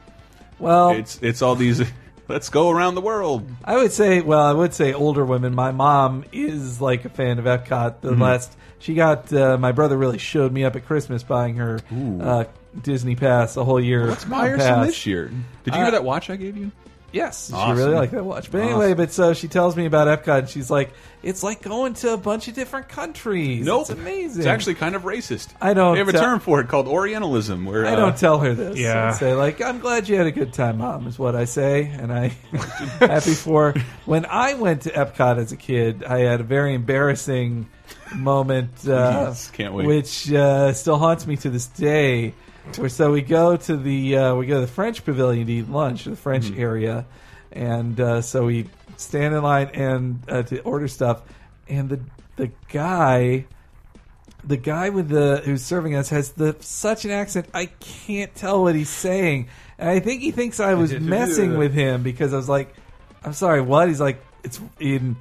Speaker 8: Well-
Speaker 7: it's it's all these *laughs* let's go around the world.
Speaker 8: I would say, well, I would say older women. My mom is like a fan of Epcot. The
Speaker 7: Mhm.
Speaker 8: last she got, uh, my brother really showed me up at Christmas buying her uh, Disney pass a whole year.
Speaker 7: Let's buy her some
Speaker 8: pass.
Speaker 7: this year. Did you
Speaker 8: Uh,
Speaker 7: hear that watch I gave you?
Speaker 8: Yes,
Speaker 7: Awesome.
Speaker 8: she really liked that watch. But anyway, but so she tells me about Epcot, and she's like, "It's like going to a bunch of different countries.
Speaker 7: Nope.
Speaker 8: It's amazing.
Speaker 7: It's actually kind of racist.
Speaker 8: I don't
Speaker 7: They have a
Speaker 8: tell-
Speaker 7: term for it called Orientalism. Where
Speaker 8: I
Speaker 7: uh,
Speaker 8: don't tell her this.
Speaker 7: Yeah.
Speaker 8: I say like, "I'm glad you had a good time, mom," is what I say, and I *laughs* happy for. her. When I went to Epcot as a kid, I had a very embarrassing
Speaker 7: *laughs*
Speaker 8: moment, uh,
Speaker 7: Yes, can't wait.
Speaker 8: which uh, still haunts me to this day. Where so we go to the uh, we go to the French Pavilion to eat lunch, the French
Speaker 7: Mm-hmm.
Speaker 8: area, and uh, so we stand in line and uh, to order stuff, and the the guy the guy with the who's serving us has the such an accent I can't tell what he's saying. And I think he thinks I
Speaker 7: *laughs*
Speaker 8: was messing with him because I was like, "I'm sorry, what?" He's like, "It's in."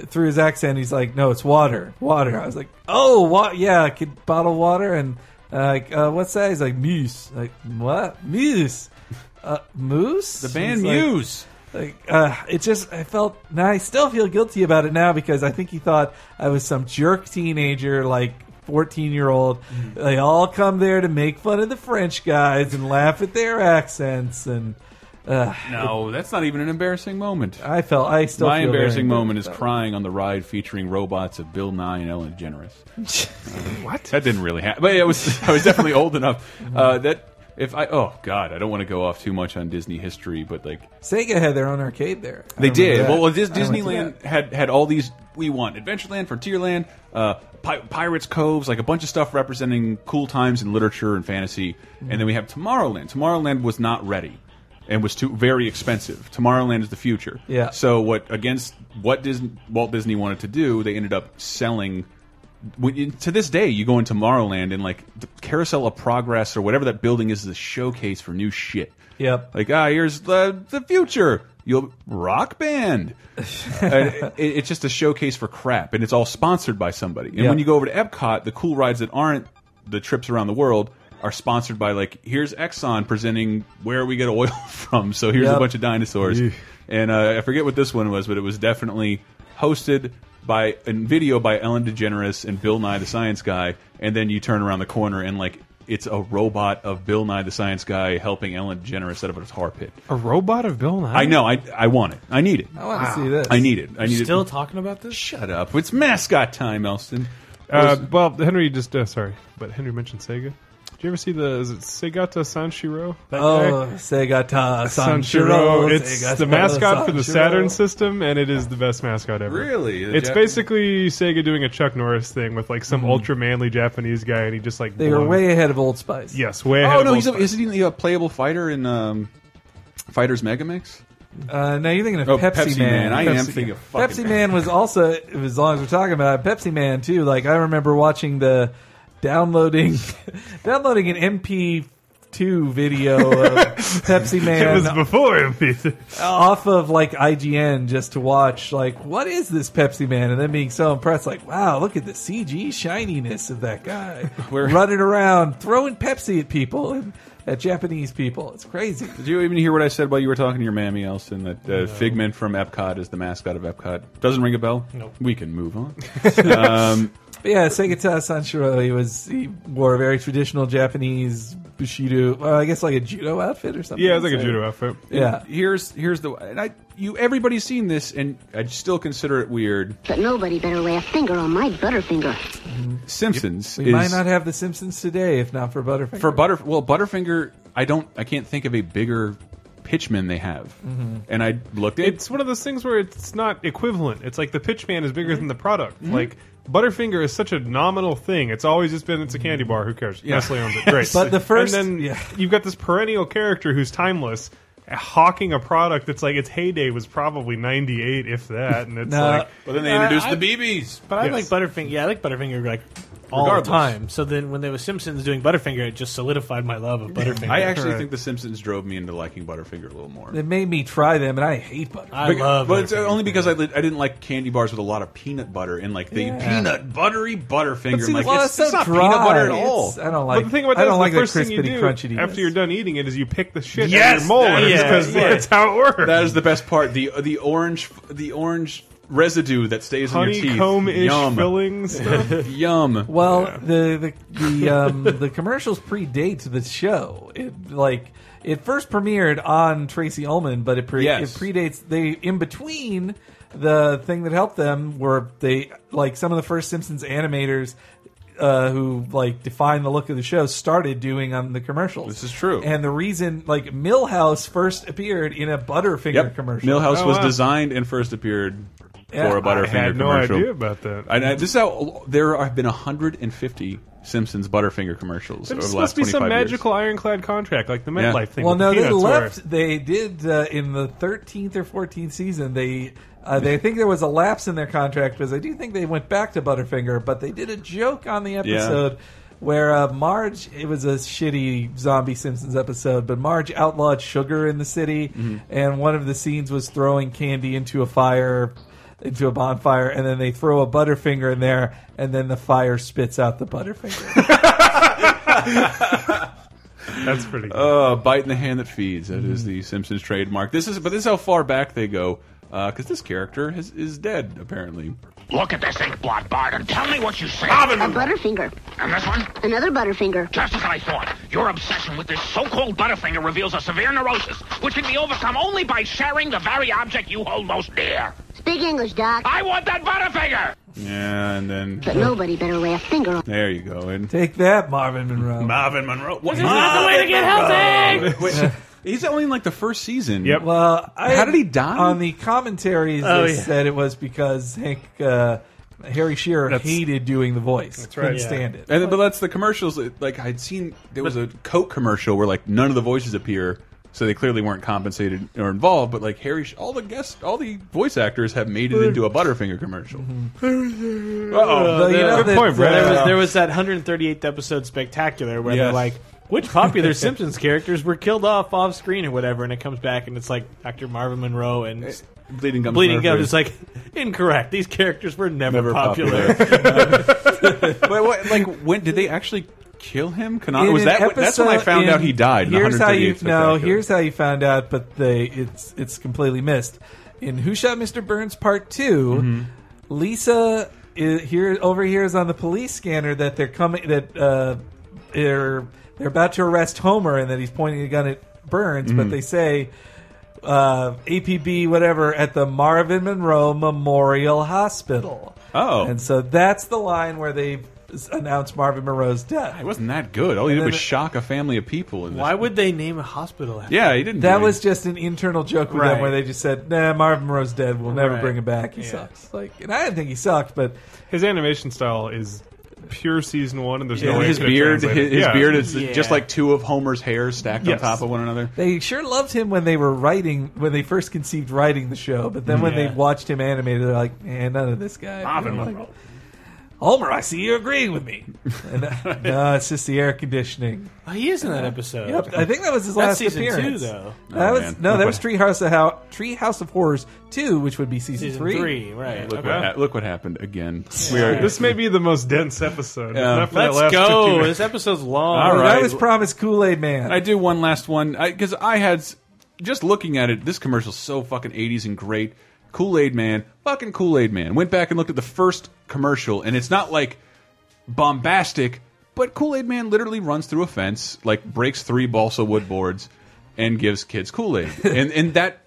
Speaker 8: Through his accent, he's like, "No, it's water, water." I was like, "Oh, what? Yeah, I could bottle water." And uh, like, uh, what's that? He's like, "Muse." Like, what? Muse? Uh, moose?
Speaker 7: The band
Speaker 8: He's like- *laughs*
Speaker 7: Muse.
Speaker 8: Like, uh, it just, I felt, now I still feel guilty about it now because I think he thought I was some jerk teenager, like 14 year old.
Speaker 7: Mm-hmm.
Speaker 8: They all come there to make fun of the French guys and laugh at their accents. And, uh,
Speaker 7: No, that's not even an embarrassing moment.
Speaker 8: I felt, I still
Speaker 7: My
Speaker 8: feel very
Speaker 7: embarrassing moment is
Speaker 8: embarrassed about
Speaker 7: crying on the ride featuring robots of Bill Nye and Ellen DeGeneres.
Speaker 8: *laughs*
Speaker 7: what? That didn't really happen. But yeah, I was I was definitely old enough. Uh, that if I oh god, I don't want to go off too much on Disney history, but like
Speaker 8: it. Sega had their own arcade there. I
Speaker 7: They
Speaker 8: remember
Speaker 7: did.
Speaker 8: that.
Speaker 7: Well, well this
Speaker 8: I went to that.
Speaker 7: Disneyland had had all these. We want Adventureland, Frontierland, uh, Pi Pirates Coves, like a bunch of stuff representing cool times in literature and fantasy. And then we have Tomorrowland. Tomorrowland was not ready and was too very expensive. Tomorrowland is the future.
Speaker 8: Yeah.
Speaker 7: So what against what Disney, Walt Disney wanted to do, they ended up selling when you- to this day, you go in Tomorrowland and like the Carousel of Progress or whatever that building is, is a showcase for new shit.
Speaker 8: Yep.
Speaker 7: Like ah, here's the the future. You'll rock band. And it- it's just a showcase for crap, and it's all sponsored by somebody. And
Speaker 8: Yeah.
Speaker 7: when you go over to Epcot, the cool rides that aren't the trips around the world are sponsored by like here's Exxon presenting where we get oil *laughs* from. So here's a
Speaker 8: Yep.
Speaker 7: bunch of dinosaurs,
Speaker 8: Eesh.
Speaker 7: and uh, I forget what this one was, but it was definitely hosted by and video by Ellen DeGeneres and Bill Nye the Science Guy, and then you turn around the corner and like. It's a robot of Bill Nye the Science Guy helping Ellen DeGeneres out of a tar pit.
Speaker 6: A robot of Bill Nye.
Speaker 7: I know. I I want it. I need it.
Speaker 6: I wanna Wow. see this.
Speaker 7: I need it. I need
Speaker 9: You're
Speaker 7: it.
Speaker 9: Still talking about this?
Speaker 7: Shut up. It's mascot time, Elston.
Speaker 6: Uh,
Speaker 7: Was-
Speaker 6: well, Henry just uh, sorry, but Henry mentioned Sega. Did you ever see the is it Segata Sanshiro? That
Speaker 8: Oh,
Speaker 6: guy?
Speaker 8: Segata Sanshiro,
Speaker 6: Sanshiro. It's
Speaker 8: Segata
Speaker 6: the mascot for the
Speaker 8: Sanshiro.
Speaker 6: Saturn system, and it is the best mascot ever.
Speaker 7: Really? The
Speaker 6: It's
Speaker 7: Jap-
Speaker 6: basically Sega doing a Chuck Norris thing with like some
Speaker 8: Mhm.
Speaker 6: ultra manly Japanese guy, and he just like
Speaker 8: They were
Speaker 6: blows-
Speaker 8: way ahead of Old Spice.
Speaker 6: Yes, way ahead.
Speaker 7: oh
Speaker 6: of
Speaker 7: no,
Speaker 6: Old
Speaker 7: he's a,
Speaker 6: Spice.
Speaker 7: isn't he a playable fighter in um, Fighters Mega Mix?
Speaker 8: Uh, now you're thinking of
Speaker 7: Oh,
Speaker 8: Pepsi,
Speaker 7: Pepsi Man.
Speaker 8: Man.
Speaker 7: I am thinking of fucking
Speaker 8: Pepsi Man was also as long as we're talking about it, Pepsi Man too. Like I remember watching the downloading *laughs* downloading an MP2 video of Pepsi Man.
Speaker 6: It was before MP2.
Speaker 8: off of like IGN just to watch like what is this Pepsi Man and then being so impressed like wow look at the CG shininess of that guy running around throwing Pepsi at people and at Japanese people it's crazy
Speaker 7: Did you even hear what I said while you were talking to your mammy, Elston? That uh, Figment from Epcot is the mascot of Epcot. Doesn't ring a bell.
Speaker 8: Nope.
Speaker 7: We can move *laughs* on. um,
Speaker 8: But yeah, Segata Sanshiro, he was he wore a very traditional Japanese bushido, well, I guess like a judo outfit or something.
Speaker 6: *laughs* Yeah, it's like a
Speaker 8: So-
Speaker 6: judo outfit.
Speaker 8: Yeah.
Speaker 7: And Here's here's the and I you everybody's seen this and I still consider it weird.
Speaker 21: But nobody better lay a finger on my butterfinger.
Speaker 7: Simpsons
Speaker 8: We
Speaker 7: is
Speaker 8: might not have the Simpsons today if not for Butterfinger.
Speaker 7: for butter well Butterfinger. I don't I can't think of a bigger pitchman they have.
Speaker 6: Mhm.
Speaker 7: And I looked at
Speaker 6: It's one of those things where it's not equivalent. It's like the pitch man is bigger than the product.
Speaker 7: Mhm.
Speaker 6: Like Butterfinger is such a nominal thing. It's always just been it's a candy bar. Who cares?
Speaker 8: Yeah.
Speaker 6: Nestle owns it. Great.
Speaker 8: But the first-
Speaker 6: and then you've got this perennial character who's timeless, hawking a product that's like its heyday was probably ninety eight, if that. And it's
Speaker 9: No.
Speaker 6: like,
Speaker 9: Well, then they introduced Uh, I- the
Speaker 7: BBs.
Speaker 9: But I like Butterfinger. Yeah, I like Butterfinger like all
Speaker 7: Regardless.
Speaker 9: the time. So then when there was Simpsons doing Butterfinger, it just solidified my love of Butterfinger.
Speaker 7: I actually think The Simpsons drove me into liking Butterfinger a little more.
Speaker 8: It made me try them, and I hate Butterfinger.
Speaker 7: But- but it's only because I, li- I didn't like candy bars with a lot of peanut butter and like the
Speaker 8: Yeah.
Speaker 7: peanut buttery Butterfinger.
Speaker 8: But
Speaker 7: I'm
Speaker 8: see,
Speaker 7: like,
Speaker 8: well,
Speaker 7: it's,
Speaker 8: it's so
Speaker 7: it's not
Speaker 8: dry.
Speaker 7: peanut butter at
Speaker 8: It's- uh,
Speaker 7: all.
Speaker 8: I don't
Speaker 6: But the thing about that
Speaker 8: I don't
Speaker 6: is
Speaker 8: like
Speaker 6: the
Speaker 8: the
Speaker 6: first thing you
Speaker 8: crispity
Speaker 6: do
Speaker 8: crunchiness.
Speaker 6: after you're done eating it is you pick the shit
Speaker 7: Yes,
Speaker 6: out of your mold
Speaker 7: that is-
Speaker 6: because
Speaker 7: yeah.
Speaker 6: that's how it works.
Speaker 7: That is the best part. The the orange the orange residue that stays in your teeth.
Speaker 6: Honeycomb-ish
Speaker 7: Yum.
Speaker 6: filling stuff.
Speaker 7: *laughs* Yum.
Speaker 8: Well, the the the, um, the commercials predate the show. It like it first premiered on Tracy Ullman, but it, pre-
Speaker 7: Yes.
Speaker 8: it predates. They in between the thing that helped them were they like some of the first Simpsons animators. Uh, who like defined the look of the show started doing on the commercials. This
Speaker 7: is true.
Speaker 8: And the reason like Millhouse first appeared in a Butterfinger
Speaker 7: Yep.
Speaker 8: commercial.
Speaker 7: Millhouse was designed and first appeared
Speaker 8: Yeah,
Speaker 7: for a Butterfinger
Speaker 6: Oh, I had no
Speaker 7: commercial.
Speaker 6: idea about that.
Speaker 7: And I, this is how there have been 150 Simpsons Butterfinger commercials
Speaker 6: There
Speaker 7: over the last
Speaker 6: must be
Speaker 7: 25
Speaker 6: some
Speaker 7: years.
Speaker 6: magical ironclad contract like the
Speaker 7: Yeah.
Speaker 6: MetLife thing.
Speaker 8: Well,
Speaker 6: with
Speaker 8: no, they
Speaker 6: Peanuts where-
Speaker 8: left. They did uh, in the thirteenth or fourteenth season. They uh, they think there was a lapse in their contract because I do think they went back to Butterfinger, but they did a joke on the episode. Where uh, Marge, it was a shitty Zombie Simpsons episode, but Marge outlawed sugar in the city,
Speaker 6: Mm-hmm.
Speaker 7: Mhm.
Speaker 8: and one of the scenes was throwing candy into a fire, into a bonfire, and then they throw a Butterfinger in there, and then the fire spits out the
Speaker 6: *laughs*
Speaker 8: Butterfinger.
Speaker 6: That's pretty.
Speaker 7: Uh, bite in the hand that feeds. That is the Simpsons trademark. This is, but this is how far back they go, because this character has, is dead apparently.
Speaker 12: Look at this ink blot, Bart, and tell me what you see.
Speaker 21: A
Speaker 6: Uh,
Speaker 21: butterfinger.
Speaker 12: And this one?
Speaker 21: Another butterfinger.
Speaker 12: Just as I thought, your obsession with this so-called butterfinger reveals a severe neurosis, which can be overcome only by sharing the very object you hold most dear.
Speaker 21: Speak English, Doc.
Speaker 12: I want that butterfinger!
Speaker 7: Yeah, and then
Speaker 21: But nobody better lay a finger on.
Speaker 7: there you go. And
Speaker 8: Take that, Marvin Monroe.
Speaker 7: Marvin Monroe. What
Speaker 21: This is not the way to get healthy!
Speaker 7: Wait, he's only in like the first season.
Speaker 6: Yep.
Speaker 8: Well, I,
Speaker 7: How did he die?
Speaker 8: On the commentaries,
Speaker 7: Oh,
Speaker 8: they
Speaker 7: yeah.
Speaker 8: said it was because Hank uh, Harry Shearer hated doing the voice. That's Couldn't stand it.
Speaker 7: And then- but that's the commercials. that, Like I'd seen, there was a Coke commercial where like none of the voices appear. so they clearly weren't compensated or involved. But like Harry, Sh- all the guests, all the voice actors have made it into a Butterfinger commercial.
Speaker 9: Uh,
Speaker 7: you know,
Speaker 9: good
Speaker 7: the-
Speaker 9: point, Brett.
Speaker 7: the-
Speaker 9: There was, there was that 138th episode spectacular where they're
Speaker 7: Yes.
Speaker 9: like, which popular Simpsons characters were killed off off screen or whatever, and it comes back and it's like Dr. Marvin Monroe and
Speaker 7: Eh, Bleeding Gums
Speaker 9: Bleeding
Speaker 7: Murphy.
Speaker 9: Gums is like incorrect. These characters were never,
Speaker 7: Never popular.
Speaker 9: popular.
Speaker 7: *laughs* But what, like, when did they actually kill him? Canon
Speaker 8: In
Speaker 7: Oh, was
Speaker 8: an
Speaker 7: that? that's when I
Speaker 8: episode-
Speaker 7: found
Speaker 8: in-
Speaker 7: out he died. in
Speaker 8: Here's how
Speaker 7: 138th
Speaker 8: you no.
Speaker 7: Spectacular.
Speaker 8: Here's how you found out, but they it's it's completely missed. In Who Shot Mr. Burns Part 2
Speaker 7: Mm-hmm.
Speaker 8: Lisa i here overhears on the police scanner that they're coming that uh, they're they're about to arrest Homer and that he's pointing a gun at Burns, but
Speaker 7: Mm-hmm.
Speaker 15: Mhm.
Speaker 8: they say. Uh, APB, whatever, at the Marvin Monroe Memorial Hospital.
Speaker 7: Oh.
Speaker 8: and so that's the line where they s- announce Marvin Monroe's death.
Speaker 7: It wasn't that good. All he
Speaker 8: And
Speaker 7: did was
Speaker 8: then-
Speaker 7: shock a family of people. In this.
Speaker 9: Why would they name a hospital after
Speaker 7: Yeah, he didn't.
Speaker 8: That
Speaker 7: do
Speaker 8: was just an internal joke with
Speaker 9: Right.
Speaker 8: them where they just said, "Nah, Marvin Monroe's dead. We'll never
Speaker 9: Right.
Speaker 8: bring him back. He
Speaker 9: Yeah.
Speaker 8: sucks." Like, and I didn't think he sucked, but
Speaker 6: his animation style is pure season one, and there's
Speaker 7: Yeah,
Speaker 6: no way
Speaker 7: his
Speaker 6: it's gonna
Speaker 7: beard, his,
Speaker 6: translate it. Yeah.
Speaker 7: beard is just
Speaker 6: Yeah.
Speaker 7: like two of Homer's hairs stacked
Speaker 6: Yes.
Speaker 7: on top of one another.
Speaker 8: they sure loved him when they were writing when they first conceived writing the show. But then when
Speaker 7: Yeah.
Speaker 8: they watched him animated, they're like, "Eh, none of this guy."
Speaker 6: Marvin
Speaker 8: You know, like,
Speaker 6: Monroe.
Speaker 8: Homer, I see you agreeing with me. and, uh, no, it's just the air conditioning.
Speaker 9: Oh, he is in that episode.
Speaker 8: Yep, I think that was his
Speaker 9: That's
Speaker 8: last
Speaker 9: season two,
Speaker 8: appearance.
Speaker 9: though.
Speaker 8: That
Speaker 9: Oh,
Speaker 8: was
Speaker 9: man.
Speaker 8: no,
Speaker 9: Look
Speaker 8: that
Speaker 9: what-
Speaker 8: was Treehouse of How Treehouse of Horrors two, which would be season,
Speaker 9: Season three, right.
Speaker 7: Look,
Speaker 9: Okay.
Speaker 7: what, ha- look what happened again. We are,
Speaker 6: This may be the most dense episode.
Speaker 7: Yeah.
Speaker 6: Not for that
Speaker 7: Let's
Speaker 6: last
Speaker 7: go.
Speaker 6: 15
Speaker 7: This episode's long.
Speaker 8: All
Speaker 7: All
Speaker 8: right. I
Speaker 7: right.
Speaker 8: was promised Kool Aid Man.
Speaker 7: I do one last one because I, had s- just looking at it. This commercial's so fucking eighties and great. Kool Aid Man, fucking Kool Aid Man. Went back and looked at the first commercial, and it's not like bombastic, but Kool Aid Man literally runs through a fence, like breaks three balsa wood boards, and gives kids Kool Aid, and and that.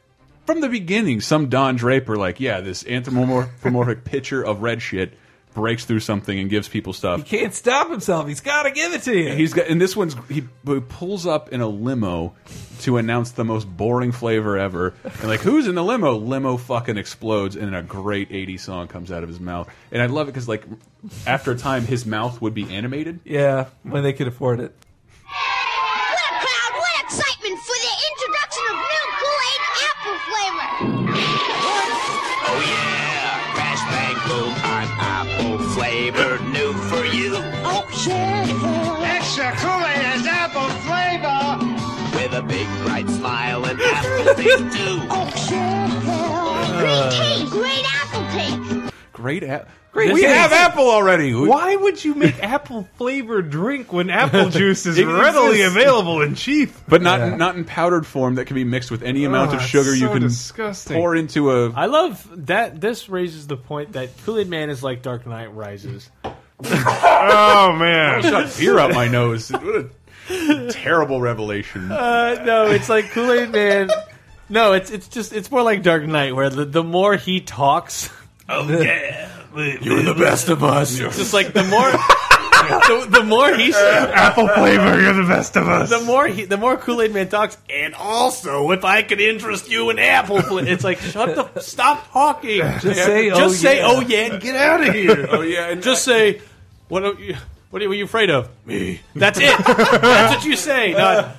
Speaker 7: From the beginning, some Don Draper, like, yeah, this *laughs* anthropomorphic picture of red shit breaks through something and gives people stuff.
Speaker 8: Can't stop himself. He's got to give it to you.
Speaker 7: He's got, and this one's he, he pulls up in a limo to announce the most boring flavor ever, and like who's in the limo? Limo fucking explodes, and a great '80s song comes out of his mouth, and I love it because like after a time his mouth would be animated.
Speaker 8: Yeah, when they could afford it.
Speaker 20: What a crowd, what excitement for the introduction of new Kool-Aid apple flavor.
Speaker 12: Oh yeah, Crash Bang Boom on apple flavor, new for you. Oh yeah, extra Kool-Aid has apple flavor. With a big bright smile and apple taste too. Oh
Speaker 20: Great cake, great apple cake.
Speaker 7: Great app.
Speaker 6: Great
Speaker 7: we
Speaker 6: taste.
Speaker 7: have apple already. We-
Speaker 6: Why would
Speaker 9: *laughs*
Speaker 6: you make apple flavored drink when apple juice is
Speaker 7: It
Speaker 6: readily
Speaker 7: exists.
Speaker 6: available and cheap?
Speaker 7: But not not in powdered form that can be mixed with any amount
Speaker 6: Oh,
Speaker 7: of
Speaker 6: it's
Speaker 7: sugar you
Speaker 6: so
Speaker 7: can
Speaker 6: disgusting.
Speaker 7: pour into a. *laughs*
Speaker 9: I love that. This raises the point that Kool Aid Man is like Dark Knight Rises.
Speaker 6: oh
Speaker 7: I
Speaker 6: man!
Speaker 7: shot beer up my nose. What a terrible revelation.
Speaker 9: Uh, no, it's like Kool Aid Man. No, it's it's just it's more like Dark Knight, where the, the more he talks, *laughs* oh yeah,
Speaker 12: You're the best of us.
Speaker 9: It's just like the more *laughs* the, the more
Speaker 7: *laughs*
Speaker 9: he apple
Speaker 6: flavor, you're the best of us.
Speaker 9: The more he, the more Kool Aid Man talks, and also if I could interest you in apple, fl-" it's like shut the f- stop talking.
Speaker 8: Just
Speaker 9: *laughs*
Speaker 8: say,
Speaker 9: just
Speaker 8: "Oh,
Speaker 9: say,
Speaker 8: yeah."
Speaker 9: oh yeah, and get out of *laughs* here.
Speaker 7: oh yeah, and
Speaker 9: just say what are you what are you afraid of? Me. That's it. That's what you *laughs* say. Not,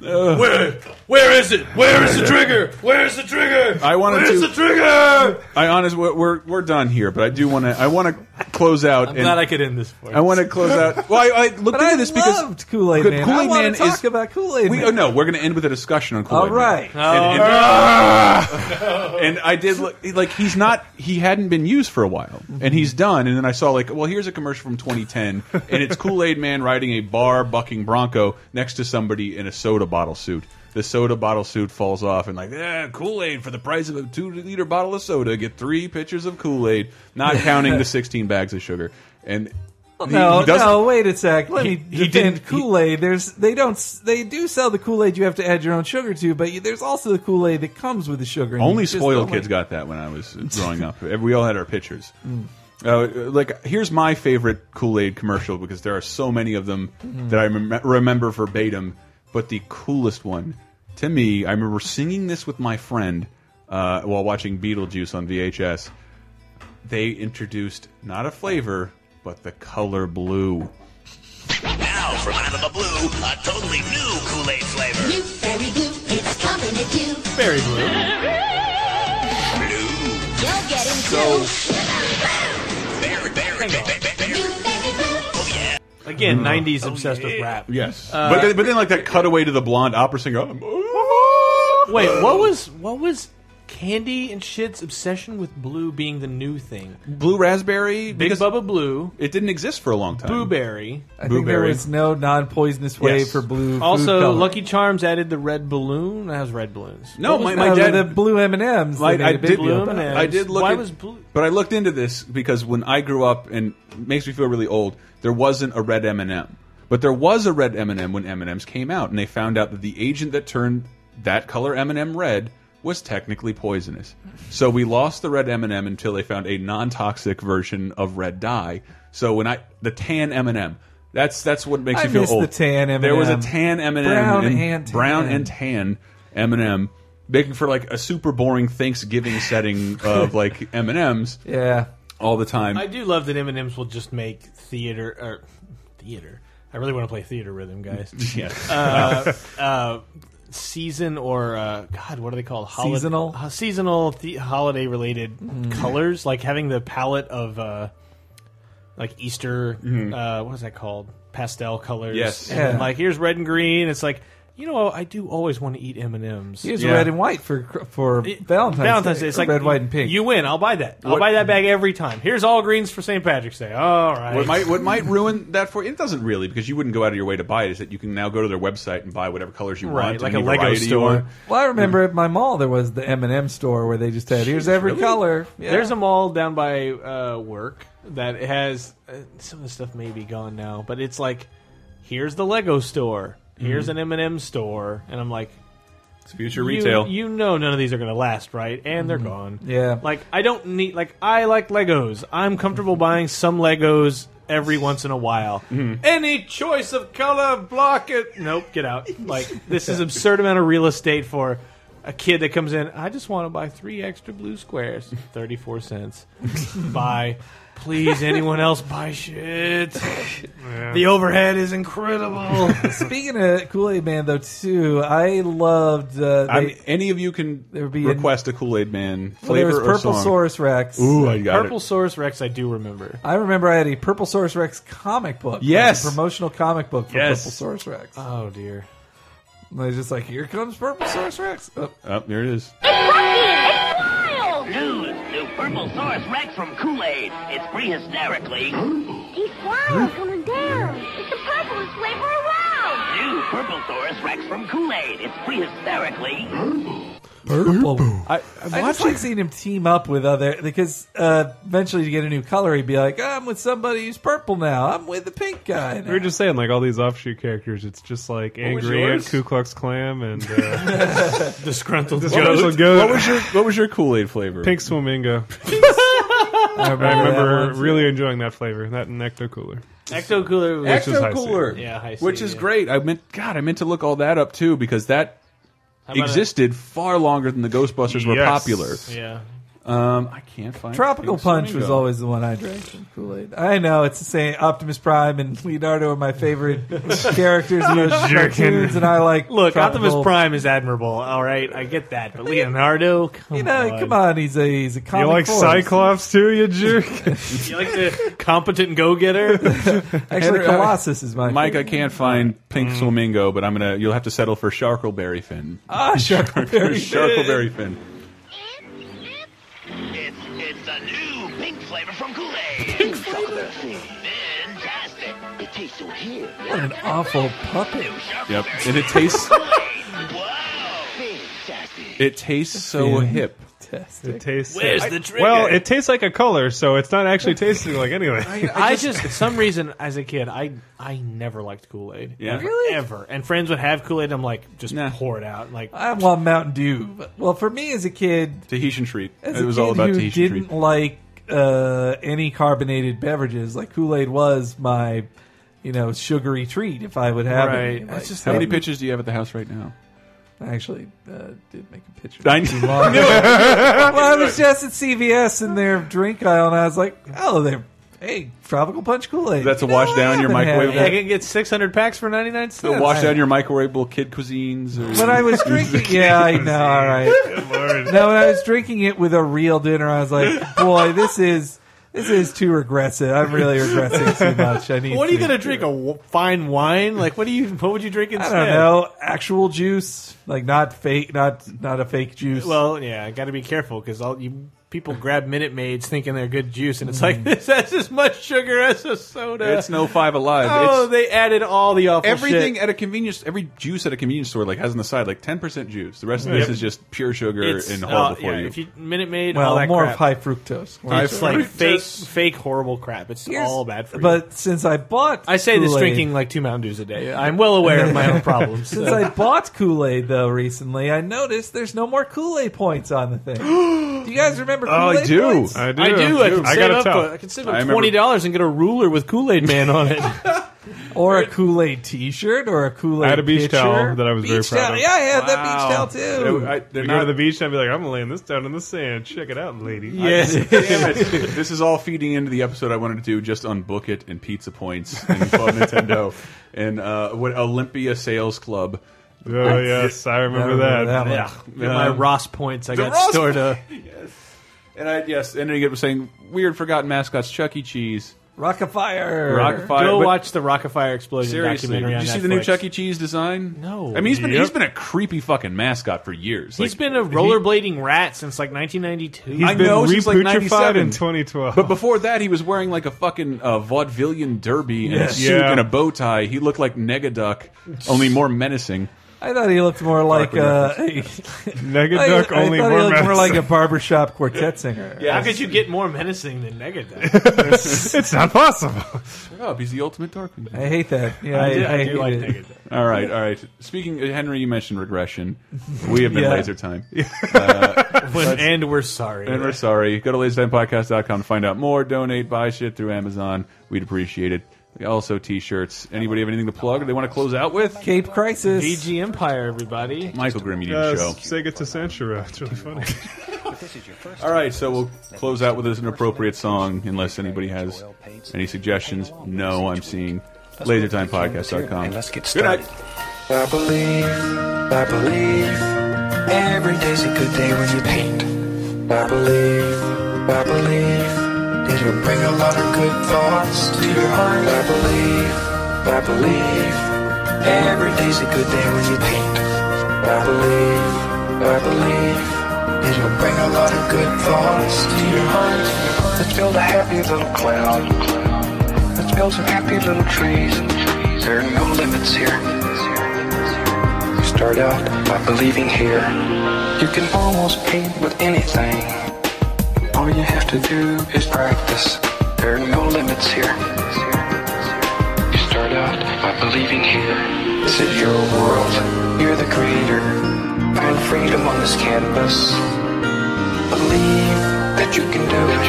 Speaker 9: Uh, where where is it? Where is the trigger? Where's the trigger?
Speaker 7: I wanted
Speaker 9: Where's
Speaker 7: to-
Speaker 9: the trigger?
Speaker 7: I honestly, we're, we're we're done here, but I do want to. I want to close out.
Speaker 9: I'm
Speaker 7: and-
Speaker 9: glad I could end this for you.
Speaker 7: I want to close out. Well, I, I looked
Speaker 8: But
Speaker 7: into
Speaker 8: I
Speaker 7: this because
Speaker 8: loved Kool-Aid
Speaker 7: Good-
Speaker 8: Man. I
Speaker 7: Kool-Aid
Speaker 8: wanna
Speaker 7: Man
Speaker 8: talk
Speaker 7: is-
Speaker 8: about Kool-Aid
Speaker 7: we,
Speaker 8: Man.
Speaker 7: oh no, we're going to end with a discussion on Kool-Aid.
Speaker 8: All right.
Speaker 7: Man. And, and- and I did look, like he's not. He hadn't been used for a while,
Speaker 8: Mm-hmm.
Speaker 7: and he's done. And then I saw like, well, here's a commercial from 2010, and it's Kool-Aid Man riding a bar bucking bronco next to somebody in a soda bottle suit. The soda bottle suit falls off, and like, eh, Kool-Aid for the price of a two-liter bottle of soda, get three pitchers of Kool-Aid, not
Speaker 8: *laughs*
Speaker 7: counting the 16 bags of sugar. And
Speaker 9: *laughs*
Speaker 7: he-
Speaker 8: no,
Speaker 7: he doesn't-
Speaker 8: no, wait a sec. Let
Speaker 7: He-
Speaker 8: me
Speaker 7: he
Speaker 8: defend
Speaker 7: didn't-
Speaker 8: Kool Aid. There's they don't s- they do sell the Kool Aid you have to add your own sugar to, but you- there's also the Kool Aid that comes with the sugar. and
Speaker 7: Only
Speaker 8: you just
Speaker 7: spoiled
Speaker 8: don't like-
Speaker 7: kids got that when I was growing up. We all had our pictures. Uh, like here's my favorite Kool Aid commercial because there are so many of them
Speaker 6: Mhm.
Speaker 7: that I remem remember verbatim. But the coolest one to me, I remember singing this with my friend uh, while watching Beetlejuice on VHS. They introduced not a flavor but the color blue.
Speaker 12: Now, from out of the blue, a totally new Kool-Aid flavor.
Speaker 20: Blueberry blue, it's
Speaker 9: Very blue.
Speaker 20: You'll get him
Speaker 9: So-
Speaker 20: too. Very, very, very, very,
Speaker 9: Again, 90s obsessed with rap.
Speaker 7: Yes,
Speaker 9: Uh,
Speaker 7: but then, but then like that cutaway to the blonde opera singer. Oh,
Speaker 9: Wait, what was what was Candy and Shit's obsession with blue being the new thing?
Speaker 7: Blue raspberry,
Speaker 9: Big Bubba Blue,
Speaker 7: it didn't exist for a long
Speaker 9: Um,
Speaker 7: time.
Speaker 9: Blueberry.
Speaker 8: I think there was no non-poisonous way
Speaker 7: Yes.
Speaker 8: for blue. food
Speaker 9: Also,
Speaker 8: color.
Speaker 9: Lucky Charms added the red balloon. That was red balloons.
Speaker 7: No,
Speaker 8: What was
Speaker 7: my- my
Speaker 8: that?
Speaker 7: dad-
Speaker 8: the blue M and M's.
Speaker 7: I, I did.
Speaker 9: blue
Speaker 7: look-
Speaker 9: M&Ms.
Speaker 7: I did look.
Speaker 9: Why
Speaker 7: at-
Speaker 9: was blue-
Speaker 7: But I looked into this because when I grew up, and it makes me feel really old, there wasn't a red M and M. But there was a red M and M when M and M's came out, and they found out that the agent that turned that color M and M red was technically poisonous. So we lost the red M and m until they found a non-toxic version of red dye. So when I the tan M and m that's that's what makes
Speaker 8: I
Speaker 7: you feel
Speaker 8: miss
Speaker 7: old.
Speaker 8: the tan M&M.
Speaker 7: There was a tan M and M,
Speaker 8: Brown and
Speaker 7: brown
Speaker 8: tan.
Speaker 7: and tan M&M, making for like a super boring Thanksgiving setting of like M&Ms.
Speaker 8: Yeah.
Speaker 7: all the time.
Speaker 9: I do love that M and M's will just make theater or theater. I really want to play theater rhythm, guys.
Speaker 7: *laughs*
Speaker 8: Mm.
Speaker 7: Yeah.
Speaker 9: Uh, uh, season or uh, God, what are they called? Holi-
Speaker 8: Seasonal? Mm.
Speaker 9: uh, seasonal, th- holiday related colors. Like having the palette of uh, like Easter.
Speaker 6: Mm-hmm.
Speaker 9: Uh, what is that called? Pastel colors.
Speaker 7: Yes.
Speaker 9: And then,
Speaker 8: Yeah.
Speaker 9: like here's red and green. It's like you know I do always want to eat M and M's.
Speaker 8: Here's red and white for for Valentine's.
Speaker 9: Valentine's Day. It's
Speaker 8: Or
Speaker 9: like
Speaker 8: red, white, and pink.
Speaker 9: You win. I'll buy that. I'll
Speaker 7: What-
Speaker 9: buy that bag every time. Here's all greens for St. Patrick's Day. All right.
Speaker 7: What might what might ruin that for you? It doesn't really because you wouldn't go out of your way to buy it. Is that you can now go to their website and buy whatever colors you
Speaker 9: Right,
Speaker 7: want,
Speaker 9: like
Speaker 7: any
Speaker 9: a Lego
Speaker 7: variety you
Speaker 9: store.
Speaker 7: want.
Speaker 8: Well, I remember at my mall there was the M and m store where they just had here's every
Speaker 9: Really?
Speaker 8: color. Yeah.
Speaker 9: There's a mall down by uh, work that has uh, some of the stuff may be gone now, but it's like here's the Lego store, here's
Speaker 7: Mhm.
Speaker 9: an M&M store, and I'm like
Speaker 7: It's future
Speaker 9: you-
Speaker 7: retail.
Speaker 9: You, know none of these are going to last, right? And they're gone.
Speaker 8: Yeah.
Speaker 9: Like I don't need like I like Legos. I'm comfortable buying some Legos every once in a while. Any choice of color, block it. Nope, get out. Like this is absurd amount of real estate for a kid that comes in. I just want to buy three extra blue squares, thirty four cents. buy, please. Anyone else buy shit? The overhead is incredible.
Speaker 8: *laughs* Speaking of Kool Aid Man though too, I loved. Uh, they,
Speaker 7: I mean, any of you can
Speaker 8: be an-
Speaker 7: request a Kool Aid Man
Speaker 8: well, there
Speaker 7: flavor
Speaker 8: was
Speaker 7: or
Speaker 8: Purple
Speaker 7: song.
Speaker 8: Saurus Rex.
Speaker 7: Ooh, I got
Speaker 9: Purple Source Rex, I do remember.
Speaker 8: I remember I had a Purple Source Rex comic book.
Speaker 9: Yes.
Speaker 8: Like a promotional comic book for
Speaker 9: Yes.
Speaker 8: Purple Source Rex.
Speaker 9: Oh dear.
Speaker 8: And I was just like, here comes Purple Source Rex. Oh,
Speaker 7: it. Oh, there it is.
Speaker 12: News, new purple source Rex from Kool-Aid. It's free hysterically.
Speaker 16: These flowers coming down. It's the purplest flavor around.
Speaker 12: New purple source Rex from Kool-Aid. It's free hysterically.
Speaker 8: purple.
Speaker 7: I,
Speaker 8: I'm I just like seeing him team up with other because uh, eventually you get a new color. He'd be like, I'm with somebody who's purple now. I'm with the pink guy.
Speaker 6: We were just saying, like all these offshoot characters, it's just like
Speaker 8: was
Speaker 6: angry Ant,
Speaker 8: yours?
Speaker 6: Ku Klux Klan, and uh,
Speaker 9: *laughs* Disgruntled.
Speaker 6: Disgruntled goat.
Speaker 7: What was your what was your Kool Aid flavor?
Speaker 6: Pink Swamingo. I
Speaker 8: remember,
Speaker 7: that one,
Speaker 6: really enjoying that flavor, that Necto Cooler.
Speaker 9: Ecto Cooler. was-
Speaker 6: Which is
Speaker 7: Ecto
Speaker 6: high
Speaker 7: Cooler.
Speaker 6: C.
Speaker 9: Yeah, high C,
Speaker 7: Which is
Speaker 9: yeah.
Speaker 7: great. I meant God, I meant to look all that up too because that
Speaker 9: How about
Speaker 7: existed far longer than the Ghostbusters were
Speaker 9: Yes.
Speaker 7: popular.
Speaker 9: Yeah.
Speaker 7: Um, I can't find
Speaker 8: Tropical
Speaker 7: Pink
Speaker 8: Punch was
Speaker 7: Flamingo.
Speaker 8: always the one I drank from Kool Aid. I know it's the same. Optimus Prime and Leonardo are my favorite characters in those cartoons, and I like
Speaker 9: Look, Optimus
Speaker 8: tropical-
Speaker 9: Prime is admirable. All right, I get that, but Leonardo,
Speaker 6: Oh
Speaker 9: come
Speaker 8: You know,
Speaker 9: on.
Speaker 8: come on, he's a he's a comic
Speaker 9: You like
Speaker 8: force.
Speaker 6: Cyclops too,
Speaker 8: *laughs*
Speaker 6: you jerk.
Speaker 9: you like the competent go-getter?
Speaker 7: *laughs*
Speaker 8: Actually, Colossus is my *laughs*
Speaker 7: Mike, I can't
Speaker 6: Mm.
Speaker 7: find Pink Flamingo, but I'm gonna. You'll have to settle for Sharkleberry Fin.
Speaker 8: *laughs* Ah, Sharkleberry
Speaker 7: Sharkleberry Fin.
Speaker 12: It's it's a new pink flavor from Kool-Aid. Pink flavor. Fantastic. It tastes so here.
Speaker 8: What an awful puppet.
Speaker 7: Yep, and it
Speaker 8: *laughs*
Speaker 7: tastes. It tastes so hip.
Speaker 6: It tastes.
Speaker 9: Where's
Speaker 6: I-
Speaker 9: the trigger?
Speaker 6: Well, it tastes like a color, so it's
Speaker 8: *laughs*
Speaker 6: not actually tasting like anything.
Speaker 9: I just, for some reason, as a kid, I I never liked Kool Aid.
Speaker 6: Yeah.
Speaker 9: Ever, Ever. And friends would have Kool Aid, I'm like, just pour it out. Like,
Speaker 8: I want Mountain Dew. But, well, for me as a kid,
Speaker 7: Tahitian treat.
Speaker 8: as
Speaker 7: it
Speaker 8: a
Speaker 7: was
Speaker 8: kid
Speaker 7: all about
Speaker 8: who
Speaker 7: Tahitian
Speaker 8: didn't
Speaker 7: treat.
Speaker 8: like uh, any carbonated beverages, like Kool Aid was my, you know, sugary treat. If I would have
Speaker 7: Right.
Speaker 8: it, Like,
Speaker 7: How many pitches do you have at the house right
Speaker 8: *laughs*
Speaker 7: now?
Speaker 8: I actually uh, did make a *laughs* picture.
Speaker 7: I
Speaker 8: not too
Speaker 7: knew-
Speaker 8: long
Speaker 7: I knew it.
Speaker 8: well, I was just at CVS in their drink aisle, and I was like, "Oh, they're Hey, tropical punch Kool Aid.
Speaker 7: *laughs* That's a wash down your microwave.
Speaker 9: I can get 600 packs for 99
Speaker 7: The
Speaker 9: cents.
Speaker 7: wash down your microwavable kid cuisines. Or
Speaker 8: When
Speaker 9: *laughs*
Speaker 8: I was drinking, yeah, I know. All right. No, when I was drinking it with a real dinner, I
Speaker 9: *laughs*
Speaker 8: was like, boy, this is this is too regressive. I'm really regressing too much. I need.
Speaker 9: What are you
Speaker 8: to-
Speaker 9: going to drink? A w- fine wine? Like, what do you? What would you drink
Speaker 8: *laughs* I
Speaker 9: instead?
Speaker 8: don't know. Actual juice, like not fake, not not a fake juice.
Speaker 9: Well, yeah, I got to be careful because all you people grab Minute Maids thinking they're good juice, and it's like *laughs*
Speaker 8: Mm.
Speaker 9: this has as much sugar as a soda.
Speaker 7: It's no Five Alive.
Speaker 9: Oh,
Speaker 7: It's-
Speaker 9: they added all the awful
Speaker 7: everything
Speaker 9: shit.
Speaker 7: at a convenience, every juice at a convenience store like has on the side like ten percent juice. The rest of
Speaker 9: Yep.
Speaker 7: this is just pure sugar
Speaker 9: It's-
Speaker 7: and horrible
Speaker 9: uh,
Speaker 7: for
Speaker 9: yeah,
Speaker 7: you.
Speaker 9: If you Minute Maid,
Speaker 8: Well,
Speaker 9: all that
Speaker 8: more
Speaker 9: crap.
Speaker 8: of high fructose. High
Speaker 9: It's like fake,
Speaker 8: fructose.
Speaker 9: fake horrible crap. It's
Speaker 8: Here's-
Speaker 9: all bad for you.
Speaker 8: But since I bought,
Speaker 9: I say this
Speaker 8: Kool-Aid-
Speaker 9: drinking like two Mountain Dews a day. I'm well aware of
Speaker 8: *laughs*
Speaker 9: my own
Speaker 6: *laughs*
Speaker 9: problems.
Speaker 8: Since I bought Kool Aid though recently, I noticed there's no more Kool Aid points on the thing. do you guys remember? Kool-Aid
Speaker 7: Oh, I do.
Speaker 8: Points?
Speaker 7: I do.
Speaker 9: I do. I can
Speaker 7: I
Speaker 9: save
Speaker 7: gotta
Speaker 9: up.
Speaker 7: tell.
Speaker 9: uh, I can save
Speaker 7: I
Speaker 9: up
Speaker 7: remember-
Speaker 9: twenty dollars and get a ruler with Kool Aid Man on it.
Speaker 8: or a Kool Aid T-shirt, or a Kool Aid.
Speaker 6: I had a beach towel that I was very
Speaker 8: Beach
Speaker 6: proud
Speaker 8: towel.
Speaker 6: of.
Speaker 8: Yeah, I had that beach towel too.
Speaker 6: I,
Speaker 7: they're
Speaker 6: we
Speaker 7: not-
Speaker 6: go to the beach and I'd be like, I'm laying this down in the sand. Check it out, lady.
Speaker 7: Yes. Damn it. This is all feeding into the episode I wanted to do just on Book It and Pizza Points
Speaker 9: *laughs*
Speaker 7: and Club Nintendo and uh, what Olympia Sales Club.
Speaker 6: Oh, yes, I remember that.
Speaker 9: Yeah. Get my Ross points I got stored up.
Speaker 7: yes. Um, And I yes, ending it was saying weird forgotten mascots, Chuck E. Cheese.
Speaker 8: Rockafire.
Speaker 7: Rockafire.
Speaker 9: Go
Speaker 7: but
Speaker 9: watch the Rockafire explosion
Speaker 7: Seriously,
Speaker 9: documentary.
Speaker 7: did
Speaker 9: on
Speaker 7: you see the new
Speaker 9: Netflix.
Speaker 7: Chuck E. Cheese design?
Speaker 9: No.
Speaker 7: I mean, he's been
Speaker 9: Yep.
Speaker 7: he's been a creepy fucking mascot for years.
Speaker 9: He's
Speaker 7: Like,
Speaker 9: been a
Speaker 7: he-
Speaker 9: rollerblading rat since like 1992.
Speaker 7: I know, since like 97.
Speaker 6: 2012.
Speaker 7: But before that, he was wearing like a fucking uh, vaudevillian derby and a
Speaker 8: Yes.
Speaker 7: suit
Speaker 8: Yeah.
Speaker 7: and a bow tie. He looked like Negaduck, only more menacing.
Speaker 8: I thought he looked more like uh, *laughs*
Speaker 6: Nugget
Speaker 8: I-
Speaker 6: Duck
Speaker 8: I
Speaker 6: only
Speaker 8: thought
Speaker 6: more
Speaker 8: he looked more
Speaker 6: medicine.
Speaker 8: like a barbershop quartet singer.
Speaker 9: How could you get more menacing than Negative?
Speaker 7: *laughs*
Speaker 6: it's not possible.
Speaker 7: Shut up! He's the ultimate Darkwing.
Speaker 8: I hate that. Yeah,
Speaker 9: I do-
Speaker 8: I,
Speaker 9: I do
Speaker 8: hate
Speaker 9: like
Speaker 8: it.
Speaker 9: Negaduck.
Speaker 7: All right, all right. Speaking, uh, Henry, you mentioned regression. We have been
Speaker 9: Yeah.
Speaker 7: laser time. Uh,
Speaker 9: *laughs* When,
Speaker 7: let's-
Speaker 9: and we're sorry.
Speaker 7: and we're sorry. Go to lasertimepodcast.com to find out more. Donate, buy shit through Amazon. We'd appreciate it. Also, t-shirts. Anybody have anything to plug? Or they want to close out with
Speaker 8: Cape Crisis.
Speaker 9: VG Empire, everybody.
Speaker 7: Michael Grimm, you need
Speaker 6: Uh,
Speaker 7: to show.
Speaker 6: Sega to Sansura. It's really funny.
Speaker 7: All right, so we'll close out with an appropriate song, unless anybody has any suggestions. No, I'm seeing lasertimepodcast.com. Let's get started.
Speaker 1: I believe, I believe, every day's a good day when you paint. I believe, I believe, it'll bring a lot of good thoughts to your mind. I believe, I believe, every day's a good day when you paint. I believe, I believe, it'll bring a lot of good thoughts to your mind. Let's build a happy little cloud. Let's build some happy little trees. There are no limits here. You start out by believing here. You can almost paint with anything. All you have to do is practice. There are no limits here. You start out by believing here. This is your world. You're the creator. Find freedom on this canvas. Believe that you can do it.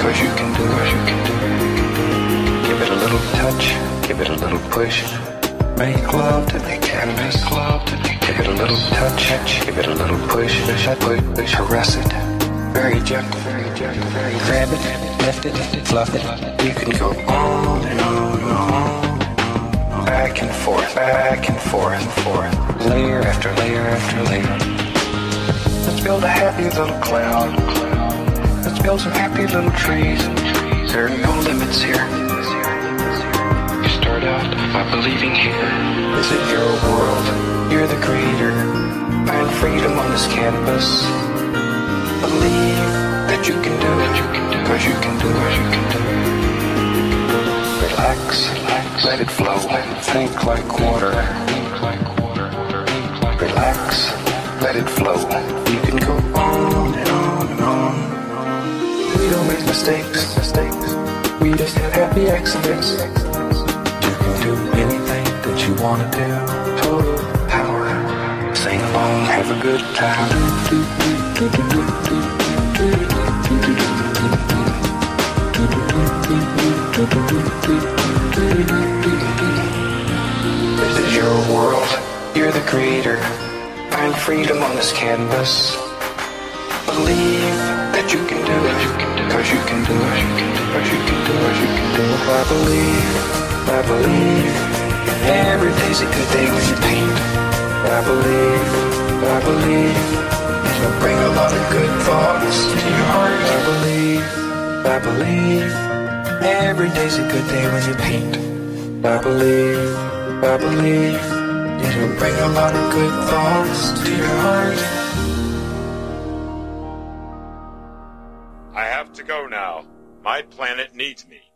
Speaker 1: Cause you can do it. You can do it. Give it a little touch. Give it a little push. Make love to the canvas. Love to the Give it a little touch. Give it a little push. Push. Push. push. Caress it. Very gentle. Very gentle. Very grab it. Lift it. Fluff it. You can go on and on and on. Back and forth. Back and forth and forth. Layer after layer after layer. Let's build a happy little cloud. Let's build some happy little trees. There are no limits here. You start out by believing here. This is your world. You're the creator. Find freedom on this canvas. Believe that you can do it. You can do it. Cause you can do it. You can do it. Relax. Relax. Let it flow. Think like water. Think like water. Relax. Let it flow. You can go on and on and on. We don't make mistakes. Mistakes. We just have happy accidents do anything that you want to do. Total power. Sing along, have a good time. This is your world. You're the creator. Find freedom on this canvas. Believe that you can do it. Cause it, you can do it, you can do it, you can do it, you can do it. I believe, I believe, every day's a good day when you paint. I believe, I believe, it'll bring a lot of good thoughts to your heart. I believe, I believe, every day's a good day when you paint. I believe, I believe, it'll bring a lot of good thoughts to your heart.
Speaker 3: I have to go now. My planet needs me.